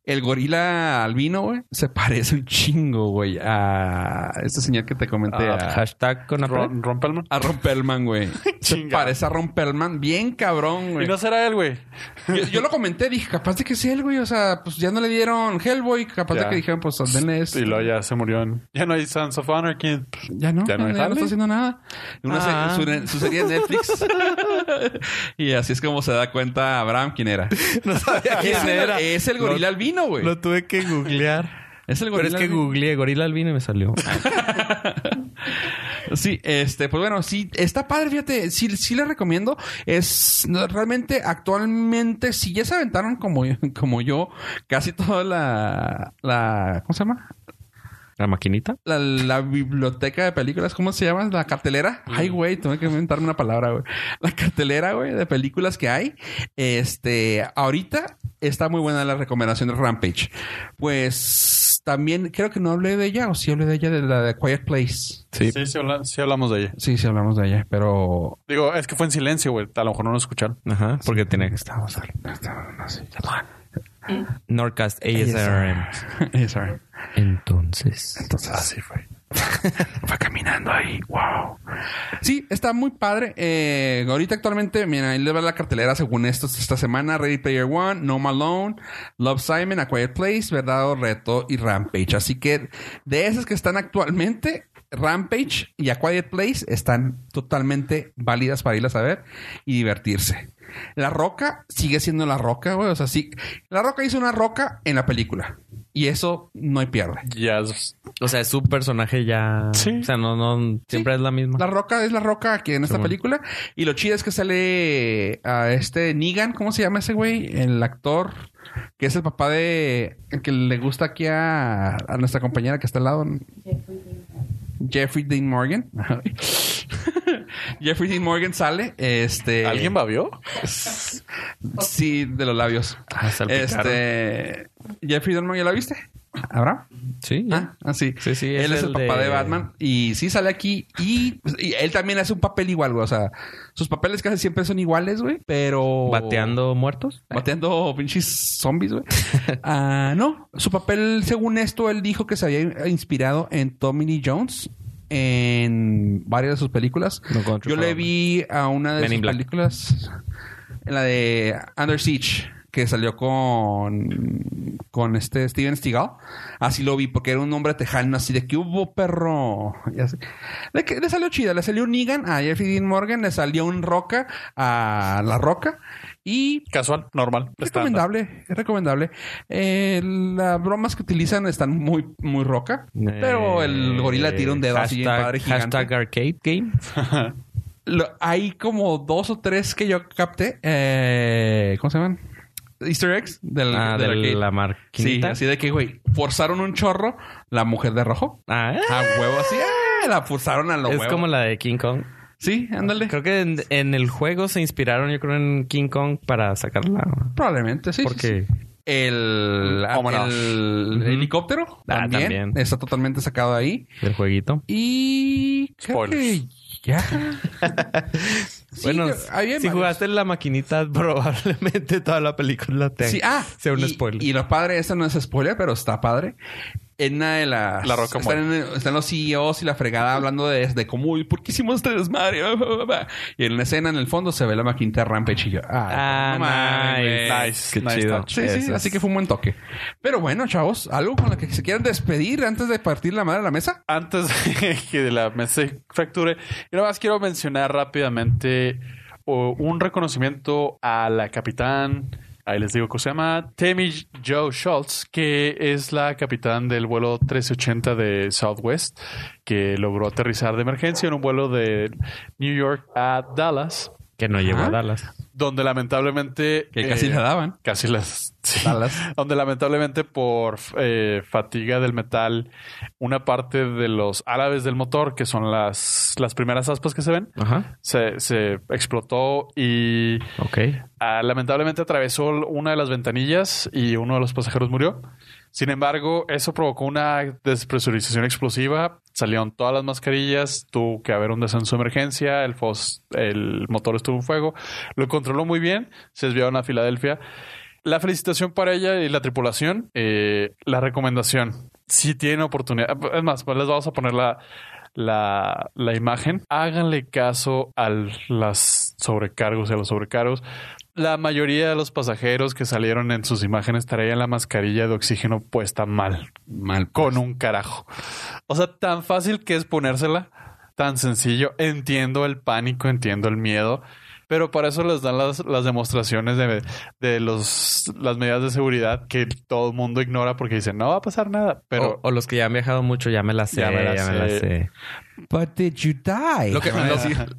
Speaker 4: El gorila albino, güey, se parece un chingo, güey, a este señor que te comenté.
Speaker 5: ah,
Speaker 4: a-
Speaker 5: hashtag con Apple.
Speaker 3: Ron, Rompelman.
Speaker 4: A
Speaker 3: (laughs)
Speaker 4: Rompelman, güey. Se
Speaker 3: Chinga.
Speaker 4: parece a Rompelman. Bien cabrón,
Speaker 3: Y
Speaker 4: güey.
Speaker 3: no será él, güey.
Speaker 4: Yo, yo lo comenté, dije, capaz de que sea él, güey. O sea, pues ya no le dieron Hellboy. Capaz
Speaker 3: Ya.
Speaker 4: de que dijeron, pues denle esto.
Speaker 3: Y luego ya se murió. en- Ya no hay Sons of Anarchy.
Speaker 4: Ya no,
Speaker 3: Ya
Speaker 4: ya
Speaker 3: no
Speaker 4: no,
Speaker 3: hay jale.
Speaker 4: está haciendo nada. Una
Speaker 5: Ah.
Speaker 4: se- su, su serie
Speaker 3: (laughs)
Speaker 4: en Netflix. y así es como se da cuenta Abraham quién era.
Speaker 5: No (laughs) sabía
Speaker 4: Es el- Es el gorila
Speaker 5: Lo-
Speaker 4: albino, güey.
Speaker 5: Lo tuve que googlear.
Speaker 4: Es
Speaker 5: (laughs)
Speaker 4: el
Speaker 5: Pero
Speaker 4: gorila
Speaker 5: es que
Speaker 4: albino.
Speaker 5: googleé gorila albino y me salió.
Speaker 4: Sí, este, pues bueno, sí, está padre, fíjate, sí, sí le recomiendo. Es no, realmente actualmente, si ya se aventaron como, (laughs) como yo, casi toda la, la, ¿cómo se llama?
Speaker 5: La maquinita.
Speaker 4: La, la biblioteca de películas, ¿cómo se llama? La cartelera. Ay, güey, tengo que inventarme una palabra, güey. La cartelera, güey, de películas que hay. Este, ahorita está muy buena la recomendación de Rampage. Pues también creo que no hablé de ella, o sí hablé de ella, de la de Quiet Place.
Speaker 5: Sí.
Speaker 3: Sí, sí, habla- sí hablamos de ella.
Speaker 4: Sí, sí hablamos de ella, pero
Speaker 3: Digo, es que fue en silencio, güey. A lo mejor no lo escucharon.
Speaker 5: Ajá. Porque tenía que estar. Nordcast
Speaker 4: (laughs)
Speaker 5: ASRM.
Speaker 4: Eh, sorry.
Speaker 5: Entonces.
Speaker 4: Entonces, así fue. (laughs) fue caminando ahí. Wow. Sí, está muy padre. Eh, ahorita actualmente, mira, ahí le va la cartelera según esto esta semana. Ready Player One, No Malone, Love Simon, A Quiet Place, Verdad o Reto y Rampage. Así que de esas que están actualmente, Rampage y A Quiet Place están totalmente válidas para irlas a ver y divertirse. La Roca sigue siendo La Roca, güey. O sea, sí. La Roca hizo una roca en la película. Y eso no hay pierde.
Speaker 3: Ya es-
Speaker 5: O sea, es su personaje ya.
Speaker 3: Sí.
Speaker 5: O sea, no, no, siempre es la misma.
Speaker 4: La roca es la roca aquí en esta
Speaker 5: Simón.
Speaker 4: película. Y lo chido es que sale a este Negan, ¿cómo se llama ese güey? El actor que es el papá de. el que le gusta aquí a, a nuestra compañera que está al lado. Jeffrey Dean Morgan. (laughs) Jeffrey Dean Morgan sale. Este.
Speaker 3: ¿Alguien babió?
Speaker 4: Sí, de los labios.
Speaker 5: Ah, salpicaron.
Speaker 4: Este. Jeffrey Dean Morgan, ¿ya la viste? ¿Habrá?
Speaker 5: Sí.
Speaker 4: Ah, ah, sí.
Speaker 5: Sí, sí,
Speaker 4: Él es el, papá de... Batman. Y sí sale aquí. Y, y él también hace un papel igual, güey. O sea, sus papeles casi siempre son iguales, güey. Pero.
Speaker 5: Bateando muertos.
Speaker 4: (laughs) Bateando pinches zombies, güey. Ah, no. Su papel, según esto, él dijo que se había inspirado en Tommy Lee Jones en varias de sus películas.
Speaker 5: No Country
Speaker 4: Yo
Speaker 5: for
Speaker 4: le
Speaker 5: Old
Speaker 4: vi a una de
Speaker 5: Men in
Speaker 4: sus
Speaker 5: Black.
Speaker 4: películas, en la de Under Siege, que salió con con este Steven Seagal. Así lo vi, porque era un hombre tejano, así de que hubo perro. Y así. Le, que- le salió chida, le salió un Negan a Jeffrey Dean Morgan, le salió un Roca a La Roca. Y
Speaker 3: Casual, normal. estándar.
Speaker 4: Recomendable, es recomendable. Eh, las bromas que utilizan están muy, muy roca, pero el gorila tira un dedo así bien
Speaker 5: Eh, Hashtag-
Speaker 4: padre gigante.
Speaker 5: Hashtag arcade game.
Speaker 4: Lo- hay como dos o tres que yo capté. eh, ¿Cómo se llaman? Easter eggs del,
Speaker 5: Ah,
Speaker 4: del
Speaker 5: de
Speaker 4: arcade.
Speaker 5: la
Speaker 4: Sí,
Speaker 5: marquita.
Speaker 4: así de que, güey, forzaron un chorro la mujer de rojo.
Speaker 5: Ah,
Speaker 4: A huevo
Speaker 5: (laughs)
Speaker 4: así, ¡ah! la forzaron a lo
Speaker 5: es
Speaker 4: huevo.
Speaker 5: como la de King Kong.
Speaker 4: Sí, ándale.
Speaker 5: Creo que en, en el juego se inspiraron, yo creo, en King Kong para sacarla.
Speaker 4: Probablemente, sí. sí, sí.
Speaker 5: Porque
Speaker 4: El,
Speaker 3: Vámonos.
Speaker 4: el
Speaker 5: Ujú.
Speaker 4: helicóptero
Speaker 5: Ah,
Speaker 4: también,
Speaker 5: también.
Speaker 4: está totalmente sacado de ahí.
Speaker 5: el jueguito.
Speaker 4: Y creo
Speaker 3: Spoilers.
Speaker 4: que ya. Sí,
Speaker 5: bueno,
Speaker 4: yo- había
Speaker 5: si
Speaker 4: varios.
Speaker 5: jugaste en la maquinita, (laughs) probablemente toda la película te
Speaker 4: Sí, ah,
Speaker 5: sea un
Speaker 4: y,
Speaker 5: spoiler.
Speaker 4: Y lo padre, esta no es spoiler, pero está padre. En una de las.
Speaker 3: La Roca
Speaker 4: están, en- están los CEOs y la fregada hablando de, de cómo, uy, ¿por qué hicimos este desmadre? Y en la escena, en el fondo, se ve la maquinita Rampage y yo,
Speaker 5: Ah,
Speaker 4: no mames.
Speaker 5: nice.
Speaker 3: Nice,
Speaker 5: Qué
Speaker 3: nice
Speaker 5: chido.
Speaker 3: touch.
Speaker 4: Sí, sí,
Speaker 5: Ese
Speaker 4: así
Speaker 5: es.
Speaker 4: que fue un buen toque. Pero bueno, chavos, algo con lo que se quieran despedir antes de partir la madre a la mesa.
Speaker 3: antes (laughs) de que la mesa se fracture, yo nada más quiero mencionar rápidamente o, un reconocimiento a la capitán, ahí les digo cómo se llama, Tammy Joe Schultz, que es la capitán del vuelo 1380 de Southwest, que logró aterrizar de emergencia en un vuelo de New York a Dallas,
Speaker 5: Que no llegó
Speaker 4: Ajá.
Speaker 5: a Dallas.
Speaker 3: donde lamentablemente...
Speaker 4: Que casi
Speaker 3: eh,
Speaker 4: la daban.
Speaker 3: Casi las... (laughs) sí
Speaker 4: Dallas.
Speaker 3: donde lamentablemente por eh, fatiga del metal, una parte de los árabes del motor, que son las, las primeras aspas que se ven,
Speaker 5: Ajá.
Speaker 3: se, se explotó y
Speaker 5: Ok.
Speaker 3: ah, lamentablemente atravesó una de las ventanillas y uno de los pasajeros murió. Sin embargo, eso provocó una despresurización explosiva, salieron todas las mascarillas, tuvo que haber un descenso de emergencia, el, fos- el motor estuvo en fuego, lo controló muy bien, se desviaron a Filadelfia. La felicitación para ella y la tripulación. eh, la recomendación. Si tienen oportunidad. Es más, pues les vamos a poner la, la, la imagen. Háganle caso a las sobrecargos y a los sobrecargos. La mayoría de los pasajeros que salieron en sus imágenes traían la mascarilla de oxígeno puesta mal
Speaker 4: Mal.
Speaker 3: con un carajo. O sea, tan fácil que es ponérsela, tan sencillo. Entiendo el pánico, entiendo el miedo, pero para eso les dan las, las demostraciones de, de los, las medidas de seguridad que todo el mundo ignora porque dicen, no va a pasar nada, pero...
Speaker 5: o, o los que ya han viajado mucho, ya me la sé.
Speaker 3: Ya me la sé.
Speaker 4: But did you die?
Speaker 5: Lo que lo que-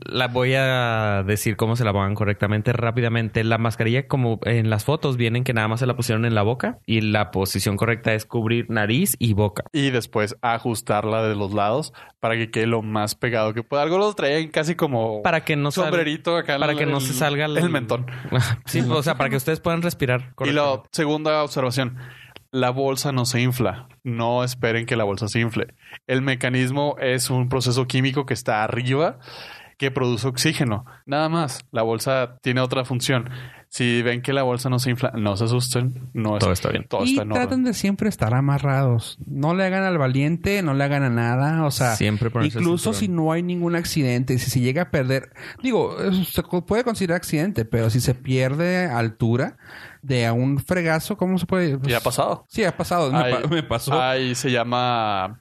Speaker 5: la voy a decir cómo se la pongan correctamente rápidamente. La mascarilla, como en las fotos, vienen que nada más se la pusieron en la boca y la posición correcta es cubrir nariz y boca.
Speaker 3: Y después ajustarla de los lados para que quede lo más pegado que pueda. Algo los traían casi como...
Speaker 5: Para que no sal-
Speaker 3: sombrerito acá. en
Speaker 5: para
Speaker 3: el-
Speaker 5: que no se salga
Speaker 3: el,
Speaker 5: el-
Speaker 3: mentón.
Speaker 5: Sí, o sea, para que ustedes puedan respirar
Speaker 3: Y la
Speaker 5: correctamente.
Speaker 3: segunda observación, la bolsa no se infla. No esperen que la bolsa se infle. El mecanismo es un proceso químico que está arriba que produce oxígeno. Nada más, la bolsa tiene otra función. Si ven que la bolsa no se infla, no se asusten. No es-
Speaker 5: Todo está bien.
Speaker 3: Todo
Speaker 4: y
Speaker 3: está en orden.
Speaker 4: tratan de siempre estar amarrados. No le hagan al valiente, no le hagan a nada. O sea,
Speaker 5: Siempre ponerse el
Speaker 4: incluso si
Speaker 5: cinturón.
Speaker 4: no hay ningún accidente, si se llega a perder, digo, eh, se co- puede considerar accidente, pero si se pierde altura de a un fregazo, ¿cómo se puede? Pues,
Speaker 3: ¿Ya ha pasado?
Speaker 4: Sí, ha pasado. Me,
Speaker 3: Ahí-
Speaker 4: pa- me pasó.
Speaker 3: Ahí se llama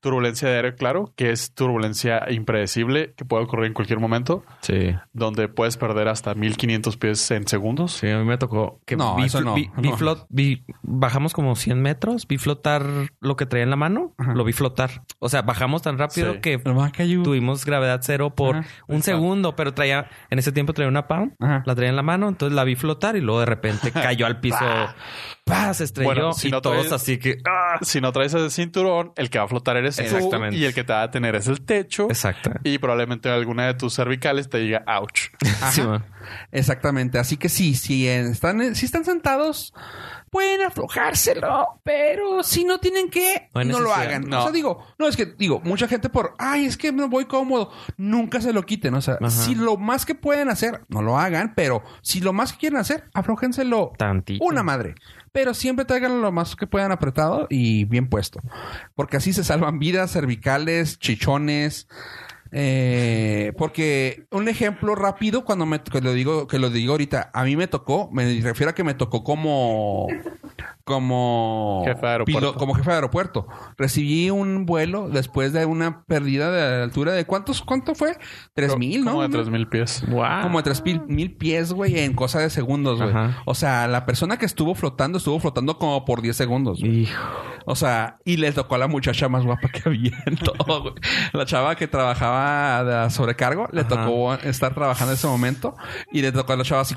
Speaker 3: turbulencia de aire, claro, que es turbulencia impredecible que puede ocurrir en cualquier momento,
Speaker 5: Sí.
Speaker 3: donde puedes perder hasta 1500 pies en segundos.
Speaker 5: Sí, a mí me tocó que
Speaker 4: No,
Speaker 5: vi,
Speaker 4: eso no,
Speaker 5: vi-
Speaker 4: no.
Speaker 5: vi flot- vi- bajamos como 100 metros, vi flotar lo que traía en la mano, lo vi flotar. O sea, bajamos tan rápido
Speaker 3: Sí.
Speaker 5: que
Speaker 4: Nomás cayó.
Speaker 5: tuvimos gravedad cero por
Speaker 4: Ajá.
Speaker 5: un segundo, pero traía, en ese tiempo traía una pound,
Speaker 4: Ajá.
Speaker 5: la traía en la mano, entonces la vi flotar y luego de repente (laughs) cayó al piso, ¡pah! se estrelló
Speaker 3: Bueno, si
Speaker 5: y
Speaker 3: no
Speaker 5: todos
Speaker 3: traes-
Speaker 5: así que...
Speaker 3: Ah, Si no traes el cinturón, el que va a flotar eres tú
Speaker 5: Exactamente.
Speaker 3: y el que te va a tener es el techo
Speaker 5: Exacto.
Speaker 3: y probablemente alguna de tus cervicales te diga ouch.
Speaker 4: Ah,
Speaker 5: Sí, man.
Speaker 4: Exactamente. Así que sí, si están, si están sentados, pueden aflojárselo, pero si no tienen que,
Speaker 5: No
Speaker 4: no,
Speaker 5: hay
Speaker 4: lo
Speaker 5: necesidad.
Speaker 4: hagan.
Speaker 3: No.
Speaker 4: O sea, digo, no es que, digo, mucha gente por, ay, es que me voy cómodo, nunca se lo quiten. O sea,
Speaker 5: Ajá.
Speaker 4: si lo más que pueden hacer, no lo hagan, pero si lo más que quieren hacer, aflójenselo
Speaker 5: Tantito.
Speaker 4: una madre. Pero siempre tráiganlo lo más que puedan apretado y bien puesto. Porque así se salvan vidas, cervicales, chichones. Eh, porque un ejemplo rápido cuando me que lo digo que lo digo ahorita a mí me tocó me refiero a que me tocó como como
Speaker 3: Jefe de aeropuerto.
Speaker 4: pilo- como jefe de aeropuerto recibí un vuelo después de una pérdida de altura de cuántos cuánto fue tres mil no Ah.
Speaker 3: Como de 3000 pies.
Speaker 5: Guau.
Speaker 4: como de tres mil, mil pies, güey, en cosa de segundos, güey.
Speaker 5: Ajá.
Speaker 4: O sea, la persona que estuvo flotando, estuvo flotando como por 10 segundos. güey.
Speaker 5: Hijo.
Speaker 4: O sea, y le tocó a la muchacha más guapa que había en todo, güey. La chava que trabajaba de sobrecargo, le
Speaker 5: Ajá.
Speaker 4: tocó estar trabajando en ese momento y le tocó a la chava así.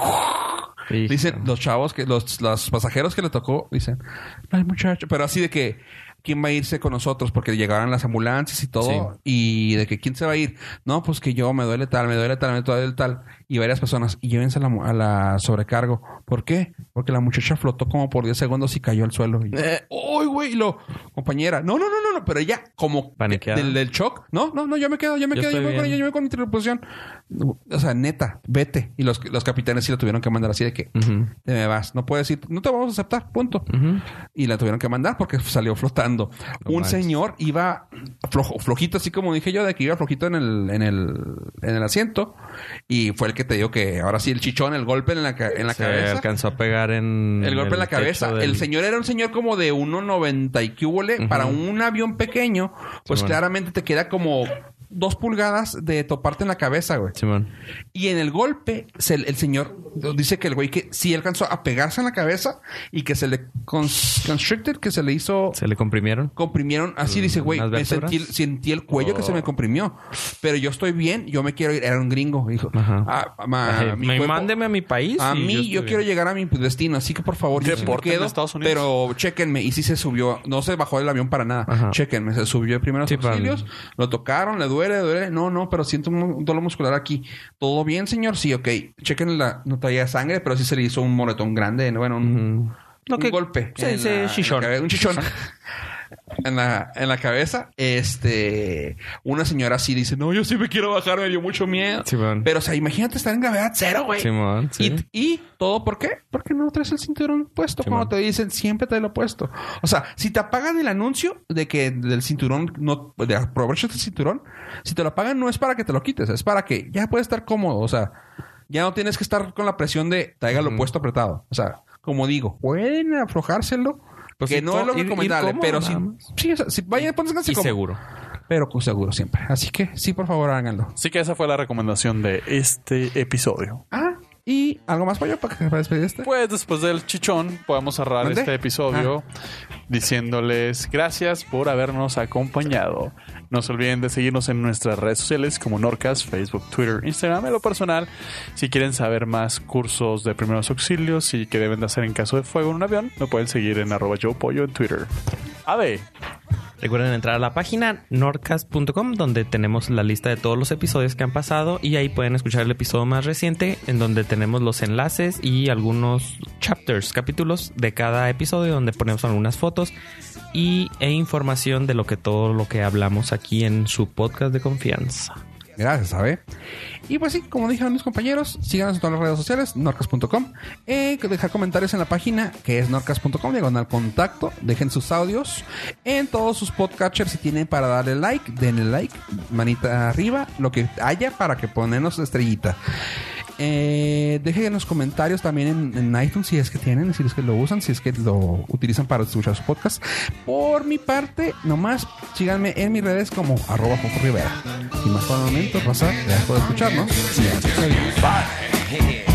Speaker 5: Hijo.
Speaker 4: Dicen los chavos que los, los pasajeros que le tocó, dicen, no hay muchacho, pero así de que quién va a irse con nosotros porque llegaron las ambulancias y todo y de que quién se va a ir. No, pues que yo me duele tal, me duele tal, me duele tal y varias personas y llévense a la, mu- a la sobrecargo. ¿Por qué? Porque la muchacha flotó como por 10 segundos y cayó al suelo. Y,
Speaker 5: Eh.
Speaker 4: ¡Ay, güey! Y lo compañera, no, no, no, no, no, pero ella como
Speaker 5: Paniqueada.
Speaker 4: del, del shock, no, no, no, yo me quedo, yo me
Speaker 5: Yo
Speaker 4: quedo, yo
Speaker 5: estoy
Speaker 4: me voy con
Speaker 5: bien.
Speaker 4: ella, yo me voy con mi tripulación. O sea, neta, vete. Y los, los capitanes sí la tuvieron que mandar así de que
Speaker 5: Ujú.
Speaker 4: te me vas, no puedes ir, no te vamos a aceptar, punto.
Speaker 5: Ujú.
Speaker 4: Y la tuvieron que mandar porque (laughs) salió flotando.
Speaker 5: No
Speaker 4: Un
Speaker 5: manches.
Speaker 4: señor iba flojo, flojito, así como dije yo, de que iba flojito en el, en el, en el asiento. Y fue el que te digo que ahora sí, el chichón, el golpe en la, ca- en la
Speaker 5: Se
Speaker 4: cabeza.
Speaker 5: alcanzó a pegar en...
Speaker 4: El golpe en la
Speaker 5: Mm, techo
Speaker 4: cabeza.
Speaker 5: del-
Speaker 4: El señor era un señor como de 1,90 y que hubole. Para un avión pequeño, pues
Speaker 5: Simón.
Speaker 4: claramente te queda como dos pulgadas de toparte en la cabeza, güey.
Speaker 5: Simón.
Speaker 4: Y en el golpe, se- el señor dice que el güey que sí alcanzó a pegarse en la cabeza y que se le cons- constricted, que se le hizo
Speaker 5: ¿Se le comprimieron?
Speaker 4: comprimieron así dice güey
Speaker 5: Mm, ¿Unas
Speaker 4: me sentí,
Speaker 5: vértebras? Oh.
Speaker 4: sentí el cuello que se me comprimió pero yo estoy bien yo me quiero ir era un gringo dijo
Speaker 5: Ajá.
Speaker 4: "Ah, ma-
Speaker 5: Ajá.
Speaker 4: mi
Speaker 5: Me
Speaker 4: cuerpo-
Speaker 5: mándeme a mi país. y
Speaker 4: a Ah, mí yo,
Speaker 5: estoy
Speaker 4: quiero
Speaker 5: bien.
Speaker 4: llegar a mi destino así que por favor yo sí me
Speaker 3: Deporte en
Speaker 4: quedo,
Speaker 3: Estados Unidos.
Speaker 4: pero chéquenme y sí se subió no se bajó del avión para nada
Speaker 5: Ajá.
Speaker 4: chéquenme se subió de primeros
Speaker 5: Sí, para
Speaker 4: auxilios lo tocaron le duele le duele no no pero siento un dolor muscular aquí todo bien señor sí ok chequen la no traía sangre pero sí se le hizo un moretón grande bueno un,
Speaker 5: Ujú.
Speaker 4: un golpe.
Speaker 5: se
Speaker 4: en
Speaker 5: dice
Speaker 4: la- en la
Speaker 5: chichón.
Speaker 4: cabeza, un chichón. (laughs) En la, en la cabeza, este, una señora así dice, no, yo sí me quiero bajar, me dio mucho miedo.
Speaker 5: Simón.
Speaker 4: Pero, o sea, imagínate estar en gravedad cero, güey.
Speaker 5: Simón, sí.
Speaker 4: Y, y todo por qué? Porque no traes el cinturón puesto.
Speaker 5: Simón.
Speaker 4: Cuando te dicen siempre trae lo puesto. O sea, si te apagan el anuncio de que del cinturón no de aprovecha este cinturón, si te lo apagan no es para que te lo quites, es para que ya puedes estar cómodo. O sea, ya no tienes que estar con la presión de traiga lo puesto apretado. O sea, como digo, pueden aflojárselo.
Speaker 5: Pues
Speaker 4: que
Speaker 5: sí,
Speaker 4: no
Speaker 5: to-
Speaker 4: es lo
Speaker 5: ir- ir
Speaker 4: recomendable,
Speaker 5: cómodo,
Speaker 4: pero
Speaker 5: nada
Speaker 4: si,
Speaker 5: más.
Speaker 4: sí, o sea, si vayan, pónganse
Speaker 5: Y
Speaker 4: cómodo.
Speaker 5: seguro.
Speaker 4: Pero con seguro siempre. Así que sí, por favor, háganlo.
Speaker 3: Así que esa fue la recomendación de este episodio.
Speaker 4: Ah, y algo más, pollo, para, para despedir este.
Speaker 3: Pues después del chichón podemos cerrar
Speaker 4: ¿Mande?
Speaker 3: este episodio diciéndoles gracias por habernos acompañado. No se olviden de seguirnos en nuestras redes sociales como Norcas, Facebook, Twitter, Instagram, en lo personal. Si quieren saber más cursos de primeros auxilios y qué deben de hacer en caso de fuego en un avión, me pueden seguir en arroba yo pollo en Twitter. Ave,
Speaker 5: Recuerden entrar a la página norcas.com donde tenemos la lista de todos los episodios que han pasado y ahí pueden escuchar el episodio más reciente en donde tenemos los enlaces y algunos chapters, capítulos de cada episodio donde ponemos algunas fotos y, e información de lo que todo lo que hablamos aquí en su podcast de confianza.
Speaker 4: Gracias, ¿sabe? Y pues sí, como dijeron mis compañeros, síganos en todas las redes sociales, norcas.com. Eh, dejar comentarios en la página que es norcas.com, diagonal contacto. Dejen sus audios en todos sus podcatchers. Si tienen para darle like, denle like, manita arriba, lo que haya para que ponernos estrellita. Eh, dejen en los comentarios también en, en iTunes si es que tienen, si es que lo usan, si es que lo utilizan para escuchar sus podcasts. Por mi parte, nomás síganme en mis redes como arroba Fofo Rivera. Sin más por el momento, raza, gracias por escucharnos. Y ya.
Speaker 2: Bye.